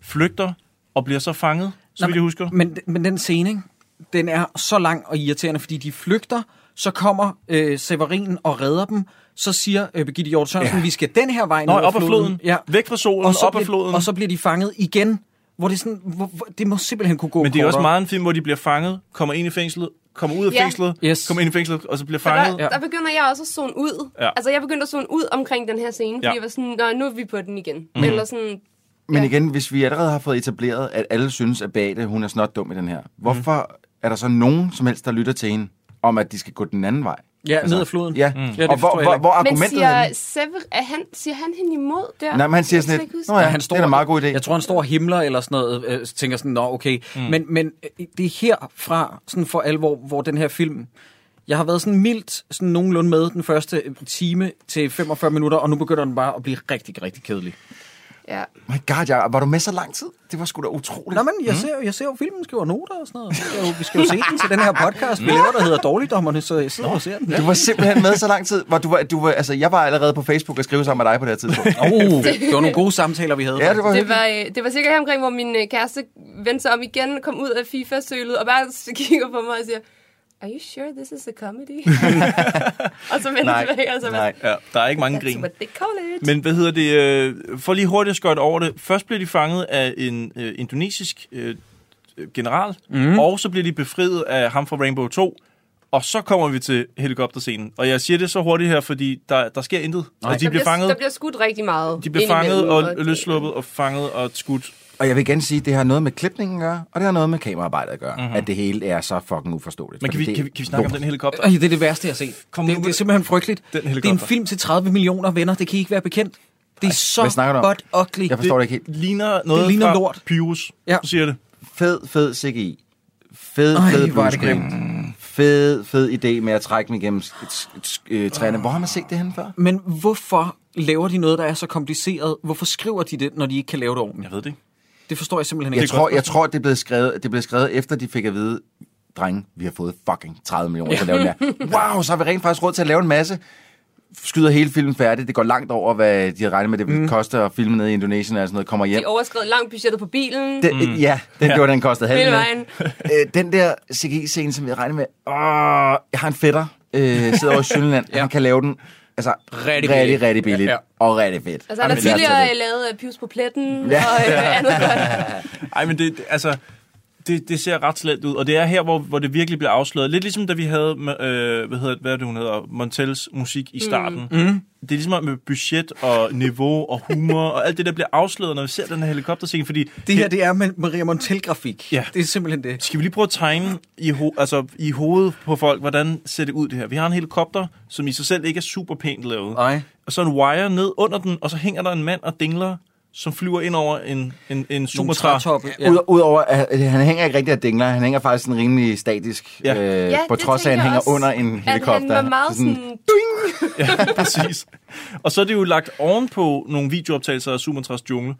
H: Flygter og bliver så fanget, så vidt jeg husker.
F: Men, men den scene, ikke? den er så lang og irriterende, fordi de flygter, så kommer øh, Severin og redder dem, så siger øh, Birgitte Hjort Sørensen, ja. vi skal den her vej
H: Nå,
F: ned ad
H: op ad floden.
F: Ja.
H: Væk fra solen,
F: og så
H: op ad
F: bliver,
H: floden.
F: Og så bliver de fanget igen, hvor det, er sådan, hvor, hvor, det må simpelthen kunne gå
H: Men det er også
F: kortere.
H: meget en film, hvor de bliver fanget, kommer ind i fængslet, kommer ud af
G: Ja.
H: fængslet,
F: Yes.
H: kommer ind i fængslet, og så bliver
G: Og
H: fanget.
G: Der, ja. der begynder jeg også at zone ud.
H: Ja.
G: Ja. Altså, jeg begyndte at zone ud omkring den her scene, fordi
L: Ja.
G: ja. jeg var sådan, Nå, nu er vi på den igen.
L: Mhm.
G: Mm. Eller sådan,
L: Men igen, hvis vi allerede har fået etableret, at alle synes, at Beate, hun er snot dum i den her, hvorfor er der så nogen som helst, der lytter til hende, om at de skal gå den anden vej?
F: Ja, ned ad floden.
L: Ja,
F: Mm. Ja,
L: mm.
F: det
L: og hvor,
F: forstår jeg
L: hvor,
F: ikke.
L: hvor er
G: men
L: argumentet
G: siger,
L: henne?
G: Sever, er han, siger han hende imod der?
L: Nej, men han siger sådan
G: Jeg kan
L: lidt,
G: ikke huske
L: "Nå ja,
G: det."
L: han står- Det er da en meget god idé.
F: Jeg tror, han står og himler eller sådan noget, øh, tænker sådan, nå, okay. Mm. Men, men øh, det er herfra, sådan for alvor, hvor den her film... Jeg har været sådan mildt, sådan nogenlunde med den første øh, time til 45 minutter, og nu begynder den bare at blive rigtig, rigtig kedelig.
G: Ja.
L: My God, jeg, var du med så lang tid? Det var sgu da utroligt.
F: Nå, men jeg, ser, jeg ser jo filmen, skriver noter og sådan noget. Vi skal jo, vi skal jo se den til den her podcast, vi laver, der hedder Dårligdommerne, så jeg sidder og ser den.
L: Du var simpelthen med så lang tid, hvor du var, du var, altså, jeg var allerede på Facebook og skrev sammen med dig på det her tidspunkt.
F: Oh, det var nogle gode samtaler, vi havde.
L: Ja, det var
G: Det
L: hyggeligt.
G: var, øh, det var sikkert her omkring, hvor min øh, kæreste vendte sig om igen, kom ud af FIFA-sølet og bare s- kigger på mig og siger, Are you sure this is a comedy? og så vendte
H: Nej,
G: tilbage, og så var
H: nej. Ja, der er ikke mange
G: That's
H: grin.
G: what they call it.
H: Men hvad hedder det? Øh, for lige hurtigt at skøjte over det. Først bliver de fanget af en øh, indonesisk øh, general, mm. og så bliver de befriet af ham fra Rainbow 2. Og så kommer vi til helikopterscenen. Og jeg siger det så hurtigt her, fordi der, der sker intet. Nej. Og de
G: der
H: bliver, fanget,
G: Der bliver skudt rigtig meget.
H: de bliver
G: indimellem,
H: fanget og løsluppet og fanget og skudt.
L: Og jeg vil igen sige, at det har noget med klipningen at gøre, og det har noget med kameraarbejdet at gøre.
H: Mhm.
L: Mm-hmm. At det hele er så fucking uforståeligt.
H: Men kan vi,
L: Fordi det
H: kan, vi, kan vi snakke om
L: lort.
H: den helikopter?
F: Ej, det er det værste, jeg har set. Kom det, det er simpelthen frygteligt.
H: Den
F: det er en
H: helikopter.
F: film til 30 millioner venner. Det kan I ikke være bekendt. Det er
L: Hvad
F: så
L: snakker du om?
F: godt ugly.
L: Jeg forstår det, det ikke helt.
H: Ligner noget
F: det ligner
H: fra
F: lort.
H: Pyrus.
F: Ja.
H: Du siger det.
L: Fed, fed CGI. Fed,
F: Ej,
L: fed
F: hvor er det
L: bluescreen. Fed, fed idé med at trække mig igennem sk- sk- sk- øh, træerne. Hvor har man set det henne før?
F: Men hvorfor laver de noget, der er så kompliceret? Hvorfor skriver de det, når de ikke kan lave det ordentligt? Jeg
H: ved det ikke.
F: Det forstår jeg simpelthen ikke.
L: Jeg tror, jeg tror, det blev skrevet, det blev skrevet efter de fik at vide, drenge, vi har fået fucking 30 millioner til at lave den her. Wow, så har vi rent faktisk råd til at lave en masse. Skyder hele filmen færdig. Det går langt over, hvad de havde regnet med, det ville koste at filme nede i Indonesien og sådan noget. Kommer hjem.
G: De overskred langt budgettet på bilen.
L: Den, mm. Ja, den
G: Ja.
L: ja. gjorde, den kostede halv
G: Hele
L: million. Øh, Den der CG-scene, som jeg regner med, åh, jeg har en fætter, øh, sidder over i Sønderland, ja. han kan lave den altså, rigtig,
F: billigt.
L: rigtig, rigtig billigt,
F: Ja,
L: ja,
F: ja.
L: ja. og rigtig fedt.
G: Altså, han
L: Men
G: har
L: lad os tage
G: tidligere
L: det.
G: øh, lavet øh, Pius på pletten,
L: Ja.
G: ja. og øh, andet godt.
H: Ej, men det, det- altså, det, det ser ret slemt ud, og det er her, hvor, hvor det virkelig bliver afsløret. Lidt ligesom da vi havde, med, øh, hvad hedder, hvad er det, hun hedder, Montels musik i
F: Mm.
H: starten.
F: Mm.
H: Det er ligesom med budget og niveau og humor og alt det, der bliver afsløret, når vi ser den her helikopterscene, fordi...
F: Det her, det er med Maria Montel-grafik.
H: Ja.
F: Det er simpelthen det.
H: Skal vi lige prøve at tegne i, ho- altså, i hovedet på folk, hvordan ser det ud det her? Vi har en helikopter, som i sig selv ikke er super pænt lavet.
F: Nej.
H: Og så en wire ned under den, og så hænger der en mand og dingler, som flyver ind over en, en, en supertræ.
L: Ja. Ud, udover, at han hænger ikke rigtig af dingler, han hænger faktisk sådan rimelig statisk, ja. Øh,
G: Ja,
L: på
G: det
L: trods af, at
G: tænker
L: han
G: jeg
L: hænger
G: også,
L: under en helikopter.
G: At han var meget
L: Så
G: sådan... Ding!
H: ja, præcis. Og så er det jo lagt ovenpå nogle videooptagelser af Sumatras jungle,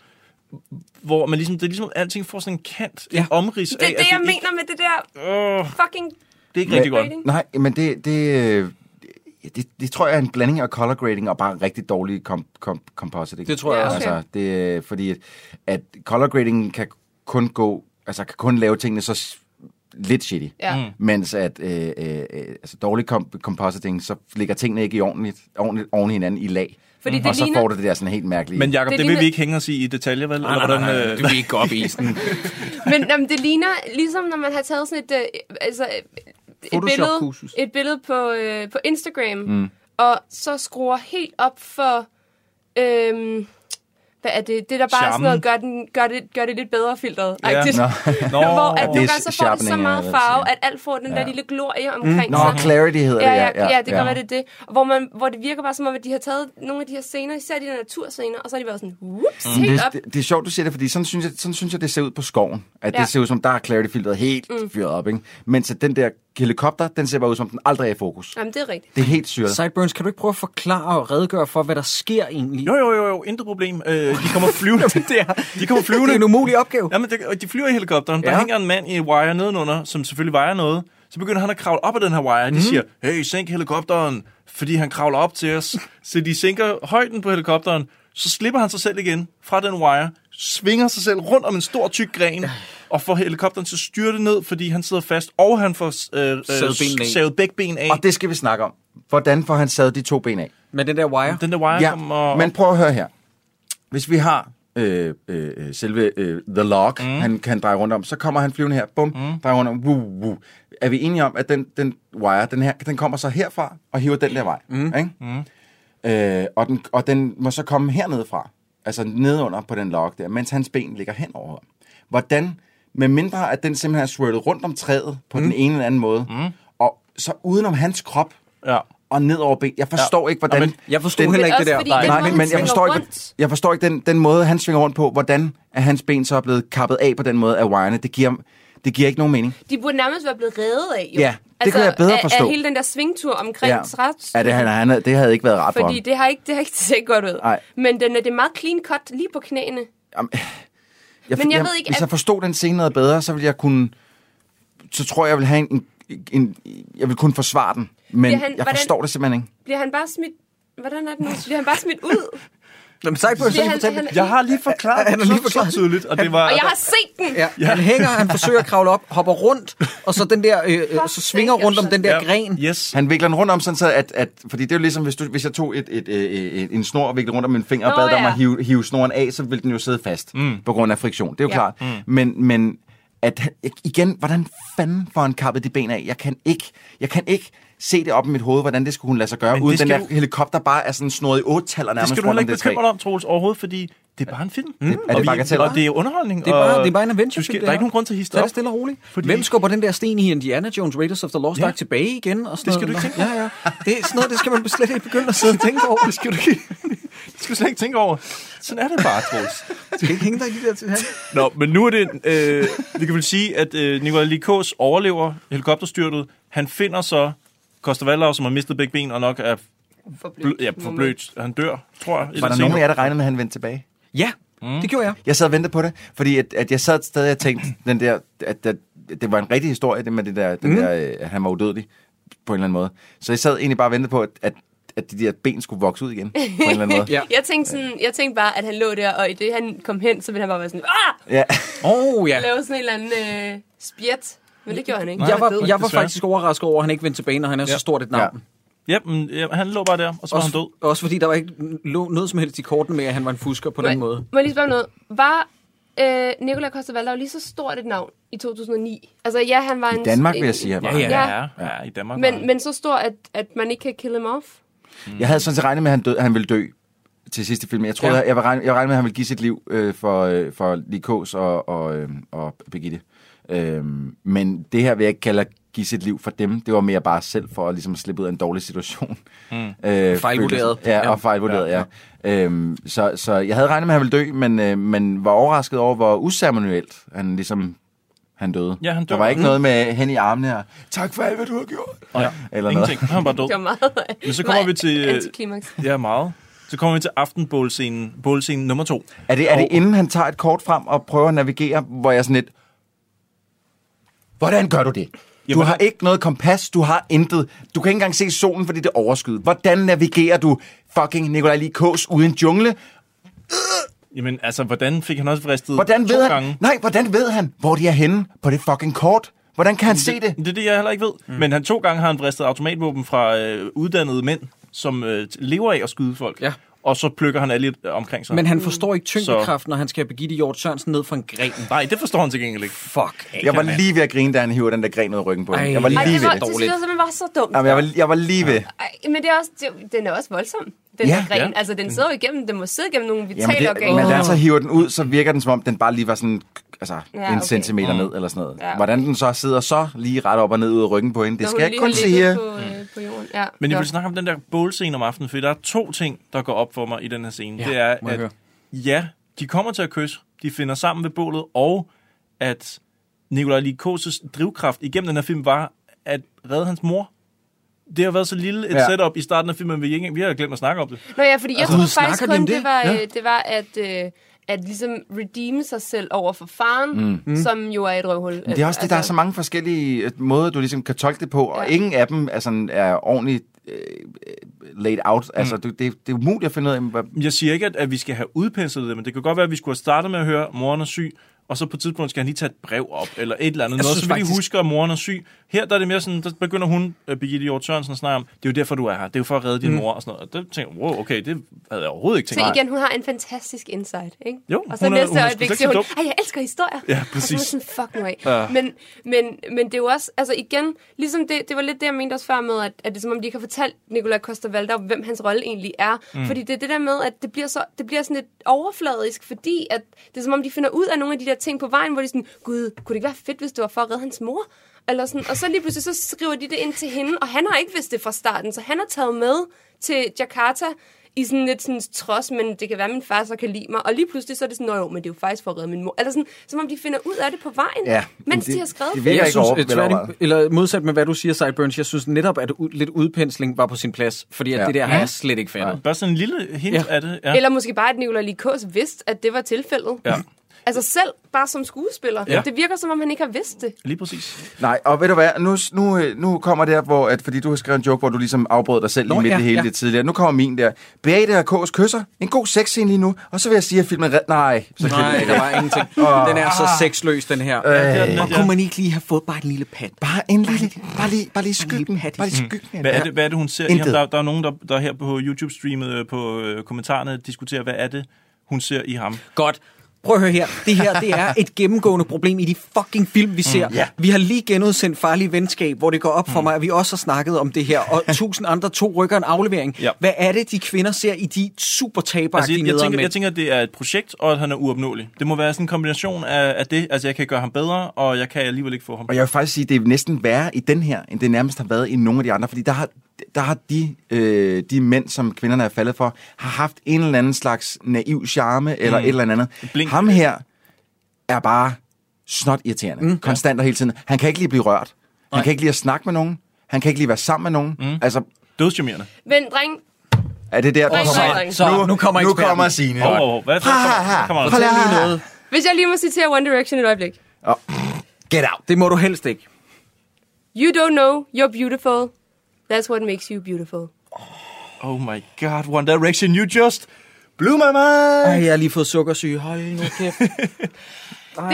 H: hvor man ligesom, det er ligesom, at alting får sådan en kant, ja. en omrids
G: Det
H: af,
G: er
H: at
G: det, jeg
H: ikke-
G: mener med det der fucking...
H: Det er ikke rigtig godt.
G: rating.
L: Nej, men det, det, øh, det, det tror jeg er en blanding af color grading og bare rigtig dårlig kom, kom, compositing.
F: Det tror jeg Ja, også. okay.
L: Altså, det, øh, fordi at, at color grading kan kun gå, altså kan kun lave tingene så s- lidt shitty.
G: Ja. Mm.
L: Mens at øh, øh, øh, altså dårlig kom, compositing, så ligger tingene ikke i ordentligt, ordentligt oven i hinanden i lag. Mm.
G: Fordi
L: og
G: det
L: så
G: ligner-
L: får du det der sådan helt mærkelige.
H: Men Jacob,
G: Det
H: det, det vil
G: ligner-
H: vi ikke hænge os i i detaljer, vel? øh,
F: Nej, nej, nej, nej, det vil vi ikke gå op i.
G: Men jamen, det ligner, ligesom når man har taget sådan et, øh, altså, øh, et, billede,
F: Photoshop-kursus.
G: et billede på, øh, på Instagram,
F: Mm.
G: mm. og så skruer helt op for, øhm, hvad er det, det der bare er sådan
F: Charmen.
G: noget, gør, den, gør, det, gør det lidt bedre filtret.
F: Ja.
G: agtigt.
F: Nå. Nå.
G: Hvor at nogle
L: Det er
G: gange så får det så
L: sharpening,
G: meget
L: jeg vil
G: farve,
L: sige.
G: at alt får den der
L: Ja.
G: lille glorie
L: Mm.
G: omkring
L: Nå,
G: sig.
L: clarity hedder
G: ja,
L: det,
G: ja, ja, ja, det kan
L: ja.
G: være, det er det. Og Hvor, man, hvor det virker bare som om, at de har taget nogle af de her scener, især de der naturscener, og så har de været sådan, whoops, mm.
L: det,
G: helt op.
L: det, det er sjovt, du siger det, fordi sådan synes jeg, sådan synes jeg det ser ud på skoven. At ja.
G: Ja.
L: det ser ud som, der er clarity-filteret helt
G: Mm.
L: mm. fyret op, ikke? Mens at den der helikopter, den ser bare ud som, den aldrig er i fokus.
G: Jamen, det er rigtigt.
L: Det er helt syret.
F: Sideburns, kan du ikke prøve at forklare og redegøre for, hvad der sker egentlig?
H: Jo, jo, jo, jo intet problem. Øh, de kommer flyvende.
F: det er,
H: de kommer flyvende.
F: Det er en umulig opgave.
H: Jamen, det, og de flyver i helikopteren. Der
F: Ja.
H: hænger en mand i wire nedenunder, som selvfølgelig vejer noget. Så begynder han at kravle op ad den her wire. De
F: Mhm.
H: siger, hey, sænk helikopteren, fordi han kravler op til os. Så de sænker højden på helikopteren. Så slipper han sig selv igen fra den wire, svinger sig selv rundt om en stor tyk gren, og får helikopteren til at styrte ned, fordi han sidder fast, og han får øh, øh,
L: benene af.
H: savet begge ben af.
L: Og det skal vi snakke om. Hvordan får han sad de to ben af?
F: Med den der wire?
H: Den der wire
L: ja,
H: kommer...
L: men prøv at høre her. Hvis vi har øh, øh, øh, selve øh, The Log, mm. han kan dreje rundt om, så kommer han flyvende her, bum, mm. drejer rundt om, woo, woo. Er vi enige om, at den, den wire, den, her, den kommer så herfra og hiver den der vej? Mm. Ikke? Mm. Øh, og, den, og den må så komme hernede fra, altså nedunder på den log der, mens hans ben ligger hen over ham. Hvordan, med mindre at den simpelthen er swirlet rundt om træet på mm. den ene eller anden måde, mm. og så udenom hans krop,
H: ja.
L: og ned over ben. Jeg forstår
F: Ja.
L: ikke, hvordan...
F: Nå, men jeg forstod heller ikke Men det også der. fordi den
L: Nej,
F: måde,
L: men, men
F: han
L: jeg forstår
F: svinger
L: ikke, jeg forstår ikke den, den måde, han svinger rundt på, hvordan er hans ben så er blevet kappet af på den måde af wirene. Det giver, det giver ikke nogen mening.
G: De burde nærmest være blevet reddet af, jo. Altså,
L: Ja, det kunne jeg bedre
G: af,
L: forstå.
G: Af hele den der svingtur omkring ja. Srats.
L: ja det, han, han, havde- det havde ikke været rart for
G: Fordi
L: ham.
G: det har ikke, det har ikke set godt ud.
L: Nej.
G: Men den er, det er meget clean cut lige på knæene.
L: Jeg,
G: men jeg ved ikke,
L: hvis
G: at-
L: jeg forstod den scene noget bedre, så ville jeg kunne... Så tror jeg, jeg vil have en... en, en jeg vil kunne forsvare den. Men
G: Bliver
L: han,
G: han-
L: jeg
G: hvordan-
L: forstår det simpelthen ikke.
G: Bliver han bare smidt... Hvordan er det nu? Bliver han bare smidt ud?
F: Jamen, sagt på,
G: Det er han- han-
H: Jeg har lige forklaret
F: Han har lige forklaret
H: tydeligt, og det var...
G: Og jeg har set den!
F: Ja, han hænger, han forsøger at kravle op, hopper rundt, og så den der, øh, øh, så svinger rundt om den der gren.
H: Yes.
L: Han vikler den rundt om, sådan så at, at fordi det er jo ligesom, hvis, du, hvis jeg tog et, et, et, et, en snor og viklede rundt om min finger og
F: Nå,
L: bad dig om
F: ja.
L: at hive, hive snoren af, så ville den jo sidde fast
F: Mm.
L: mm. på grund af friktion. Det er jo
F: Ja.
L: ja. klart.
F: Mm.
L: Mm. Men, men at, han- igen, hvordan fanden får han kappet de ben af? Jeg kan ikke, jeg kan ikke se det op i mit hoved, hvordan det skulle kunne lade sig gøre,
H: Men det
L: uden den
H: skal
L: der
H: du-
L: helikopter bare er sådan snoret i otte taler
H: Det
L: nærmest
H: skal du heller ikke bekymre dig om, Troels, overhovedet, fordi det er bare en film. Mm.
L: det
H: og,
L: bagateller?
H: og det er underholdning.
F: Det er bare,
H: og
F: det er bare en adventure
H: du skal- Der er ikke nogen grund til at hisse
F: det
H: dig
F: er
H: op.
F: stille og roligt.
H: Fordi-
F: Fordi... Hvem skubber den der sten i Indiana Jones Raiders of the Lost
H: Ja.
F: Ark tilbage igen? Og sådan
H: Det skal
F: noget.
H: du ikke
F: Nå,
H: tænke
F: Ja, ja. Det er sådan noget, det skal man slet ikke begynde at sidde og tænke over. Det
H: skal du ikke. Det skal du slet ikke tænke over. Sådan er det bare, Troels.
F: Du skal ikke hænge dig i de der til
H: Nå, men nu er det... Øh, vi kan vel sige, at øh, Nikolaj Likos overlever helikopterstyrtet. Han finder så Koster Valdau, som har mistet begge ben og nok er blød, ja, forblødt. Han dør, tror jeg.
L: Var der nogen af jer, der regnede med, at han vendte tilbage?
F: Ja, mm. det gjorde jeg.
L: Jeg sad og ventede på det, fordi at, at jeg sad stadig og tænkte, den der, at, at, det var en rigtig historie, det med det der, den
F: Mm.
L: mm. der øh, at han var udødelig på en eller anden måde. Så jeg sad egentlig bare og ventede på, at, at, at de der ben skulle vokse ud igen, på en eller anden måde.
G: jeg, tænkte sådan, jeg tænkte bare, at han lå der, og i det han kom hen, så ville han bare være sådan, ah!
L: Ja.
F: Oh, ja.
G: Lave sådan en eller anden øh, spjæt. Men det gjorde han ikke.
F: Jeg
G: Han
F: var,
G: død.
F: jeg var faktisk overrasket over, at han ikke vendte tilbage, når han er ja. så stort et navn.
H: Ja. Ja, men, ja, han lå bare der, og så var
F: også,
H: han død.
F: Også fordi der var ikke lå noget som helst i korten med, at han var en fusker på den måde.
G: Må jeg lige spørge om noget? Var øh, Nikolaj Koster lige så stort et navn i 2009? Altså ja, han var en...
L: I Danmark vil jeg sige, at
G: Ja,
L: han var.
G: ja, ja.
H: ja. i Danmark
G: Men, men så stor, at, at man ikke kan kill him off?
L: Jeg havde sådan set regnet med, at han, død, han ville dø til sidste film. Jeg troede,
G: Ja.
L: ja. jeg, jeg, var regnet, jeg var regnet med, at han ville give sit liv øh, for, øh, for Likos og, og, øh, og Birgitte. Øhm, men det her vil jeg ikke kalde at give sit liv for dem. Det var mere bare selv for at ligesom slippe ud af en dårlig situation.
F: Mm.
L: Øh,
F: Fejlvurderet.
L: følelsen. Ja,
F: Ja.
L: og fejlvurderet,
F: Ja,
L: ja. ja. Øhm, så, så jeg havde regnet med, at han ville dø, men, øh, men var overrasket over, hvor uceremonielt han ligesom han døde.
H: Ja, han
L: Der
H: dør.
L: var ikke
H: Mm.
L: noget med hen i armene her. Tak for alt, hvad du har gjort.
H: Ja.
L: Eller
H: Ingenting.
L: noget.
H: Han var død.
G: Det var meget...
H: Men så kommer vi til... øh,
G: Antiklimaks.
H: Ja, meget. Så kommer vi til aftenbålscenen, bålscenen nummer to.
L: Er det, er det inden han tager et kort frem og prøver at navigere, hvor jeg sådan lidt... Hvordan gør du det? Du har ikke noget kompas, du har intet. Du kan ikke engang se solen, fordi det er overskyet. Hvordan navigerer du fucking Nikolaj Likos uden jungle?
H: Jamen, altså, hvordan fik han også fristet
L: Hvordan
H: to
L: ved han,
H: gange?
L: nej, hvordan ved han, hvor de er henne på det fucking kort? Hvordan kan han se det?
H: Det er det, jeg heller ikke ved. Mm. Men han to gange har han vristet automatvåben fra øh, uddannede mænd, som øh, lever af at skyde folk. Ja. Og så plukker han alle lidt øh, omkring sig.
F: Men han forstår ikke tyngdekraften, når han skal have Birgitte Hjort Sørensen ned fra en gren.
H: Nej, det forstår han til gengæld ikke.
F: Fuck. af,
L: Jeg var
F: mand.
L: lige ved at grine, da han hiver den der gren ud af ryggen på hende.
F: Ej,
L: Jeg var lige
G: Ej, det
L: ved
G: var,
L: det.
G: det synes jeg simpelthen var så dumt.
L: Jamen, jeg, var, jeg var lige ved.
G: Ej, men det er også, det, den er også voldsom, den
L: Ja.
G: ja, gren.
L: Ja.
G: Altså,
H: Mm.
G: den sidder jo igennem, den må sidde igennem nogle vitale
L: Jamen, det,
G: organer.
L: men da han så hiver den ud, så virker den som om, den bare lige var sådan, altså,
G: Ja,
L: ja, en
G: okay.
L: centimeter
G: Mm.
L: ned eller sådan noget.
G: Ja, okay.
L: Ja, Hvordan den så sidder så lige ret op og ned ud af ryggen på hende, det skal jeg kun sige.
G: På, øh, på jorden. Ja,
H: Men jeg
G: godt.
H: vil snakke om den der bålscene om aftenen, for der er to ting, der går op for mig i den her scene.
F: Ja,
H: det er,
F: må jeg høre.
H: at ja, de kommer til at kysse, de finder sammen ved bålet, og at Nikolaj Likos' drivkraft igennem den her film var at redde hans mor. Det har været så lille et ja.
F: Ja.
H: setup i starten af filmen, vi, ikke, engang- vi har glemt at snakke om det.
G: Nå ja, fordi jeg
H: Altså,
G: altså, troede
H: snakker
G: faktisk
H: de om
G: kun, det?
H: det?
G: Det, var,
H: Ja.
G: ja. det var at, øh, at ligesom redeeme sig selv over for faren,
L: Mm.
G: mm.
L: Mm.
G: som jo er et røvhul.
L: Men det er også det, der
G: Altså-
L: er så mange forskellige øh, måder, du ligesom kan tolke det på, og ingen af dem er, sådan, er ordentligt øh, øh, laid out. Altså,
F: Mm.
L: du, det, det er umuligt at finde ud af, hvad...
H: Jeg siger ikke, at, at vi skal have udpenslet det, men det kan godt være, at vi skulle have startet med at høre, at moren er syg, og så på et tidspunkt skal han lige tage et brev op, eller et eller andet.
F: Jeg
H: Noget,
F: synes
H: så vi lige
F: faktisk-
H: husker, at moren er syg. Her der er det mere sådan, der begynder hun, øh, Birgitte Hjort Sørensen, at snakke om, det er jo derfor, du er her. Det er jo for at redde din
F: Mm.
H: mm. mor og sådan noget. Og det tænker jeg, wow, okay, det havde jeg overhovedet ikke tænkt.
G: Så igen, hun har en fantastisk insight, ikke?
H: Jo,
G: og så
H: hun er- hun
G: næste
H: er
G: øjeblik
H: sgu
G: siger
H: slet
G: hun,
H: ikke så
G: ej, jeg elsker historier.
H: Ja,
G: Og
H: præcis.
G: så er man sådan, fuck nu af.
H: Ja.
G: Men, men, men det er jo også, altså igen, ligesom det, det var lidt det, jeg mente også før med, at, at det er som om, de ikke har fortalt Nikolaj Koster Valdau, hvem hans rolle egentlig er. Mm.
D: Mm.
G: Fordi det er det der med, at det bliver, så, det bliver sådan lidt overfladisk, fordi at det er som om, de finder ud af nogle af de der ting på vejen, hvor de er sådan, gud, kunne det ikke være fedt, hvis det var for at redde hans mor? Eller sådan, og så lige pludselig, så skriver de det ind til hende, og han har ikke vidst det fra starten, så han har taget med til Jakarta i sådan lidt sådan trods, men det kan være, min far så kan lide mig. Og lige pludselig så er det sådan, nå jo, men det er jo faktisk for at redde min mor. Eller sådan, som om de finder ud af det på vejen,
F: Ja,
G: mens
F: men
G: de har skrevet
F: Jeg, jeg synes,
L: over-
F: øh, tværtim,
L: velovervejet.
F: eller modsat med, hvad du siger, Sideburns, jeg synes netop, at u- lidt udpensling var på sin plads, fordi at ja.
H: Ja.
F: det der har
H: Ja.
F: jeg slet ikke fattet.
H: Bare sådan en lille hint ja. af det.
G: Ja. Eller måske bare, at Nicolai Likos vidste, at det var tilfældet.
H: Ja.
G: Altså selv bare som skuespiller.
L: Ja.
G: Ja. Det virker, som om han ikke har vidst det.
H: Lige præcis.
L: Nej, og ved du hvad, nu, nu, øh, nu kommer det her, hvor, at, fordi du har skrevet en joke, hvor du ligesom afbrød dig selv
F: Nå,
L: lige midt i
F: ja,
L: det hele
F: ja.
L: ja. det tidligere. Nu kommer min der. Beate og K's kysser. En god sexscene lige nu. Og så vil jeg sige, at filmen... Red... Nej, så
F: Nej, der var ingenting. Den er så sexløs, den her.
L: Øh.
F: Og kunne man ikke lige have fået bare en lille pat?
L: Bare en lille... Bare lige, bare lige skyggen. Bare lige
H: Mm.
L: skyggen.
H: Hvad er det, hvad er det hun ser? i ham?
L: Intet.
H: Der, der er nogen, der, der her på YouTube-streamet øh, på øh, kommentarerne diskuterer, hvad er det, hun ser i ham?
F: Godt. Prøv at høre her. Det her, det er et gennemgående problem i de fucking film, vi ser.
H: Mm, ja.
F: Vi har lige genudsendt Farlige Venskab, hvor det går op for mig, at vi også har snakket om det her, og tusind andre to rykker en aflevering.
H: Ja.
F: Hvad er det, de kvinder ser i de super taber
H: Altså, jeg, jeg, tænker, jeg
F: mænd?
H: tænker, at det er et projekt, og at han er uopnåelig. Det må være sådan en kombination af, af det. Altså, jeg kan gøre ham bedre, og jeg kan alligevel ikke få ham.
L: Og jeg vil faktisk sige, at det er næsten værre i den her, end det nærmest har været i nogle af de andre, fordi der har, der har de, øh, de mænd, som kvinderne er faldet for, har haft en eller anden slags naiv charme, eller
H: Mm.
L: et eller andet.
H: Blink.
L: Ham her er bare snot irriterende, mm. konstant og hele tiden. Han kan ikke lige blive rørt. Han kan ikke lige at snakke med nogen. Han kan ikke lige være sammen med nogen. Mm. Altså,
H: Dødsjarmerende.
G: Men dreng,
L: Er det der, der
G: Ring,
L: kommer?
G: ring, ring.
L: nu kommer Nu kommer Signe.
H: Hov, hov, hov. Hvad- hvad-
L: Ha, ha, ha.
H: kommer der
L: Hold
H: til?
L: her.
G: hvis jeg lige må citere One Direction et øjeblik.
F: Get out. Det må du helst ikke.
G: You don't know you're beautiful. That's what makes you beautiful.
H: Oh my god, One Direction, you just blew my
F: Ej,
H: mind!
F: jeg har lige fået sukkersyge. Hold nu kæft.
G: Det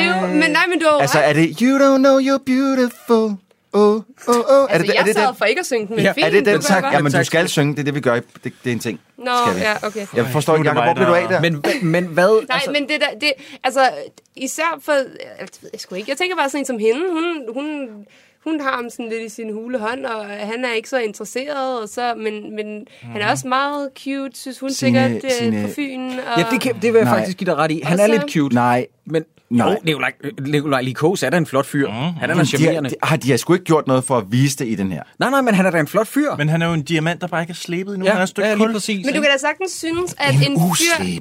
G: er jo, men nej, men du har jo
L: Altså,
G: ret.
L: er det You don't know you're beautiful? Oh, oh, oh.
G: Altså, jeg sad for ikke at synge den, men fint,
L: er det den
G: det kunne jeg
L: tak?
G: godt.
L: Jamen, du
G: Tak.
L: skal synge. Det er det, vi gør. i- Det, det er en ting.
G: Nå,
L: skal vi.
G: ja, okay.
L: Jeg forstår
F: Nu er
L: ikke,
F: det
L: Jacob. Hvor
F: mig,
L: blev du af
F: der-
L: der?
F: Men, men hvad?
G: Nej, altså, men det der, det, altså, især for, altså, det ved jeg sgu ikke, jeg tænker bare sådan en som hende, hun, hun, hun har ham sådan lidt i sin hule hånd, og han er ikke så interesseret, og så, men, men mm. han er også meget cute, synes hun
L: Signe-
G: sikkert, øh,
L: Signe-
G: på Fyn. Og,
F: Ja, det, kan, det vil jeg
L: Nej.
F: faktisk give dig ret i. Han
G: Og
F: er
G: så-
F: lidt cute.
L: Nej.
F: Men
L: Nej.
F: jo, Nikolaj, Nikolaj Likos er da en flot fyr. Han er da
L: Men de, har,
F: charmerende.
L: de, har, de har sgu ikke gjort noget for at vise det i den her.
F: Nej, nej, men han er da en flot fyr.
H: Men han er jo en diamant, der bare ikke er slebet endnu.
F: Ja,
H: han er et stykke
F: ja, lige
H: kul.
F: præcis.
G: men du kan da sagtens synes, at en,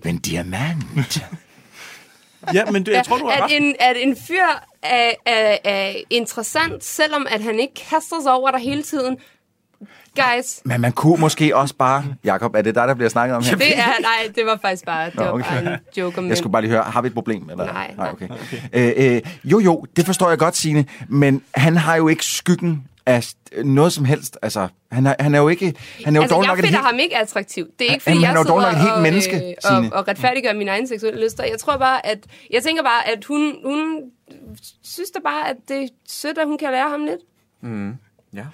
G: fyr,
L: en diamant.
H: ja, men det, jeg tror, du har
G: at
H: ret.
G: en, at en fyr er, er, er interessant, selvom at han ikke kaster sig over dig hele tiden. Guys,
L: Men man kunne måske også bare... Jakob, er det dig, der bliver snakket om her?
G: det er, nej, det var faktisk bare, det
L: Nå,
G: var
L: okay.
G: bare en joke
L: Jeg
G: om mænd.
L: skulle bare lige høre, har vi et problem? Eller?
G: Nej.
L: Nej okay. okay. Øh, øh, jo, jo, det forstår jeg godt, Signe, men han har jo ikke skyggen af s- noget som helst. Altså, han er, han er jo ikke... Han er jo
G: altså,
L: dårlig
G: jeg
L: nok et
G: finder
L: helt...
G: ham ikke attraktiv. Det er ikke, fordi
L: Jamen, han er
G: jeg
L: jo dårlig nok et helt
G: og, øh,
L: menneske,
G: og,
L: Signe.
G: og retfærdiggør mine egne seksuelle lyster. Jeg tror bare, at... Jeg tænker bare, at hun, hun synes da bare, at det er sødt, at hun kan lære ham lidt.
H: Mm.
F: Ja.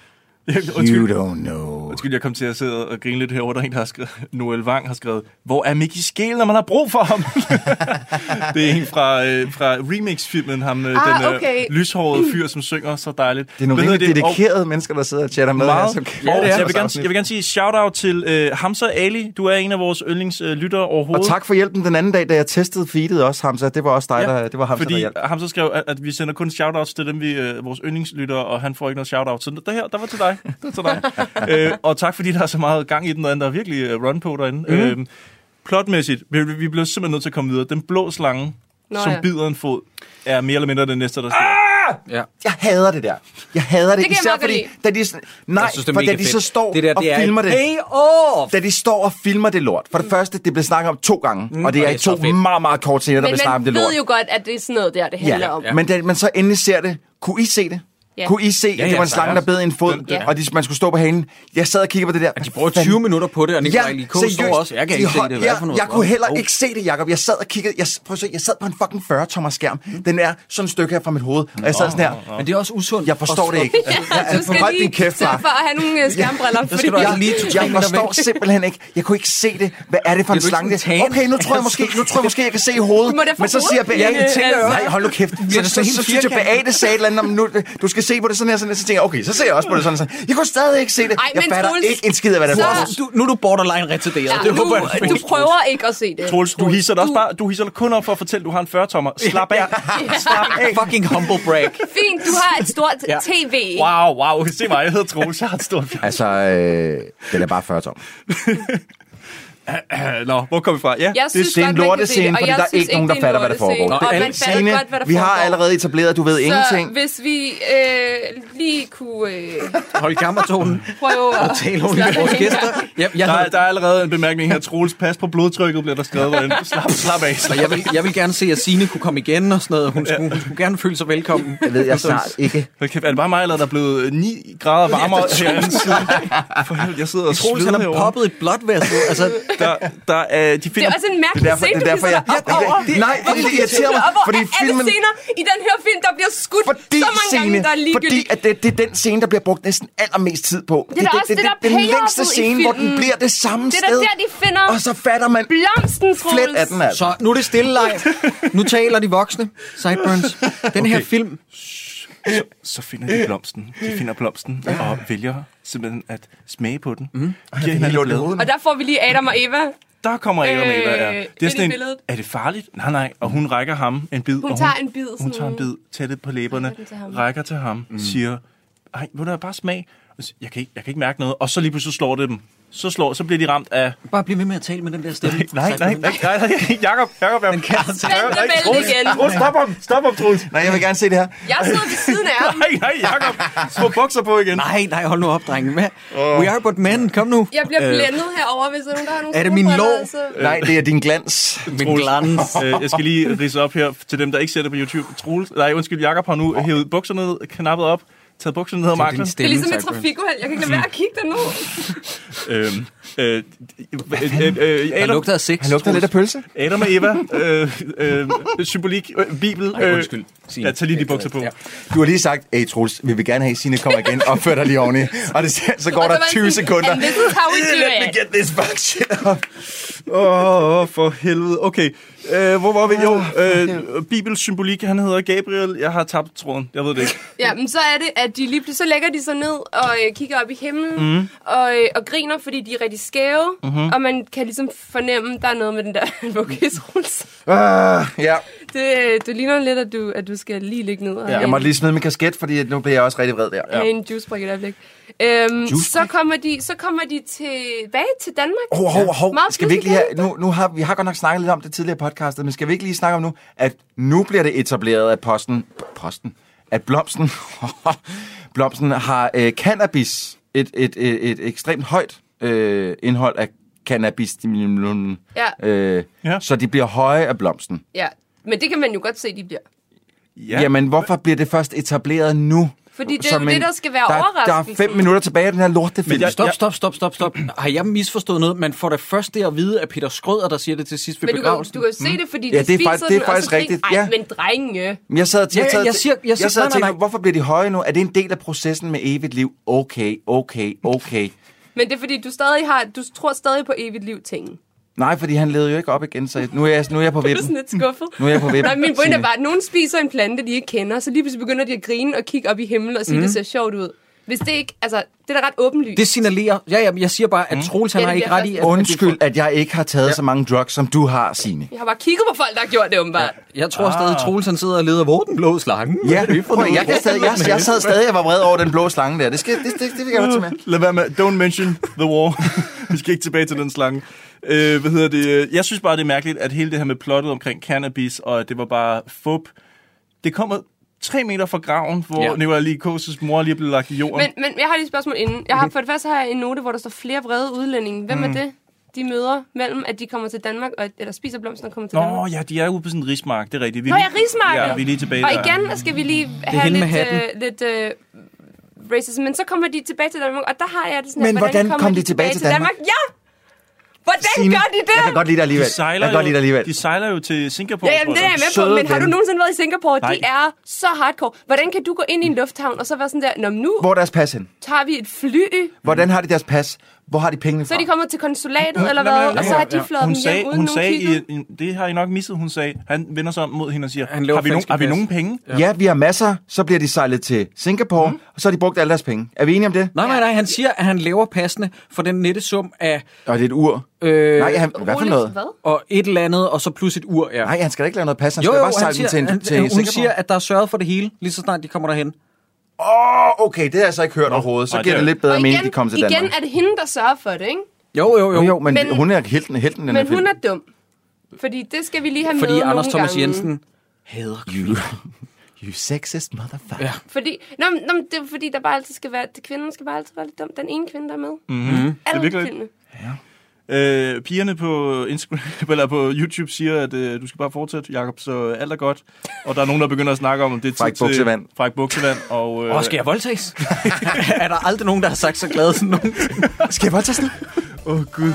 L: You don't know.
H: Undskyld, jeg kom til at sidde og grine lidt herovre, der er en, der har skrevet, Noel Wang har skrevet, hvor er Mickey Skæl, når man har brug for ham? det er en fra, øh, fra remix-filmen, ham, øh,
G: Ah,
H: den øh,
G: okay.
H: lyshårede fyr, som synger så dejligt.
L: Det er nogle
H: Hvad hedder
L: rigtig
H: Og-
L: dedikerede mennesker, der sidder og chatter med her.
H: meget.
L: Som
H: Ja, det er. Jeg, vil gerne, jeg vil gerne sige shout-out til øh, Hamza Ali. Du er en af vores yndlingslyttere øh, overhovedet.
L: Og tak for hjælpen den anden dag, da jeg testede feedet også, Hamza. Det var også dig, der, det var Hamza, der
H: Fordi
L: hjalp.
H: ham så skrev, at, at vi sender kun shoutouts til dem, vi, øh, vores yndlingslyttere, og han får ikke noget shoutout. Så der her, der var til dig. Der var til dig. øh, og tak, fordi der er så meget gang i den, og der er virkelig øh, run på derinde. Mm. Øh, plotmæssigt, vi, vi bliver simpelthen nødt til at komme videre. Den blå slange,
L: Nå,
H: Nå, som
L: ja.
H: ja. Ah, bider en fod, er mere eller mindre det næste, der sker.
F: Ja.
L: Jeg hader det der. Jeg hader det.
F: Det kan jeg
L: Især
F: meget godt
L: fordi,
F: lide.
L: da de, sådan- nej,
F: Jeg synes,
L: synes,
F: det er
L: for da
F: mega
L: de
F: fedt.
L: så står
F: Det der,
L: og
F: det er et
L: filmer det.
F: Payoff!
L: Da de står og filmer det lort. For det første, det bliver snakket om to gange. Mm, og det
F: og
L: er
F: det
L: i
F: er
L: to
F: så fedt.
L: meget, meget korte scener, der bliver
G: Men
L: snakket om
G: man
L: det lort.
G: ved jo godt, at det er sådan noget der, det handler om.
L: Men da man så endelig ser det, kunne I se det?
G: Ja.
L: Ja. Kunne I se, at
F: Ja,
L: ja, det
F: ja,
L: var en
F: så
L: slange,
F: er
L: der
F: det-
L: bed i en fod,
F: den- den-
L: og de, man skulle stå på halen? Jeg sad og kiggede på det der. De
F: bruger 20 minutter på det, og Nikolaj Likos står også. Jeg kan ikke se det. Hvad
L: Jeg,
F: for noget
L: jeg
F: lort?
L: kunne heller
F: Oh.
L: ikke se det, Jacob. Jeg sad og kiggede. Jeg, prøv at se, jeg sad på en fucking 40-tommer skærm.
F: Mm.
L: Den er sådan et stykke her fra mit hoved. Og jeg sad sådan her.
F: Men det er også usundt.
L: Jeg forstår det ikke.
G: Ja, du skal
L: Hold din
G: lige
L: kæft,
G: sørge
L: far.
G: for at have nogle øh, skærmbriller. fordi-
L: jeg forstår simpelthen ikke. Jeg kunne ikke se det. Hvad er det for en
F: Bliver du ikke
L: slange?
F: sådan
L: Det?
F: tan?
L: Okay, nu tror jeg måske, nu tror jeg måske, jeg kan se i hovedet.
F: Du må da få
L: Men så
F: hovedet.
L: siger Beate,
F: Ja,
L: til
F: altså.
L: nej, hold nu kæft.
F: Bliver
L: Så,
F: det
L: så,
F: så
L: så,
F: helt
L: så synes jeg,
F: firkantet?
L: Beate sagde et eller andet, om, nu, du skal se på det sådan her, sådan her. Så tænker jeg, okay, så ser jeg også på det sådan, sådan. Jeg kunne stadig ikke se det.
G: Ej,
L: jeg
G: men
L: fatter
G: Troels,
L: ikke en skid af, hvad der
G: så-
L: er.
F: Du, nu er du borderline retarderet.
G: Ja,
F: det håber jeg.
G: du, du prøver ikke at se det.
H: Troels, du hisser dig også bare, du hisser dig kun op for at fortælle, at du har en 40-tommer. Slap af. Slap af.
F: Fucking humble brag.
G: Fint, du har et stort
H: Ja.
G: tv.
H: Wow, wow. Se mig, jeg hedder Troels. Jeg har et stort
L: Altså, øh, den er bare 40 tom.
H: Nå, hvor kom vi fra? Ja,
G: Jeg
L: det
G: synes
L: er en
G: godt, man kan se
L: lortescene,
G: det, og
L: fordi
G: jeg
L: der er
G: synes
L: ikke nogen, der
G: ikke, det er
L: fatter,
G: en
L: hvad der foregår.
G: lortescene. Og
L: Det er
G: man fatter
L: Signe,
G: godt, hvad der
L: vi har
G: foregår.
L: allerede etableret, at du ved ingenting.
G: hvis vi øh, lige kunne øh,
F: Hold gammertonen.
G: prøve at...
F: Ja,
H: jeg der, er, der er allerede en bemærkning her. Troels, pas på blodtrykket, bliver der skrevet. derinde. Slap, slap af.
F: Så jeg vil, jeg vil gerne se, at Signe kunne komme igen og sådan noget. Hun skulle, hun skulle gerne føle sig velkommen. Altså,
L: Det ved jeg snart ikke.
H: Hold kæft, er det bare mig, eller er der blevet 9 grader varmere
F: Ja, det er
H: herinde
F: Troels.
H: siden? For helvede, jeg sidder og
F: Troels,
H: sveder
F: han har
H: herovre.
F: poppet et blåt væs. Altså,
H: der, der, øh, de
G: Det
H: finder...
G: er også en mærkelig scene, du derfor, jeg, op over.
L: nej,
G: Hvorfor
L: fordi det
G: hisser
L: irriterer
G: du
L: mig,
G: dig op over
L: fordi
G: af
L: filmen-
G: alle scener i den her film, der bliver skudt fordi, så mange gange, der er
L: fordi
G: ligegyldigt.
L: at det, det er den scene, der bliver brugt næsten allermest tid på.
G: Det er da også det, der
L: den
G: payoffet
L: længste
G: i
L: scene, hvor den
G: filmen.
L: bliver det samme
G: Det er da
L: sted.
G: der, de finder
L: Og så fatter man
G: blomsten, Troels.
L: flet af den, altså.
F: Så nu er det stille leg. Nu taler de voksne. Sideburns. Den her
H: Okay.
F: film...
H: Så, så finder de blomsten. De finder blomsten og vælger simpelthen at smage på den.
F: Mhm.
H: Mm. Og giver hende blad.
G: Og der får vi lige Adam og Eva.
H: Der kommer Adam øh, Eva, ja.
G: ind i
H: en,
G: billedet.
H: er det farligt? Nej, nej. Og hun rækker ham en bid.
G: Hun
H: og
G: tager en bid, sådan-
H: Hun tager en bid, tættet på læberne,
G: Rækker den til ham.
H: rækker til ham,
F: Mhm.
H: mm. siger, ej, må du bare smag? Og siger, Jeg kan, ikke, jeg kan ikke mærke noget. Og så lige pludselig slår det dem. Så, slår, så bliver de ramt af...
F: Bare bliv ved med at tale med den der stemme.
H: Nej, nej, nej, nej, nej, Jakob, Jakob, jeg... Den kan
G: igen.
H: oh, stop ham, stop ham, Troels.
L: Nej, jeg vil gerne se det her.
G: Jeg sidder ved siden af ham.
H: Nej, nej, Jacob. Små bukser på igen.
F: Nej, nej, hold nu op, drenge. Hvad? We are but men. Kom nu. Øh,
G: Jeg bliver blændet herover, hvis der er nogen, der har nogle
F: er det min
G: solbriller,
F: lår?
G: så-
L: Nej, det er din glans.
F: Min glans.
H: Øh, jeg skal lige rise op her til dem, der ikke ser det på YouTube. Troels, nej, undskyld, Jakob har nu hævet bukser ned, knappet op, taget bukserne ned og
F: Det er
H: maklen.
F: din
G: Det er ligesom et trafikuheld. Jeg kan ikke lade være at kigge derned.
H: Øhm, øh, øh, øh,
F: Han lugter af sex.
L: Han lugter lidt af pølse.
H: Adam og Eva, øh, øh, symbolik, øh, bibel.
L: Ej, undskyld,
H: Øh, jeg tager lige de bukser på.
L: Du har lige sagt, hey Troels, vi vil gerne have, at Signe kommer igen og fører dig lige oveni. Og det, så går
H: Og så
L: der
H: var jeg
L: 20
H: sådan,
L: sekunder.
H: "And this is how we do
L: Let me
H: it."
L: get this fuck shit up.
H: Åh, oh, for helvede. Okay, øh, hvor var vi? Jo, øh, bibels symbolik, han hedder Gabriel. Jeg har tabt tråden, jeg ved det ikke.
G: Ja, men så er det, at de lige pludselig, så lægger de sig ned og øh, kigger op i himlen
H: Mhm.
G: mm. og, øh, og griner, fordi de er rigtig skæve.
H: Mhm.
G: Mm-hmm. Og man kan ligesom fornemme, at der er noget med den der vokisruls.
L: Uh, ja.
G: Det, det ligner lidt, at du, at du skal lige ligge ned og
L: ja.
G: have
L: Jeg
G: en-
L: måtte lige smide min kasket, fordi nu bliver jeg også rigtig vred der.
G: have en juicebrik i et øjeblik. Øhm,
L: Juicebrik?
G: så, kommer de, så kommer de tilbage til Danmark.
L: Hov, hov, hov.
G: Meget
L: Skal vi ikke lige
G: pludselig
L: have, nu, nu har, vi har godt nok snakket lidt om det tidligere i podcastet, men skal vi ikke lige snakke om nu, at nu bliver det etableret, at posten, posten, at blomsten, blomsten har øh, cannabis, et, et, et, et ekstremt højt øh, indhold af cannabis.
G: Ja.
L: Øh, ja. Så de bliver høje af blomsten.
G: Ja, men det kan man jo godt se, de bliver.
L: Ja. Jamen, hvorfor bliver det først etableret nu?
G: Fordi det er
L: Som
G: jo det,
L: en-
G: der skal være
L: der, der er
G: overraskelsen.
L: fem minutter tilbage af den her lortefilm.
F: Men stop, stop, stop, stop, stop. Har jeg misforstået noget? Man får da først det at vide af Peter Skrøder, der siger det til sidst ved
G: Men du kan,
F: begravelsen.
G: du kan jo se det, fordi
L: Mhm. Ja,
G: de
L: det er
G: spiser
L: fakt- det er
G: den, og
L: faktisk
G: så tænker,
L: rigtigt,
G: Ej,
L: ja.
G: men drenge.
L: Men Jeg sad og
F: Ja,
L: tænkte,
F: jeg siger- jeg siger-
L: jeg sad og
F: nej, nej,
L: tænkte, hvorfor bliver de høje nu? Er det en del af processen med evigt liv? Okay, okay, okay.
G: Men det er fordi, du stadig har, du tror stadig på evigt liv tingen.
L: Nej, fordi han levede jo ikke op igen, så nu er jeg, nu er jeg på
G: Du er sådan
L: vippen.
G: lidt skuffet.
L: Nu er jeg på vippen,
G: Nej, min pointe er
L: Signe.
G: bare, at nogen spiser en plante, de ikke kender, så lige pludselig begynder de at grine og kigge op i himlen og sige,
F: Mhm.
G: mm. det ser sjovt ud. Hvis det ikke, altså, det er da ret åbenlyst.
F: Det signalerer... Ja, ja, men jeg siger bare,
L: Mm.
F: at Troels, han
G: Ja, det
F: har ikke
G: bliver
F: ret i... At,
L: Undskyld, at jeg ikke har taget så mange drugs, som du har, Signe.
G: Jeg har bare kigget på folk, der har gjort det, åbenbart.
F: Jeg tror stadig, at Troels han sidder og leder, hvor er den blå slange?
L: Ah. Ja,
F: Hvad er det for
L: prøv,
F: noget?
L: jeg, kan stadig, jeg, jeg sad stadig og var vred over den blå slange der. Det, skal, det, det, det vil jeg godt tage med.
H: Lad være med. Don't mention the war. Vi skal ikke tilbage til den slange. Øh, hvad hedder det? Jeg synes bare, det er mærkeligt, at hele det her med plottet omkring cannabis, og at det var bare fup. Det kommer tre meter fra graven, hvor
G: Ja.
H: ja. Nicolai Kåses mor lige er blevet lagt i jorden.
G: Men, men jeg har lige et spørgsmål inden. Jeg har, for det første har jeg en note, hvor der står flere vrede udlændinge. Hvem
L: Mhm.
H: Mm.
G: er det, de møder mellem, at de kommer til Danmark, og, eller spiser blomster og kommer til
H: Nå,
G: Danmark?
H: ja, de er ude på sådan en rismark, det er rigtigt.
G: Nå, jeg rigsmarked.
H: Ja, vi er lige tilbage
G: Og
H: der.
G: igen skal vi lige
H: er
G: have
H: hende med
G: lidt,
H: hatten.
G: øh, lidt øh, racism. Men så kommer de tilbage til Danmark, og der har jeg det sådan,
L: Men
G: her,
L: hvordan kom de tilbage til
G: Ja! Hvordan
L: Signe,
G: gør de det?
L: jeg kan godt lide dig alligevel.
H: De sejler,
L: Jeg kan godt lide dig
H: alligevel. De sejler jo til Singapore,
G: Ja, jamen, det
H: tror
G: er jeg med på, men har du nogensinde været i Singapore?
H: Nej.
G: De er så hardcore. Hvordan kan du gå ind i en lufthavn, og så være sådan der, Nå, men nu
L: Hvor er deres pas hen?
G: tager vi et fly,
L: Hvordan har de deres pas? Hvor har de pengene
G: Så
L: fra?
G: er de kommet til konsulatet, eller
H: Nå, men-
G: hvad? Og så har de flået dem
H: hun
G: hjem
H: sagde,
G: uden
H: hun
G: nogen
H: sagde
G: kigge.
H: i, i, det har I nok misset, hun sagde. Han vender sig om mod hende og siger,
L: laver
H: har vi, nogen,
L: falske
H: har vi
L: pas."
H: nogen penge?
L: Ja, vi har masser. Så bliver de sejlet til Singapore, og så har de brugt alle deres penge. Er vi enige om det?
F: Nej, nej, nej, han siger, at han laver passende for den nette sum af...
L: Og det er et ur.
F: Øh,
L: Nej, han- hvad for noget? Hvad?
F: Og et eller andet, og så plus et ur, ja.
L: Nej, han skal da ikke lave noget pas. Han skal bare sejle den til, en- til
F: øh, hun
L: Singapore.
F: siger, at der er sørget for det hele, lige så snart de kommer derhen.
L: Åh, oh, okay, det har jeg så ikke hørt overhovedet. Så
F: nej,
L: giver
F: det
L: det
F: er-
L: lidt bedre
G: Og
L: mening,
G: igen-
L: de kommer til
G: Igen
L: Danmark.
G: er det hende, der sørger for det, ikke?
F: Jo, jo,
L: jo. jo men,
G: Men-
L: men hun er helten, helten i den
G: Men
L: her film.
G: hun er dum. Fordi det skal vi lige have
L: Fordi
G: med
L: Anders
G: nogle
L: Thomas
G: gange.
L: Jensen-
F: Hader
L: You, you sexist motherfucker. Ja.
G: Fordi, nå, men- nå, men det er fordi, der bare altid skal være... Kvinden skal bare altid være lidt dum. Den ene kvinde, der er med.
L: Mhm.
H: Mm-hmm.
G: Alle kvinderne.
H: Øh, pigerne på, Instagram, eller på YouTube siger, at øh, du skal bare fortsætte, Jakob, så alt er godt. Og der er nogen, der begynder at snakke om, at det er
L: Fræk
H: tid til
L: buksevand.
H: fræk buksevand. Og, øh,
F: Åh, skal jeg voldtages? er der aldrig nogen, der har sagt så glade sådan nogen?
L: skal jeg voldtages nu?
H: Åh, oh, Gud.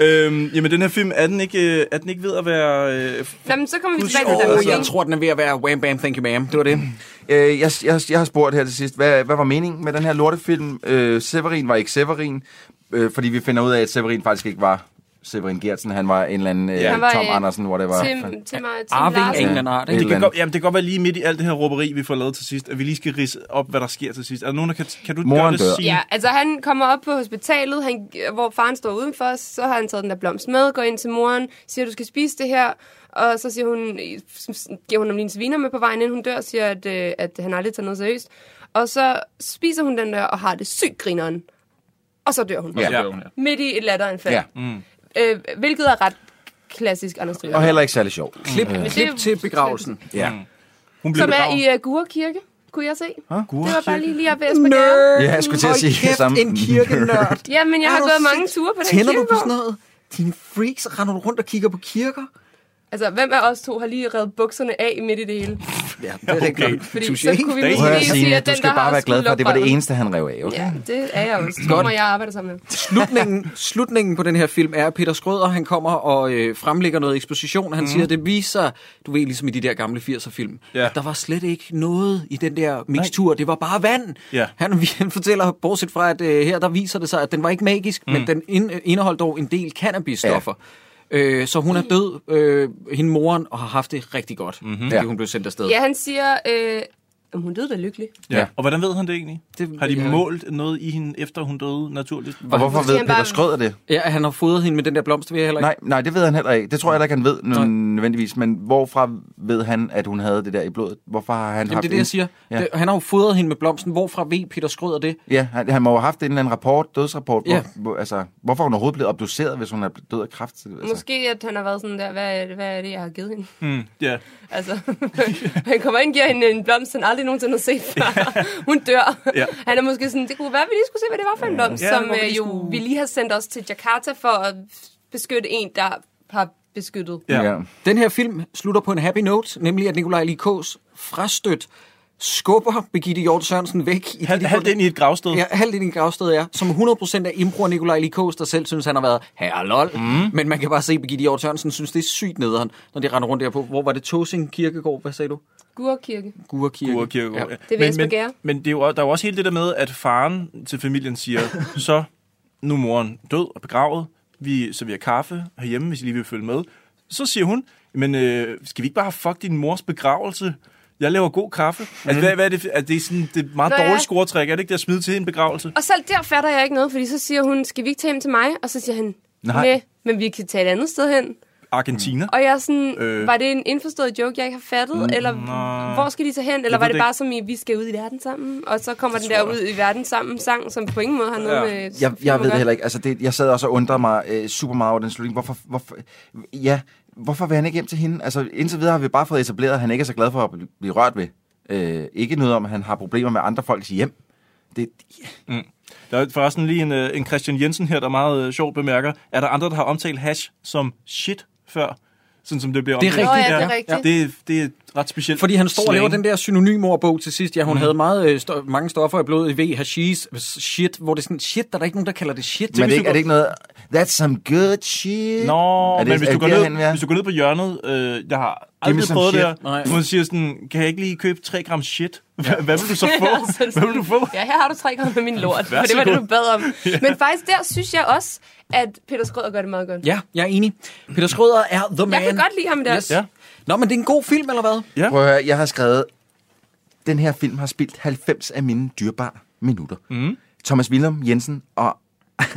H: Øhm, jamen, den her film, er den ikke, øh, er den ikke ved at være... Øh,
G: Nå, men så kommer vi tilbage til
H: Åh,
G: den.
H: jeg
G: ikke?
F: Altså, tror, den er ved at være wham bam, thank you ma'am. Det var det.
L: Øh, jeg, jeg, jeg har spurgt her til sidst, hvad, hvad var meningen med den her lortefilm? Øh, Severin var ikke Severin, øh, fordi vi finder ud af, at Severin faktisk ikke var Severin Gertsen. Han var en eller anden øh,
G: Han var,
L: Tom
G: øh,
L: Andersen, whatever.
G: Tim, Tim, Tim
L: Arving af en eller anden art,
H: art.
L: ikke?
H: Det
L: Et
H: kan,
L: eller
H: godt, jamen, det kan godt være lige midt i alt det her råberi, vi får lavet til sidst, at vi lige skal rise op, hvad der sker til sidst. Er der nogen, der kan, kan du
L: Moren
H: gøre det?
L: dør.
H: Signe?
G: Ja, altså han kommer op på hospitalet, han, hvor faren står udenfor, så har han taget den der blomst med, går ind til moren, siger, du skal spise det her, og så siger hun, giver hun ham lige en sviner med på vejen, inden hun dør, siger, at, øh, at han aldrig tager noget seriøst. Og så spiser hun den der, og har det sygt grineren. Og så dør
L: Ja.
G: hun.
L: Og så dør hun, ja.
G: Midt i et latteranfald.
L: Ja.
G: Ja.
L: Mm.
G: Øh, hvilket er ret klassisk, Anders Trier.
L: Og heller ikke særlig sjov.
F: Klip,
L: Øh,
F: klip til begravelsen.
L: Ja.
H: Hun
G: Som er i uh, Gure Kirke, kunne jeg se.
L: Huh?
G: Det var bare lige lige at være Nerd!
L: Ja, jeg skulle til at
F: Hold
L: sige
F: kæft,
L: samme.
F: en kirkenørd.
G: Ja, men jeg
F: Er
G: har
F: du
G: gået mange
F: sindssyg?
G: ture på den
F: Tænder du på
G: kirkegård.
F: sådan noget? Dine freaks, render du rundt og kigger på kirker?
G: Altså, hvem af os to har lige reddet bukserne af midt i det hele?
F: Ja, det
L: er
F: okay.
L: rigtig
F: rigtigt.
L: godt.
G: Fordi så kunne vi måske
L: Prøv at
G: lige sige,
L: sige,
G: at
L: du
G: den,
L: skal
G: der har
L: bare være glad for, at det var det
G: skulderbåndet.
L: eneste, han rev af, okay?
G: Ja, det er jeg også. Tror
F: Godt.
G: mig, jeg arbejder sammen med.
F: Slutningen, slutningen på den her film er, at Peter Skrøder han kommer og øh, fremlægger noget eksposition. Han mm.
A: Mhm.
F: siger, det viser, du ved, ligesom i de der gamle 80'er-film, ja. at der var slet ikke noget i den der mixtur. Nej. Det var bare vand.
A: Ja.
F: Han, han fortæller, bortset fra, at øh, her der viser det sig, at den var ikke magisk, mm.
A: Mm.
F: men den ind, indeholdt dog en del cannabisstoffer. Ja. Øh, så hun er død, øh, hende moren, og har haft det rigtig godt, mm-hmm. fordi
H: Ja.
F: hun blev sendt afsted.
G: Ja, han siger, øh, Altså. om hun døde da lykkelig.
H: Ja. Og hvordan ved Mm. han det egentlig?
F: Det,
H: har de
F: ja.
H: målt noget i hende, efter hun døde, naturligt?
L: Skrøder det?
F: Ja, at han har fodret hende med den der blomst, ved jeg heller ikke.
L: Nej, nej, det ved han heller ikke. Det tror jeg heller ikke, han ved nø- nødvendigvis. Men hvorfra ved han, at hun havde det der i blodet? Hvorfor har han
F: Jamen,
L: haft
F: det er det, jeg
L: en-
F: siger. Ja.
L: Ja.
F: Det, han har jo fodret hende med blomsten. Hvorfra ved Peter Skrøder det?
L: Ja, han, han må jo have haft en eller anden rapport, dødsrapport. Hvor,
F: Ja.
L: hvor, altså, hvorfor er hun overhovedet blevet obduceret, hvis hun er død af kræft? Altså.
G: Måske, at han har været sådan der, hvad er det, hvad er det jeg har givet hende?
H: Mm, yeah.
G: Altså, han kommer ind og giver hende en blomst, han aldrig nogensinde har set før. Hun dør.
H: Ja.
G: Han er måske sådan, det kunne være, vi lige skulle se, hvad det var for en blomst,
H: Ja,
G: som
H: det var, vi
G: øh,
H: lige
G: jo vi lige har sendt os til Jakarta for at beskytte en, der har beskyttet.
F: Ja. Den her film slutter på en happy note, nemlig at Nikolaj Likås frastødt skubber Birgitte Hjort Sørensen væk. I
H: Halvt- halvt ind i et gravsted.
F: Ja, halvt ind i et gravsted, ja. Som 100% er imbro af Nikolaj Likås, der selv synes, han har været herre lol.
H: Mhm.
F: Mm. Men man kan bare se, at Birgitte Hjort Sørensen synes, det er sygt nederen, når de render rundt der på. Hvor var det Tosing Kirkegård? Hvad sagde du?
G: Gurkirke.
F: Gurkirke.
H: Gurkirke. Ja.
G: Det vil Jesper
H: men,
G: Gære.
H: men det er jo, der er jo også hele det der med, at faren til familien siger, så nu er moren død og begravet, vi serverer kaffe herhjemme, hvis I lige vil følge med. Så siger hun, men øh, skal vi ikke bare fuck din mors begravelse? Jeg laver god kaffe. Mm. Altså, hvad, hvad er det? for- Er det sådan, det er et meget
G: Nå, ja.
H: dårligt scoretræk? Er det ikke det at smide til en begravelse?
G: Og selv der fatter jeg ikke noget, fordi så siger hun, skal vi ikke tage hjem til mig? Og så siger han,
H: Nej.
G: nej, Næ, men vi kan tage et andet sted hen.
H: Argentina?
G: Og jeg er sådan,
H: Øh.
G: øh. var det en indforstået joke, jeg ikke har fattet?
H: Mm,
G: eller
H: nej.
G: hvor skal de så hen?
H: Jeg ved
G: Eller var det
H: det
G: bare
H: ikke.
G: som i, vi skal ud i verden sammen? Og så kommer
H: Det
G: den der
H: tror jeg.
G: ud i verden sammen sang, som på ingen måde har noget
L: Ja.
G: med...
L: Jeg, jeg ved det
G: filmen
L: heller ikke. Altså, det, jeg sad også og undrede mig øh, super meget over den slutning. Hvorfor, hvorfor, ja, hvorfor vil han ikke hjem til hende? Altså, indtil videre har vi bare fået etableret, at han ikke er så glad for at bl- blive rørt ved. Øh, ikke noget om, at han har problemer med andre folks hjem. Det,
H: Mm. Der er forresten lige en, øh, en Christian Jensen her, der meget øh, sjovt bemærker. Er der andre, der har omtalt hash som shit før? Sådan som det bliver
F: Det er
H: omtalt.
F: rigtigt, Nå ja, det er rigtigt.
H: Det, er- det er ret specielt.
F: Fordi han står og laver
H: slang.
F: den der synonymordbog til sidst. Ja, hun mm.
H: Mhm.
F: havde meget, øh, sto- mange stoffer i blodet i V, hashish, shit, hvor det er sådan, shit, der er der ikke nogen, der kalder det shit.
L: men er det, ikke, er det ikke noget, that's some good shit?
H: Nå,
L: er det,
H: men hvis
L: er
H: du, går
L: det
H: ned,
L: derhen, vi er?
H: hvis du går ned på hjørnet, øh, jeg har
L: Give me
H: aldrig
L: some
H: prøvet det
L: shit.
H: her.
L: Nej.
H: Hun siger sådan, kan jeg ikke lige købe 3 gram shit? Hvad, hvad vil du så få?
G: Ja, så er det
H: hvad vil
G: sådan,
H: du få?
G: Ja, her har du tre gange med min lort,
H: Vær
G: for det
H: så
G: var det,
H: god.
G: du bad om. Men faktisk der synes jeg også, at Peter Skrøder gør det meget godt.
F: Ja, jeg er enig. Peter Skrøder er the man.
G: Jeg kan godt lide ham der.
F: Yes. Ja. Nå, men det er en god film, eller hvad?
H: Ja.
L: Prøv at høre, jeg har skrevet, den her film har spildt 90 af mine dyrbare minutter.
H: Mm.
L: Thomas Willum Jensen og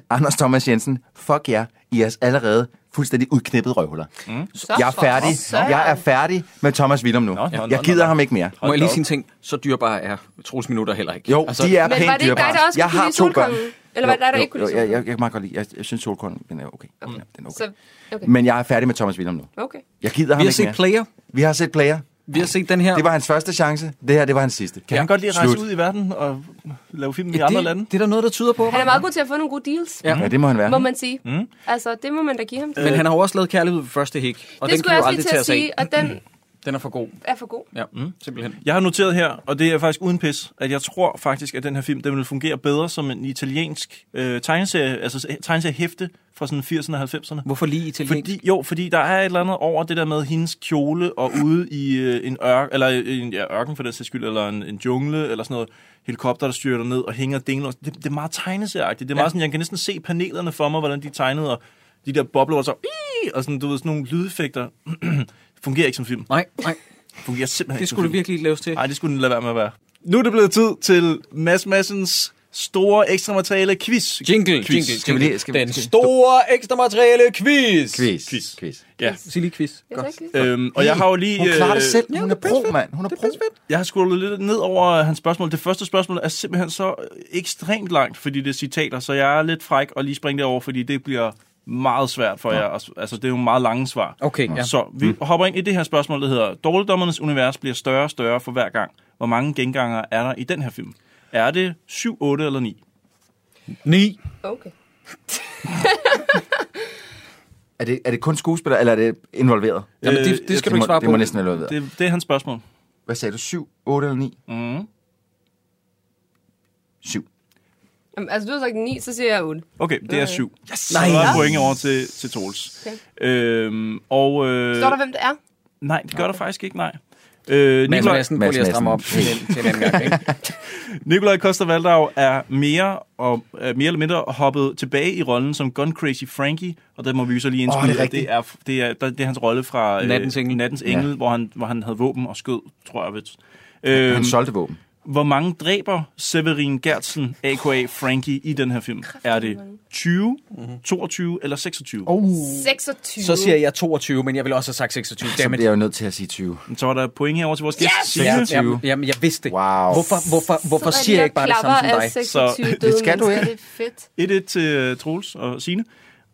L: Anders Thomas Jensen, fuck jer, I er allerede fuldstændig udknippet røvhuller. Mm.
F: Så
L: Jeg er
F: for
L: færdig.
F: søren.
L: Jeg er færdig med Thomas Willum nu.
F: nå, nå,
L: Jeg gider ham ikke mere.
F: Må jeg lige sige en ting? Så dyrbare er Troels Minutter heller ikke. Altså,
L: Jo, de er
G: Men
L: pænt
G: var det ikke dig,
L: dyrebare.
G: der også
L: Jeg
G: kunne
L: har
G: lide
L: to børn.
G: Solkongen? Eller var det dig, der
L: jo,
G: ikke kunne
L: jo,
G: lide
L: jeg, jeg, jeg kan meget godt lide. Jeg, jeg synes solkongen, den er okay. Den er, den er okay.
G: Så, okay.
L: Men jeg er færdig med Thomas Willum nu.
G: Okay.
L: Jeg gider ham
F: Vi har
L: ikke
F: set
L: mere.
F: Player.
L: Vi har set Player.
F: Vi har set den her.
L: Det var hans første chance. Det her, det var hans sidste.
H: Kan han godt lige rejse ud i verden og lave film
L: Ja,
H: i andre
L: det-
H: lande?
F: Det er der noget, der tyder på.
G: Han er meget god til at få nogle gode deals.
F: Ja. Ja, det må han være.
G: Må man sige.
F: Mm.
G: Altså, det må man da give ham.
F: Men han har jo også lavet Kærlighed ved første hik. Og
G: det
F: den
G: skulle
F: kan
G: jeg
F: jo
G: også lige
F: aldrig
G: til
F: tage
G: at
F: os af.
G: sige, og den
F: Den er for god.
G: er for god.
F: Ja, mm. simpelthen.
H: Jeg har noteret her, og det er faktisk uden pis, at jeg tror faktisk, at den her film, den vil fungere bedre som en italiensk øh, tegneserie, altså tegneseriehæfte fra sådan 80'erne og 90'erne.
F: Hvorfor lige italiensk?
H: Fordi, jo, fordi der er et eller andet over det der med hendes kjole og ude i øh, en ørken, eller en ja, ørken for den sags skyld, eller en, en jungle, eller sådan noget helikopter, der styrter ned og hænger dingler. Det, det er meget tegneserieagtigt. Det er meget
F: Ja.
H: sådan, jeg kan næsten se panelerne for mig, hvordan de tegnede, og de der bobler, og så, "Ii!" og sådan, du ved, sådan nogle lydeffekter. fungerer ikke som film.
F: Nej, nej.
H: Fungerer simpelthen
F: Det skulle det virkelig laves til.
H: Nej, det skulle den lade være med at være. Nu er det blevet tid til Mads Massens store ekstra materiale quiz.
F: Jingle,
H: quiz.
F: jingle, Skal vi lige- skal vi- Den skal vi- store ekstra materiale quiz. Quiz.
H: Quiz.
L: quiz.
H: Ja.
F: Sig lige quiz.
G: Godt.
H: Øhm, og jeg har jo lige...
L: Hun klarer det
H: øh,
L: selv. Hun er pro, mand. Hun er pro.
H: Jeg har scrollet lidt ned over hans spørgsmål. Det første spørgsmål er simpelthen så øh, ekstremt langt, fordi det er citater, så jeg er lidt fræk og lige springe derover, fordi det bliver meget svært for jer. Altså, det er jo meget lange svar.
F: Okay, ja. Mm.
H: Så vi hopper ind i det her spørgsmål, der hedder, Dårligdommernes univers bliver større og større for hver gang. Hvor mange genganger er der i den her film? Er det 7, 8 eller 9?
F: 9.
G: Okay.
L: Er det, er det kun skuespiller, eller er det involveret?
H: Jamen, det- det skal du
L: må,
H: ikke svare
L: Det
H: på.
L: må næsten være involveret.
H: Det, det er hans spørgsmål.
L: Hvad sagde du? 7, 8 eller 9?
H: Mm.
L: 7.
G: Jamen, altså, du har sagt 9, så siger jeg 8.
H: Okay, det er 7.
G: Yes.
H: Så der er point over til, til Troels.
F: Øh,
G: Okay.
H: Øhm, og, øh,
G: Står der, hvem det er?
H: Nej, det gør der faktisk ikke, nej. Øh,
F: Mads Madsen, prøv lige at stramme op
H: Madsen.
F: til en- til en anden gang,
H: Nikolaj Koster-Valdau er mere, og, er mere eller mindre hoppet tilbage i rollen som Gun Crazy Frankie, og der må vi jo så lige
F: Åh, det er
H: indspille, at
F: rigtigt.
H: det er, det er, der- det er hans rolle fra øh,
F: Nattens Engel.
H: Nattens Engel
F: Ja.
H: hvor, han, hvor han havde våben og skød, tror jeg. Ved.
L: Øh,
H: Øhm,
L: han solgte våben.
H: Hvor mange dræber Severin Gertsen, a.k.a. Frankie, i den her film? Er det 20,
F: Mhm.
H: 22 eller 26?
F: Oh.
G: 26.
F: Så siger jeg 22, men jeg ville også have sagt 26.
H: Så
F: Dammit.
H: bliver
L: Ah, jeg jo nødt til at sige 20.
H: Så var der point herover til vores gæst.
F: Yes!
H: Signe.
F: Ja, jamen, jamen, jeg vidste det. Wow. Hvorfor, hvorfor, hvorfor siger jeg ikke bare det samme som dig?
H: det skal du
G: ikke. Det
H: ikke.
G: er fedt.
H: Et et til uh, Troels og Sine.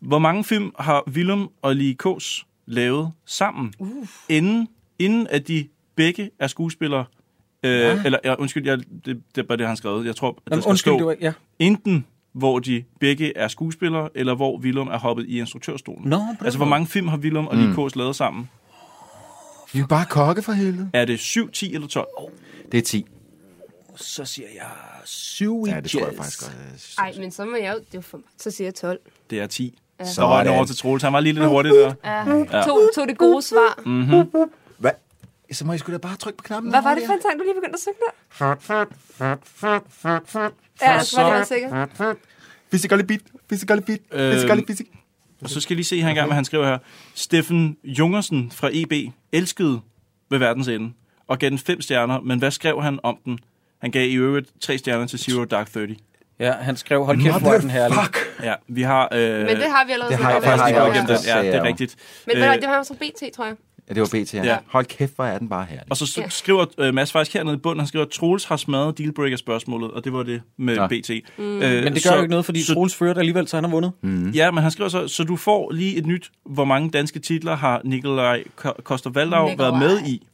H: Hvor mange film har Willem og Lee Kås lavet sammen,
G: Uh.
H: inden, inden at de begge er skuespillere? Øh, ja. Eller, ja, undskyld, jeg, det, det er bare det, han skrev. Jeg tror, at der
F: Jamen,
H: skal
F: undskyld,
H: stå,
F: det var- ja.
H: enten hvor de begge er skuespillere, eller hvor Willem er hoppet i instruktørstolen.
F: Nå,
L: den
H: altså, hvor
L: måde.
H: mange film har Willem og Lee
L: Mm.
H: Kås lavet sammen?
L: Vi er jo bare kokke for helvede.
H: Er det 7, 10 eller 12?
L: Det er 10.
F: Så siger jeg 7
L: Ja, det tror jeg faktisk godt.
G: Ej, men så må jeg jo... Det er jo for mig. Så siger jeg 12.
H: Det er 10.
G: Ja.
H: Så var det
L: Sådan.
H: over til Troels. Han var lige lidt
F: Uhuh.
H: hurtig der.
G: Ja. To, to det gode svar.
F: Mm.
H: Mhm.
L: Hvad? Så må I sgu da bare trykke på knappen.
G: Hvad var det for en sang, du lige begyndte at synge der? Ja, altså, var det også sikkert.
L: Fisikali beat, fisikali beat,
H: Øhm,
L: fisikali fisik.
H: Og så skal jeg lige se her engang, hvad han skriver her. Steffen Jungersen fra EB elskede ved verdens ende og gav den fem stjerner, men hvad skrev han om den? Han gav i øvrigt tre stjerner til Zero Dark Thirty.
F: Ja, han skrev, hold kæft, hvor er den herlig.
H: Ja, vi har... Øh,
G: Men det har vi allerede
H: Det
G: snakket
H: har jeg
G: om.
H: faktisk
L: Det
H: lige
L: har
H: gået
L: jeg
H: igennem den.
L: også,
H: Ja,
L: ja,
H: det er
L: ja.
H: rigtigt.
G: Men
H: Øh,
G: øh, det var jo som BT, tror jeg.
L: Ja, det var BT, ja.
H: Ja.
L: Hold kæft, hvor er den bare herlig.
H: Og så s- skriver øh, Mads faktisk hernede i bunden, han skriver, Troels har smadret dealbreaker-spørgsmålet, og det var det med
F: Nå.
H: BT.
F: Mm. Men det gør
H: så-
F: jo ikke noget, fordi
H: så-
F: Troels fører det alligevel, så han har vundet.
H: Mm. Ja, men han skriver så, så du får lige et nyt, hvor mange danske titler har Nikolaj Koster Valdau været med i?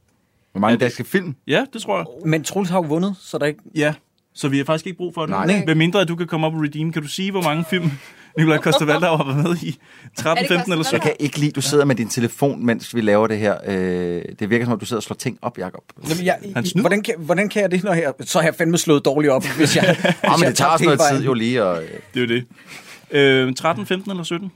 L: Hvor mange danske film?
H: Ja, det tror jeg.
F: Men Troels har jo vundet, så der er ikke...
H: Ja, så vi har faktisk ikke brug for det.
F: Nej. Nej.
H: Hvad mindre at du kan komme op og redeem, kan du sige, hvor mange film Nikolaj Koster Valdau har været med i? 13, 15 eller 17?
L: Jeg kan ikke lide, du sidder med din telefon, mens vi laver det her. Øh, det virker som om, du sidder og slår ting op, Jacob.
F: Jamen, jeg, hvordan, kan, hvordan kan jeg det, når jeg... Så har jeg fandme slået dårligt op, hvis jeg... hvis
L: Ja, men
F: jeg
L: det tager
F: tabte
L: også noget
F: hele
L: tid jo
F: vejen.
L: lige. Og,
H: Det er jo det. Øh, 13, 15 eller 17?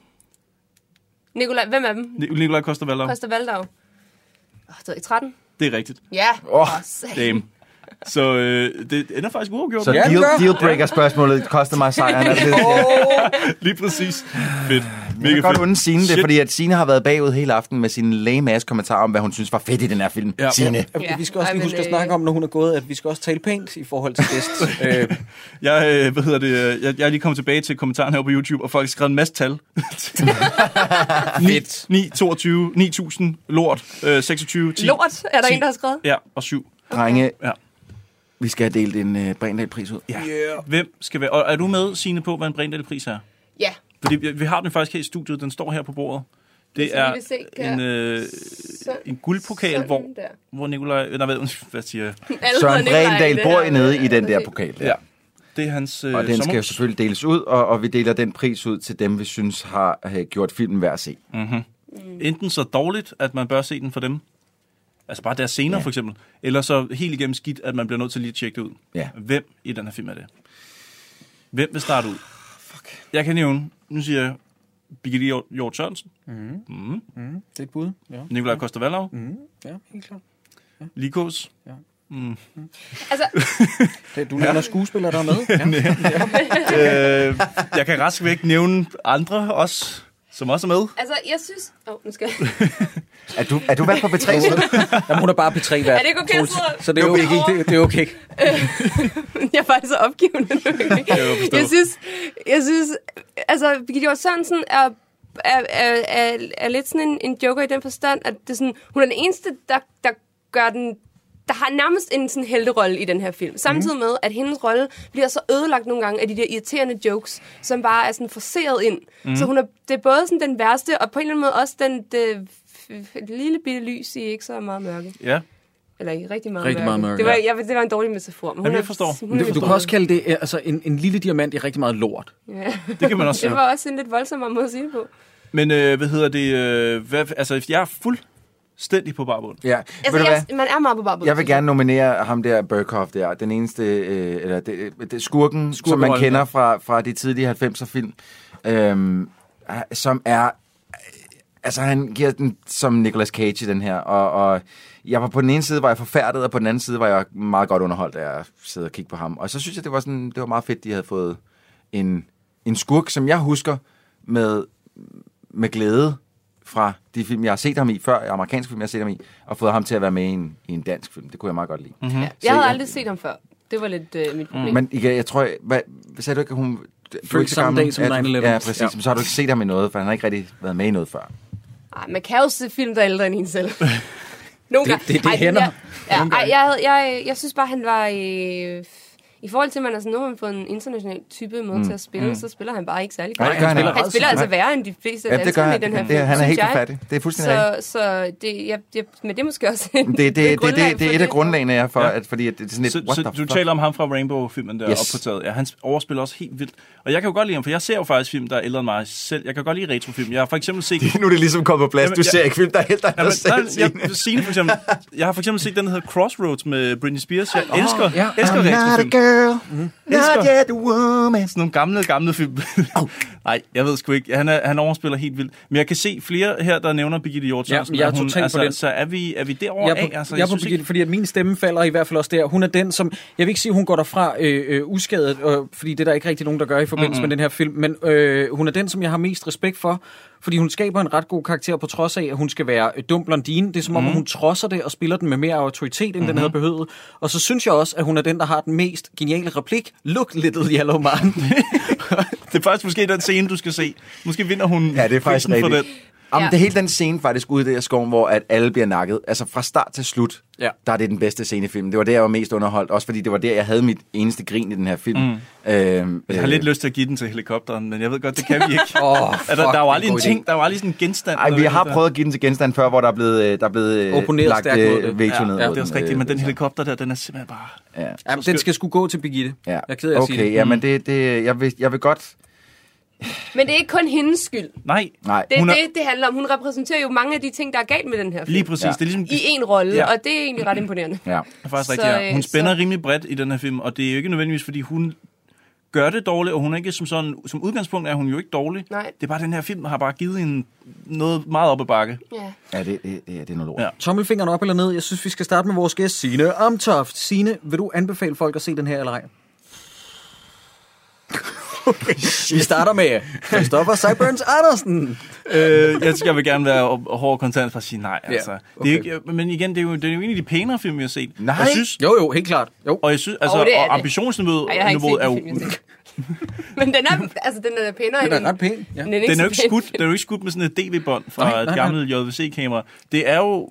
G: Nikolaj, hvem er dem?
H: Ni- Nikolaj Koster Valdau.
G: Koster Valdau. Åh, det ved jeg ikke, 13?
H: Det er rigtigt.
G: Ja.
H: Åh,
G: satan.
H: damn. Så øh, det ender faktisk uafgjort.
L: Så deal, dealbreaker-spørgsmålet kostede mig sejren. Altså, det,
H: Lige præcis. Fedt.
L: jeg
H: Mega
L: kan godt
H: fedt.
L: unde Signe det,
H: Shit.
L: fordi at Signe har været bagud hele aftenen med sine lame ass kommentarer om, hvad hun synes var fedt i den her film. Ja. Signe.
F: Ja. Vi skal også
L: Ej,
F: lige
L: men,
F: huske at
L: øh,
F: snakke om, når hun er gået, at vi skal også tale pænt i forhold til gæst. øh,
H: jeg, øh, hvad hedder det, øh, jeg, jeg er lige kommet tilbage til kommentaren her på YouTube, og folk har skrevet en masse tal. 9, 9, 22, 9000, lort, øh, 26, 10.
G: Lort, er der
H: 10,
G: en, der har skrevet?
H: Ja, og 7.
L: Drenge,
H: ja.
L: vi skal have delt en øh, Brindal-pris ud.
H: Ja. Yeah. Hvem skal være? Og er du med, Signe, på, hvad en Brindahl-pris er?
G: Ja.
H: Fordi vi, vi har den faktisk her i studiet. Den står her på bordet. Det
G: Hvis I
H: er
G: vil se, kan-
H: en, øh, en guldpokal,
G: sådan
H: hvor,
G: der.
H: hvor Nikolaj... Nej, hvad, hvad siger jeg?
G: Alle
L: Søren
G: hedder Nikolaj
L: Bredendal
G: i det
L: bor
G: her.
L: nede i den der pokal. Der.
H: Ja. Det er hans øh,
L: Og den skal jo
H: sommerhus.
L: selvfølgelig deles ud, og, og vi deler den pris ud til dem, vi synes har øh, gjort filmen værd at se.
H: Mm-hmm. Mm. Enten så dårligt, at man bør se den for dem, altså bare deres scener
L: Ja.
H: ja. for eksempel, eller så helt igennem skidt, at man bliver nødt til lige at tjekke det ud.
L: Ja.
H: Hvem i den her film er det? Hvem vil starte ud? Fuck. Jeg kan nævne, nu siger jeg, Birgitte Hjort- Hjort Sørensen,
F: mm.
H: mm.
F: Mm. Det er et bud. Ja.
H: Nikolaj Koster Vallov,
L: Mhm.
F: Mm. Ja, helt klart.
H: Likos.
F: Ja.
H: Mm.
G: Altså,
F: Det, du nævner skuespillere, der er med. Ja.
H: øh, jeg kan rask væk nævne andre også, som også er med.
G: altså, jeg synes... Åh, oh, nu skal jeg...
L: Er du, er du været på betræ?
G: Altså,
F: Jamen, hun er bare betræ
G: Er det ikke okay, jeg sidder-
F: Så det er okay. Det, det er okay.
G: jeg er faktisk så opgivende nu. ikke?
F: forstå.
G: jeg synes, jeg synes, altså, Birgitte Hjort Sørensen er, er, er, er, er lidt sådan en, en joker i den forstand, at det er sådan, hun er den eneste, der, der gør den der har nærmest en sådan helterolle i den her film. Samtidig
F: Mhm.
G: med, at hendes rolle bliver så ødelagt nogle gange af de der irriterende jokes, som bare er sådan forceret ind. Mm.
S: Mhm.
G: Så hun er, det er både sådan den værste, og på en eller anden måde også den det, det lille bitte lys i ikke så meget mørke.
H: Ja.
G: Eller i rigtig meget
F: Rigtig
G: mørke.
F: meget mørke,
G: det, var,
F: ja.
G: jeg, det var en dårlig metafor. Men
F: Jamen,
G: hun
F: jeg
G: er-
F: forstår.
G: hun er-
F: Du, du kan også kalde det øh, altså, en, en lille diamant i rigtig meget lort.
G: Ja.
H: Det kan man
G: Det
H: også sige.
G: var også en lidt voldsommere måde at sige det på.
H: Men øh, hvad hedder det? Øh, hvad, altså, jeg er fuldstændig på barbund.
L: Ja.
G: Altså, jeg, man er meget på barbund.
L: Jeg vil gerne nominere ham der, Burkhoff der, den eneste, øh, eller det, det, skurken, som man
F: Skurkerollen, ja.
L: kender fra, fra de tidlige 90'er film, øhm, ah, som er, øh, altså han giver den som Nicolas Cage i den her, og, og jeg var på den ene side, var jeg forfærdet, og på den anden side var jeg meget godt underholdt af at sidde og kigge på ham, og så synes jeg, det var, sådan, det var meget fedt, de havde fået en, en skurk, som jeg husker med, med glæde, fra de film, jeg har set ham i før, amerikanske film, jeg har set ham i, og fået ham til at være med i en, i en dansk film. Det kunne jeg meget godt lide. Mm-hmm. Ja,
G: Mhm. Jeg havde aldrig set ham før. Det var lidt øh, mit problem.
L: Men igen, jeg tror, hvad, sagde du ikke, at hun... Du er
F: Født
L: ikke så
F: samme
L: gammel.
F: dag som
L: Ja, du-
F: 9/11.
L: Ja, præcis.
F: Ja.
L: Ja. Så har du ikke set ham i noget, for han har ikke rigtig været med i noget før.
G: Ej, man kan jo se film, der er ældre end en selv. Nogle
L: Det- det- det hænder.
G: Jeg, ja,
L: Nogle
G: ej,
L: gange.
G: jeg, havde- jeg, jeg synes bare, han var... Øh, I forhold til, at man er sådan, nu har man fået en international type med
L: Mm.
G: mm. til at spille,
L: Mm.
G: mm. så spiller han bare ikke særlig
L: Nej,
G: godt.
L: det gør han
G: spiller,
L: ikke.
G: han spiller altså
L: Nej.
G: værre end de fleste
L: Ja, det gør
G: danskere
L: han.
G: i den her
L: Det-
G: film,
L: han er
G: synes
L: helt
G: jeg.
L: forfærdelig. Det er fuldstændig
G: så, så det, jeg, jeg, men det er måske også...
L: Det, det, det, det, det, det er et af grundlagene, jeg er for,
H: Ja.
L: ja. at, fordi at det er sådan lidt...
H: Så,
L: what
H: så
L: the
H: du
L: fuck?
H: taler om ham fra Rainbow-filmen der
L: Yes.
H: yes. opporteret. Ja, han overspiller også helt vildt. Og jeg kan jo godt lide ham, for jeg ser jo faktisk film, der er ældre end mig selv. Jeg kan godt lide retrofilm. Jeg har for eksempel set...
L: Nu er det ligesom kommet på plads. Du ser ikke film, der er ældre end dig selv,
H: Signe. Jeg, Signe for eksempel, jeg har for eksempel set den, der hedder Crossroads med Britney Spears. Jeg
L: Åh,
H: elsker,
L: ja.
H: elsker
L: I'm not a
H: retrofilm.
L: girl, not
H: Elsker.
L: yet a woman.
H: Sådan nogle gamle, gamle film. Nej, jeg ved sgu ikke. Han, er, han overspiller helt vildt. Men jeg kan se flere her, der nævner Birgitte Hjort
F: Ja,
H: Sørensen,
F: jeg er
H: at hun-
F: totalt på
H: altså,
F: den.
H: Så er vi, er vi derovre
F: Jeg er
H: af?
F: på,
H: Altså,
F: jeg er på
H: synes ikke-
F: Birgitte, fordi at min stemme falder i hvert fald også der. Hun er den, som... Jeg vil ikke sige, hun går derfra øh, øh, uskadet, øh, fordi det er der ikke rigtig nogen, der gør i forbindelse mm-hmm.
H: Mhm.
F: med den her film, men øh, hun er den, som jeg har mest respekt for, fordi hun skaber en ret god karakter, på trods af, at hun skal være øh, dum blondine. Det er som om, mm-hmm. hun trodser det og spiller den med mere autoritet, end mm-hmm. den
H: Mhm.
F: havde behøvet. Og så synes jeg også, at hun er den, der har den mest geniale replik. Look, little yellow man.
H: Det er faktisk måske den scene, du skal se. Måske vinder hun
L: Ja, det er faktisk
H: prisen for
L: rigtigt.
H: den.
L: Jamen,
H: Ja.
L: det er hele den scene faktisk ude i det her skoven, hvor at alle bliver nakket. Altså fra start til slut,
F: Ja.
L: der er det den bedste scene i filmen. Det var der, jeg var mest underholdt. Også fordi det var der, jeg havde mit eneste grin i den her film.
H: Mm.
L: Øhm,
H: Jeg har
L: øh,
H: lidt lyst til at give den til helikopteren, men jeg ved godt, det kan vi ikke.
L: Åh,
H: oh, er
L: fuck,
H: der, der er jo
L: det er
H: aldrig
L: en
H: en
L: god idé.
H: ting, der er jo aldrig sådan en genstand.
L: Ej, vi
H: der-
L: har
H: der-
L: prøvet at give den til genstand før, hvor der er blevet, øh, der er blevet øh,
F: Opponeret
L: lagt
F: stærkt mod det.
L: øh, veto
H: Ja,
L: ned.
H: ja,
L: mod
H: det er også
L: den,
H: rigtigt,
L: øh,
H: men den helikopter der, den er simpelthen bare...
L: Ja.
F: Jamen, den skal sgu gå til Birgitte.
L: Ja.
F: Jeg er ked af at
L: okay,
F: sige det.
L: ja,
F: Mm.
L: men det, det, jeg, vil, jeg vil godt...
G: Men det er ikke kun hendes skyld.
H: Nej,
L: Nej.
G: Det er
L: hun er-
G: det, det handler om. Hun repræsenterer jo mange af de ting, der er galt med den her film.
H: Lige præcis. Ja. Det er ligesom-
G: I en rolle,
H: Ja.
G: ja. og det er egentlig ret imponerende.
L: Ja.
H: Det er faktisk
G: Så,
H: rigtigt, ja.
G: øh,
H: Hun spænder
G: så-
H: rimelig bredt i den her film, og det er jo ikke nødvendigvis, fordi hun gør det dårligt, og hun er ikke som sådan... Som udgangspunkt er hun jo ikke dårlig.
G: Nej.
H: Det er bare, den her film har bare givet hende noget meget op ad bakke.
G: Ja.
L: Ja, det, det, det er noget lort.
H: Ja.
F: Mm. Tommelfingeren op eller ned. Jeg synes, vi skal starte med vores gæst, Signe Amtoft. Signe, vil du anbefale folk at se den her eller ej? Okay. Vi starter med Christopher Cyburns Andersen.
H: øh, jeg, jeg vil gerne være op- hård og kontant for at sige nej.
F: Ja,
H: Altså.
F: okay.
H: Det er jo ikke, men igen, det er, jo, det er jo en af de pænere film, vi har set.
F: Nej.
H: Jeg synes,
F: jo, jo, helt klart. Jo.
H: Og, jeg synes, altså,
G: det er
H: og
G: det.
H: ambitionsniveauet
G: Ej, jeg har ikke set
H: niveauet er
G: den
H: jo...
G: film, jeg har set. Men den er, altså, den er pænere. end-
F: pæn,
G: ja.
H: Den
G: Den
H: er,
G: er ikke
H: den
G: så
H: er jo ikke
G: pæn.
H: skudt, den er jo ikke skudt med sådan et DV-bånd fra
F: Nej, nej,
H: et
F: nej.
H: gammelt JVC-kamera. Det er jo...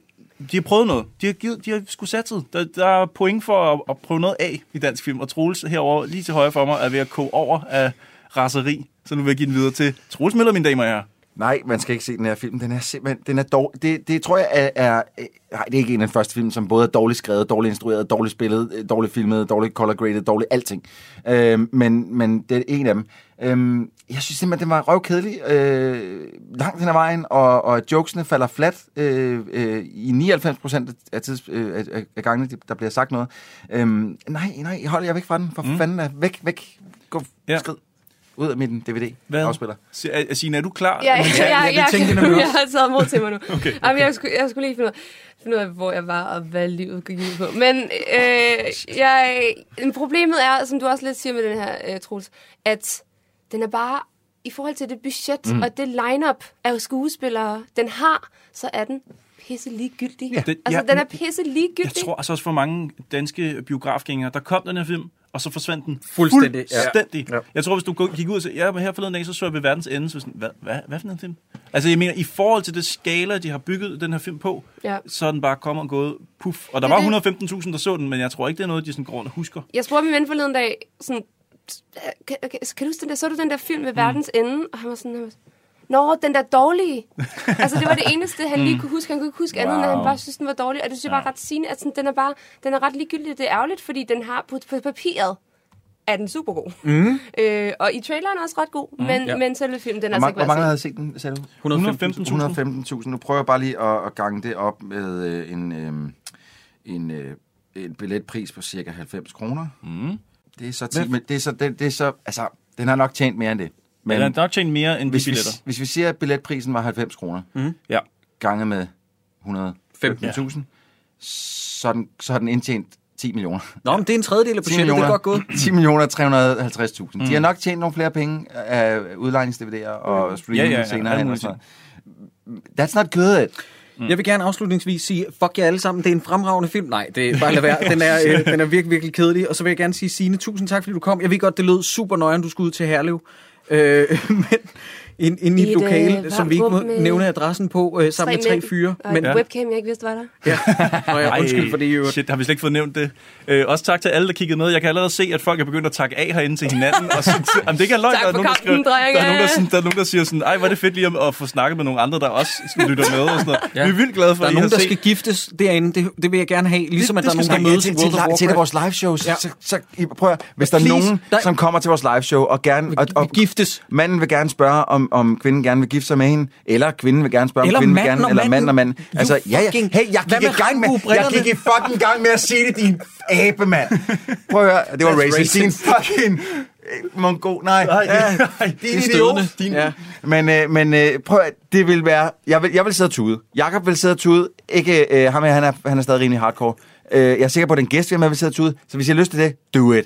H: De har prøvet noget. De har, givet, de har sgu satset. Der, der er point for at, at prøve noget af i dansk film. Og Troels herover lige til højre for mig, er ved at koge over af raseri. Så nu vil jeg give den videre til Troels Møller, mine damer og herrer.
L: Nej, man skal ikke se den her film. Den er simpelthen... Den er dårlig. Det, det tror jeg er... er øh, nej, det er ikke en af de første film, som både er dårligt skrevet, dårligt instrueret, dårligt spillet, øh, dårligt filmet, dårligt color graded, dårligt alting. Øh, men, men det er en af dem. Øh, jeg synes simpelthen, den var røvkedelig øh, langt hen ad vejen, og, og jokesene falder flat øh, øh, i 99 procent af, tids, øh, af- af, af gangene, der bliver sagt noget. Øh, nej, nej, hold jer væk fra den. For mm. fanden, da. væk, væk. Gå, ja. skrid ud af min DVD-afspiller.
H: Signe, er du klar?
G: Ja, ja, ja, jeg, jeg, jeg har taget mod til mig nu.
H: Okay.
G: Jamen, jeg, skulle, jeg skulle lige finde ud, af- finde ud af, hvor jeg var og hvad livet gik ud på. Men øh, jeg, men problemet er, som du også lidt siger med den her, øh, Troels, at den er bare, i forhold til det budget
H: Mm.
G: mm. og det lineup af skuespillere, den har, så er den pisse ligegyldig.
H: Ja. Den-
G: altså,
H: ja,
G: den er
H: men-
G: pisse
H: Jeg
G: ligegyldig.
H: tror altså også for mange danske biografgængere, der kom den her film, og så forsvandt den
F: Fuldstændig, ja.
H: fuldstændig. Ja. Jeg tror, hvis du gik ud og sagde, ja, men her forleden dag, så så jeg ved verdens ende, så var jeg sådan, hvad, hvad, hvad for en film? Altså, jeg mener, i forhold til det skala, de har bygget den her film på,
G: Ja.
H: så er den bare kommet og gået, puff. Og der
G: Det er
H: var 115.000, der så den, men jeg tror ikke, det er noget, de sådan går rundt og husker.
G: Jeg spurgte min ven forleden dag, sådan, kan, kan, kan du huske den der, så du den der film
L: Mm.
G: med verdens ende? Og han var sådan, han var, sådan, Nå, den der dårlige. altså, det var det eneste, han lige
D: Mm.
G: kunne huske. Han kunne ikke huske andet, end
D: Wow.
G: at han bare synes, den var dårlig. Og det synes jeg bare er ret sigende, at sådan, den er bare, den er ret ligegyldig. Det er ærgerligt, fordi den har på, på papiret, er den super god.
L: Mm.
G: Øh, og i traileren er også ret god,
L: Mm,
G: mm, men,
L: ja.
G: ja. men selve filmen, den er
L: hvor,
G: altså
L: mange, hvor
G: ikke
L: mange
G: værd
L: havde
G: at se.
L: set den, sagde du?
H: 115.000.
L: 115.000. Nu prøver jeg bare lige at, at gange det op med øh, en, øh, en, øh, en billetpris på cirka 90 kroner.
H: Mm.
L: Det er så, 10, men det er så, det, det er så, altså, den har nok tjent mere end det.
H: Men den har nok tjent mere end de
L: hvis
H: billetter.
L: Vi, hvis vi siger, at billetprisen var 90 kroner,
H: Mm. ja.
L: gange med 115.000, så, er den- så har den indtjent 10 millioner.
F: Nå, men det er en tredjedel af
L: 10
F: budgettet. Det er
L: millioner,
F: godt gået.
L: 10 millioner 350.000. Mm.
F: Mm.
L: De har nok tjent nogle flere penge øh, af udlejnings-DVD'er og streaming
F: Ja, ja, ja.
L: senere
F: Alt
L: hen. Og
F: muligt
L: sådan noget. That's not good.
F: Mm. Jeg vil gerne afslutningsvis sige, fuck jer alle sammen, det er en fremragende film. Nej, det er bare lad være. Den er, øh, den er virkelig, virkelig kedelig. Og så vil jeg gerne sige, Signe, tusind tak, fordi du kom. Jeg ved godt, det lød super nøjeren, du skulle ud til Herlev. Øh, men ind, ind i
G: I
F: et
G: et, øh,
F: lokale, som vi ikke må
G: varmt rum med
F: nævne adressen på, øh, sammen med tre
G: mænd
F: fyre.
G: Og
F: Men
G: men, webcam, jeg ikke vidste, var der.
F: Nå ja, undskyld for det, i øvrigt.
H: Shit, har vi slet ikke fået nævnt det. Øh, også tak til alle, der kiggede med. Jeg kan allerede se, at folk er begyndt at takke af herinde til hinanden. og så, jamen, det er ikke løgn,
G: Tak
H: der
G: for
H: er nogen, der,
G: kampen,
H: skriver, der,
G: drenge.
H: er nogen, der, sådan, der er nogen, der siger sådan, ej, hvor er det fedt lige at, at få snakket med nogle andre, der også lytter med. Og sådan noget.
F: Ja.
H: Vi er vildt glade for,
F: der
H: at
F: er
H: I
F: nogen,
H: har
F: der
H: set.
F: skal giftes derinde. Det, det vil jeg gerne have. Ligesom at der er nogen, der mødes i
L: til, til,
F: World of
L: til, til
F: Warcraft.
L: vores live shows. Ja. Så, så, I- prøv at, høre, hvis der er
F: Please,
L: nogen,
F: der-
L: som kommer til vores live show og gerne og, og giftes. Manden vil gerne spørge om om kvinden gerne vil gifte sig med hende, eller kvinden vil gerne spørge om
F: Eller
L: kvinden vil
F: manden
L: gerne
F: og
L: eller
F: manden.
L: manden og manden.
F: You
L: Altså ja, ja.
F: fucking-
L: Hey, jeg
F: Hvad
L: gik
F: med
L: i gang med jeg
F: regnbuebrillerne?
L: gik i fucking gang med at sige det din abe mand. Prøv at høre, det var
F: That's
L: racist. Din
F: racist.
L: fucking øh, mongo. Nej.
F: Nej,
L: ja,
F: nej,
L: din
F: det er
L: idiot.
F: stødende.
L: Din, ja. Men, øh, men øh, prøv at, det vil være... Jeg vil, jeg vil sidde og tude. Jakob vil sidde og tude. Ikke, øh, ham her, han er, han er stadig rimelig hardcore. Øh, jeg er sikker på, at den gæst, vi har med, vil sidde og tude. Så hvis I har lyst til det, do it.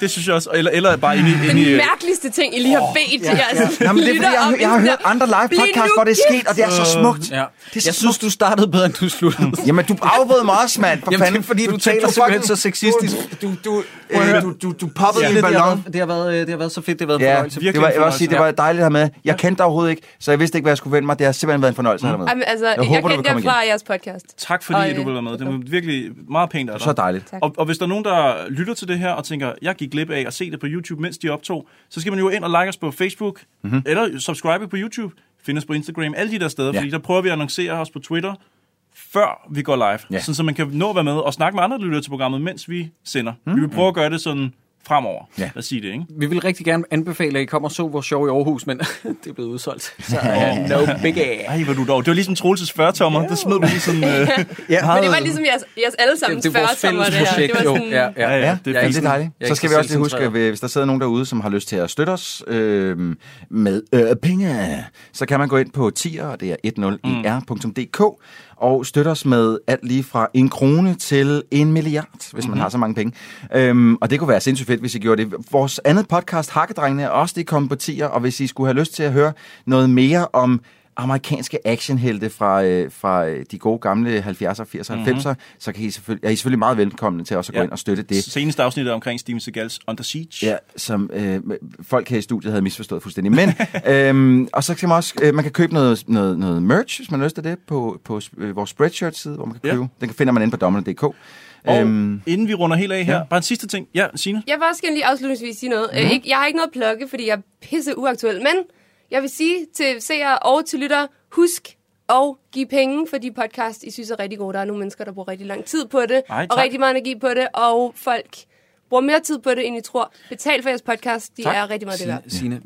H: Det synes jeg også. Eller, eller bare inde, i- inde
L: øh,
H: i...
G: Den mærkeligste ting, I lige har bedt jer. altså,
L: Nå, men det er, fordi
G: lytter
L: jeg, har-
G: om
L: jeg har
G: i-
L: hørt andre live
G: Bliv
L: podcasts,
G: nu
L: hvor det er sket, og det er så
F: gift!
L: smukt.
F: Ja.
L: Det er så
F: Jeg synes, du startede bedre, end du sluttede.
L: Jamen, du afbrød mig også, mand. For
F: Jamen, det er
L: fanden.
F: fordi, du taler
L: fucking-
F: simpelthen så sexistisk.
L: Du, du,
F: Prøv at
L: øh,
F: høre.
L: du, du, du poppede
F: Signe,
L: din
F: det har
L: ballon.
F: været- Det har, været, øh, det har været så fedt, det har været en
L: Ja,
F: fornøjelse.
L: det var, jeg vil også sige, det var dejligt her med. Jeg kendte dig overhovedet ikke, så jeg vidste ikke, hvad jeg skulle vende mig. Det har simpelthen været en fornøjelse at have dig med.
G: Jamen, altså, jeg,
L: håber, du
G: jeg
L: vil
G: kendte
L: komme
G: jer fra
L: igen.
G: jeres podcast.
H: Tak fordi
G: Og, øh,
H: og, du ville være med. Det var virkelig meget pænt af dig.
L: Så dejligt.
G: Tak.
H: Og, og hvis der er nogen, der lytter til det her og tænker, jeg gik glip af at se det på YouTube, mens de optog, så skal man jo ind og like os på Facebook,
L: Mhm.
H: mm-hmm. eller subscribe på YouTube, finde os på Instagram, alle de der steder, ja. fordi der prøver vi at annoncere os på Twitter, før vi
L: Mhm.
H: går live. Ja. Sådan, så man kan nå at være med og snakke med andre, der lytter til programmet, mens vi sender. Mm-hmm. Vi vil prøve at gøre det sådan fremover. Ja. Lad os sige det, ikke?
F: Vi vil rigtig gerne anbefale, at I kommer og så vores show i Aarhus, men det er blevet udsolgt. Så
H: Ja.
F: no big ass.
H: Ej, hvor du dog. Det var ligesom Troelses 40-tommer. Det smed du lige sådan... Øh,
G: Men det var ligesom jeres, jeres allesammens
F: Det- det er vores
G: 40-tommer,
F: fælles
G: det her. Det
F: projekt,
G: var
F: jo.
G: sådan,
F: Ja, ja.
L: Ja, ja, det, er
F: fint.
L: det er dejligt.
F: Jeg er
L: Så
F: ikke
L: skal
F: så
L: vi også lige huske,
F: selvcentreret.
L: at hvis der sidder nogen derude, som har lyst til at støtte os øh, med øh, penge, så kan man gå ind på tier, og det er 10er.dk, og støtte os med alt lige fra en krone til en milliard, hvis man
S: Mhm.
L: har så mange penge. Øhm, og det kunne være sindssygt fedt, hvis I gjorde det. Vores andet podcast, Hakkedrengene, er også det kommet på tier, og hvis I skulle have lyst til at høre noget mere om amerikanske actionhelte fra, øh, fra øh, de gode gamle 70'er, 80'er,
H: Mhm.
L: 90'er, så kan I selvfølgelig, er I selvfølgelig meget velkomne til også at gå
H: Ja.
L: ind og støtte det.
H: Seneste afsnit er omkring Steven Seagals Under Siege.
L: Ja, som øh, folk her i studiet havde misforstået fuldstændig. Men, øhm, og så kan man også, øh, man kan købe noget, noget, noget merch, hvis man har lyst til det, på, på øh, vores spreadshirt-side, hvor man kan
H: Ja.
L: købe. Den finder man inde på dommerne.dk.
H: Og
L: Øhm,
H: inden vi runder helt af her,
L: ja.
H: bare en sidste ting. Ja, Signe?
G: Jeg vil også gerne lige afslutningsvis sige noget.
H: Mhm.
G: Mm. Ikke, jeg har ikke noget at plukke, fordi jeg er pisse uaktuel, men jeg vil sige til seere og til lyttere, husk og give penge for de podcast, I synes er rigtig gode. Der er nogle mennesker, der bruger rigtig lang tid på det,
H: Ej,
G: og
H: tak.
G: rigtig meget energi på det, og folk bruger mere tid på det, end I tror. Betal for jeres podcast, de er rigtig meget det værd.
F: Signe,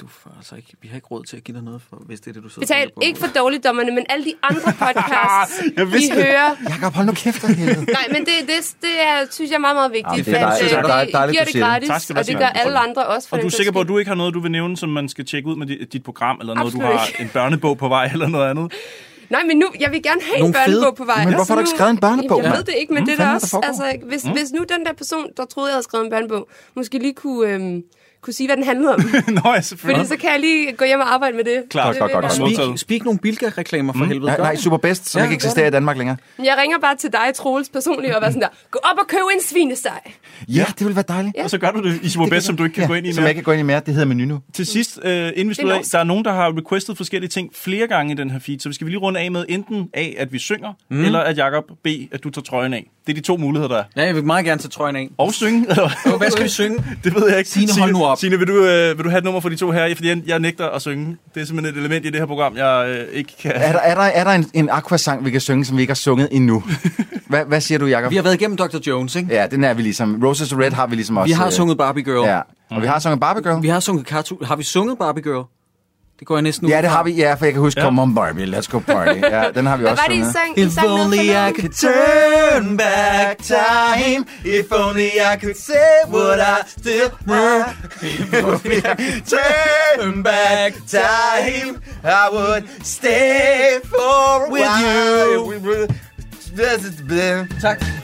F: du får altså ikke, vi har ikke råd til at give dig noget, for, hvis det er det, du sidder og
G: Betal
F: tænker på.
G: ikke for dårligdommerne, men alle de andre podcasts,
F: Jeg
G: I
F: vidste det.
G: hører.
L: Jakob, hold nu kæft for helvede.
G: Nej, men det, det, det er, synes jeg er meget, meget vigtigt.
H: Jamen, det er
G: at, øh,
H: dejligt. Det er dejligt,
G: det,
H: dejligt,
G: giver
H: du
G: det
H: siger det.
G: gratis,
H: Tak skal du
G: og
H: have,
G: det gør
H: Signe.
G: alle andre også. For
H: Og du er
G: den sags
H: sikker på, at du ikke har noget, du vil nævne, som man skal tjekke ud med di- dit program, eller noget,
G: Absolut
H: du har
G: ikke.
H: en børnebog på vej, eller noget andet?
G: Nej, men nu, jeg vil gerne have
H: Nogle
G: en børnebog
H: fede-
G: på vej.
H: Men hvorfor
G: Så
H: har du ikke
G: nu-
H: skrevet en børnebog,
G: Jeg ved
H: mand?
G: det ikke, men
H: Mm,
G: det er
H: fanden
G: da
H: er
G: også...
H: der foregår?
G: Altså, hvis,
H: Mm.
G: hvis nu den der person, der troede, jeg havde skrevet en børnebog, måske lige kunne, øhm, kunne sige, hvad den handlede om.
H: Nå, ja,
G: Fordi
H: selvfølgelig.
G: så kan jeg lige gå hjem og arbejde med det.
L: Klart,
G: Det
L: godt, godt,
G: vil jeg
L: godt.
G: gerne.
L: Modtaget.
F: Speak, speak nogle Bilka-reklamer for
L: Mm.
F: helvede.
L: Nej, nej, Superbest, som ikke eksisterer i Danmark længere.
G: Men Jeg ringer bare til dig, Troels, personligt, og var sådan der, gå op og køb en svinesteg.
L: Ja, det ville være dejligt.
H: Og så gør du det i Superbest, som du ikke kan
L: ja,
H: gå ind i
L: Som
H: mere.
L: jeg ikke kan gå ind i mere. Det hedder menu nu.
H: Til sidst, øh, inden vi slutter af,
L: norsk.
H: der er nogen, der har requestet forskellige ting flere gange i den her feed, så vi skal vi lige runde af med enten A, at vi synger, mm.
F: Mm.
H: eller at Jakob B, at du tager trøjen af. Det er de to muligheder, der er.
F: Ja, jeg vil meget gerne tage trøjen af.
H: Og synge, eller?
F: Hvad skal vi synge?
H: Det ved jeg ikke.
F: Signe, hold nu op.
H: Signe, vil du, øh, vil du have et nummer for de to her? Fordi jeg, jeg nægter at synge. Det er simpelthen et element i det her program, jeg øh, ikke kan...
L: Er der, er der, er der en, en aquasang, vi kan synge, som vi ikke har sunget endnu? Hvad, hvad siger du, Jacob? Vi
F: har været igennem Dr. Jones, ikke?
L: Ja, den er vi ligesom. Roses Red har vi ligesom også.
F: Vi har
L: øh,
F: sunget Barbie Girl.
L: Ja, og vi har sunget Barbie Girl.
F: Vi har sunget Cartoon. Har vi sunget Barbie Girl? Det går jeg næsten ud
L: Ja, det har vi. Ja, for jeg kan huske, come on Barbie, let's go party. Ja, den har vi også sunget.
F: If only I could turn back time.
L: If only I could say what I still want. If only I could turn back time, I would stay for a
K: With
L: while. Tak.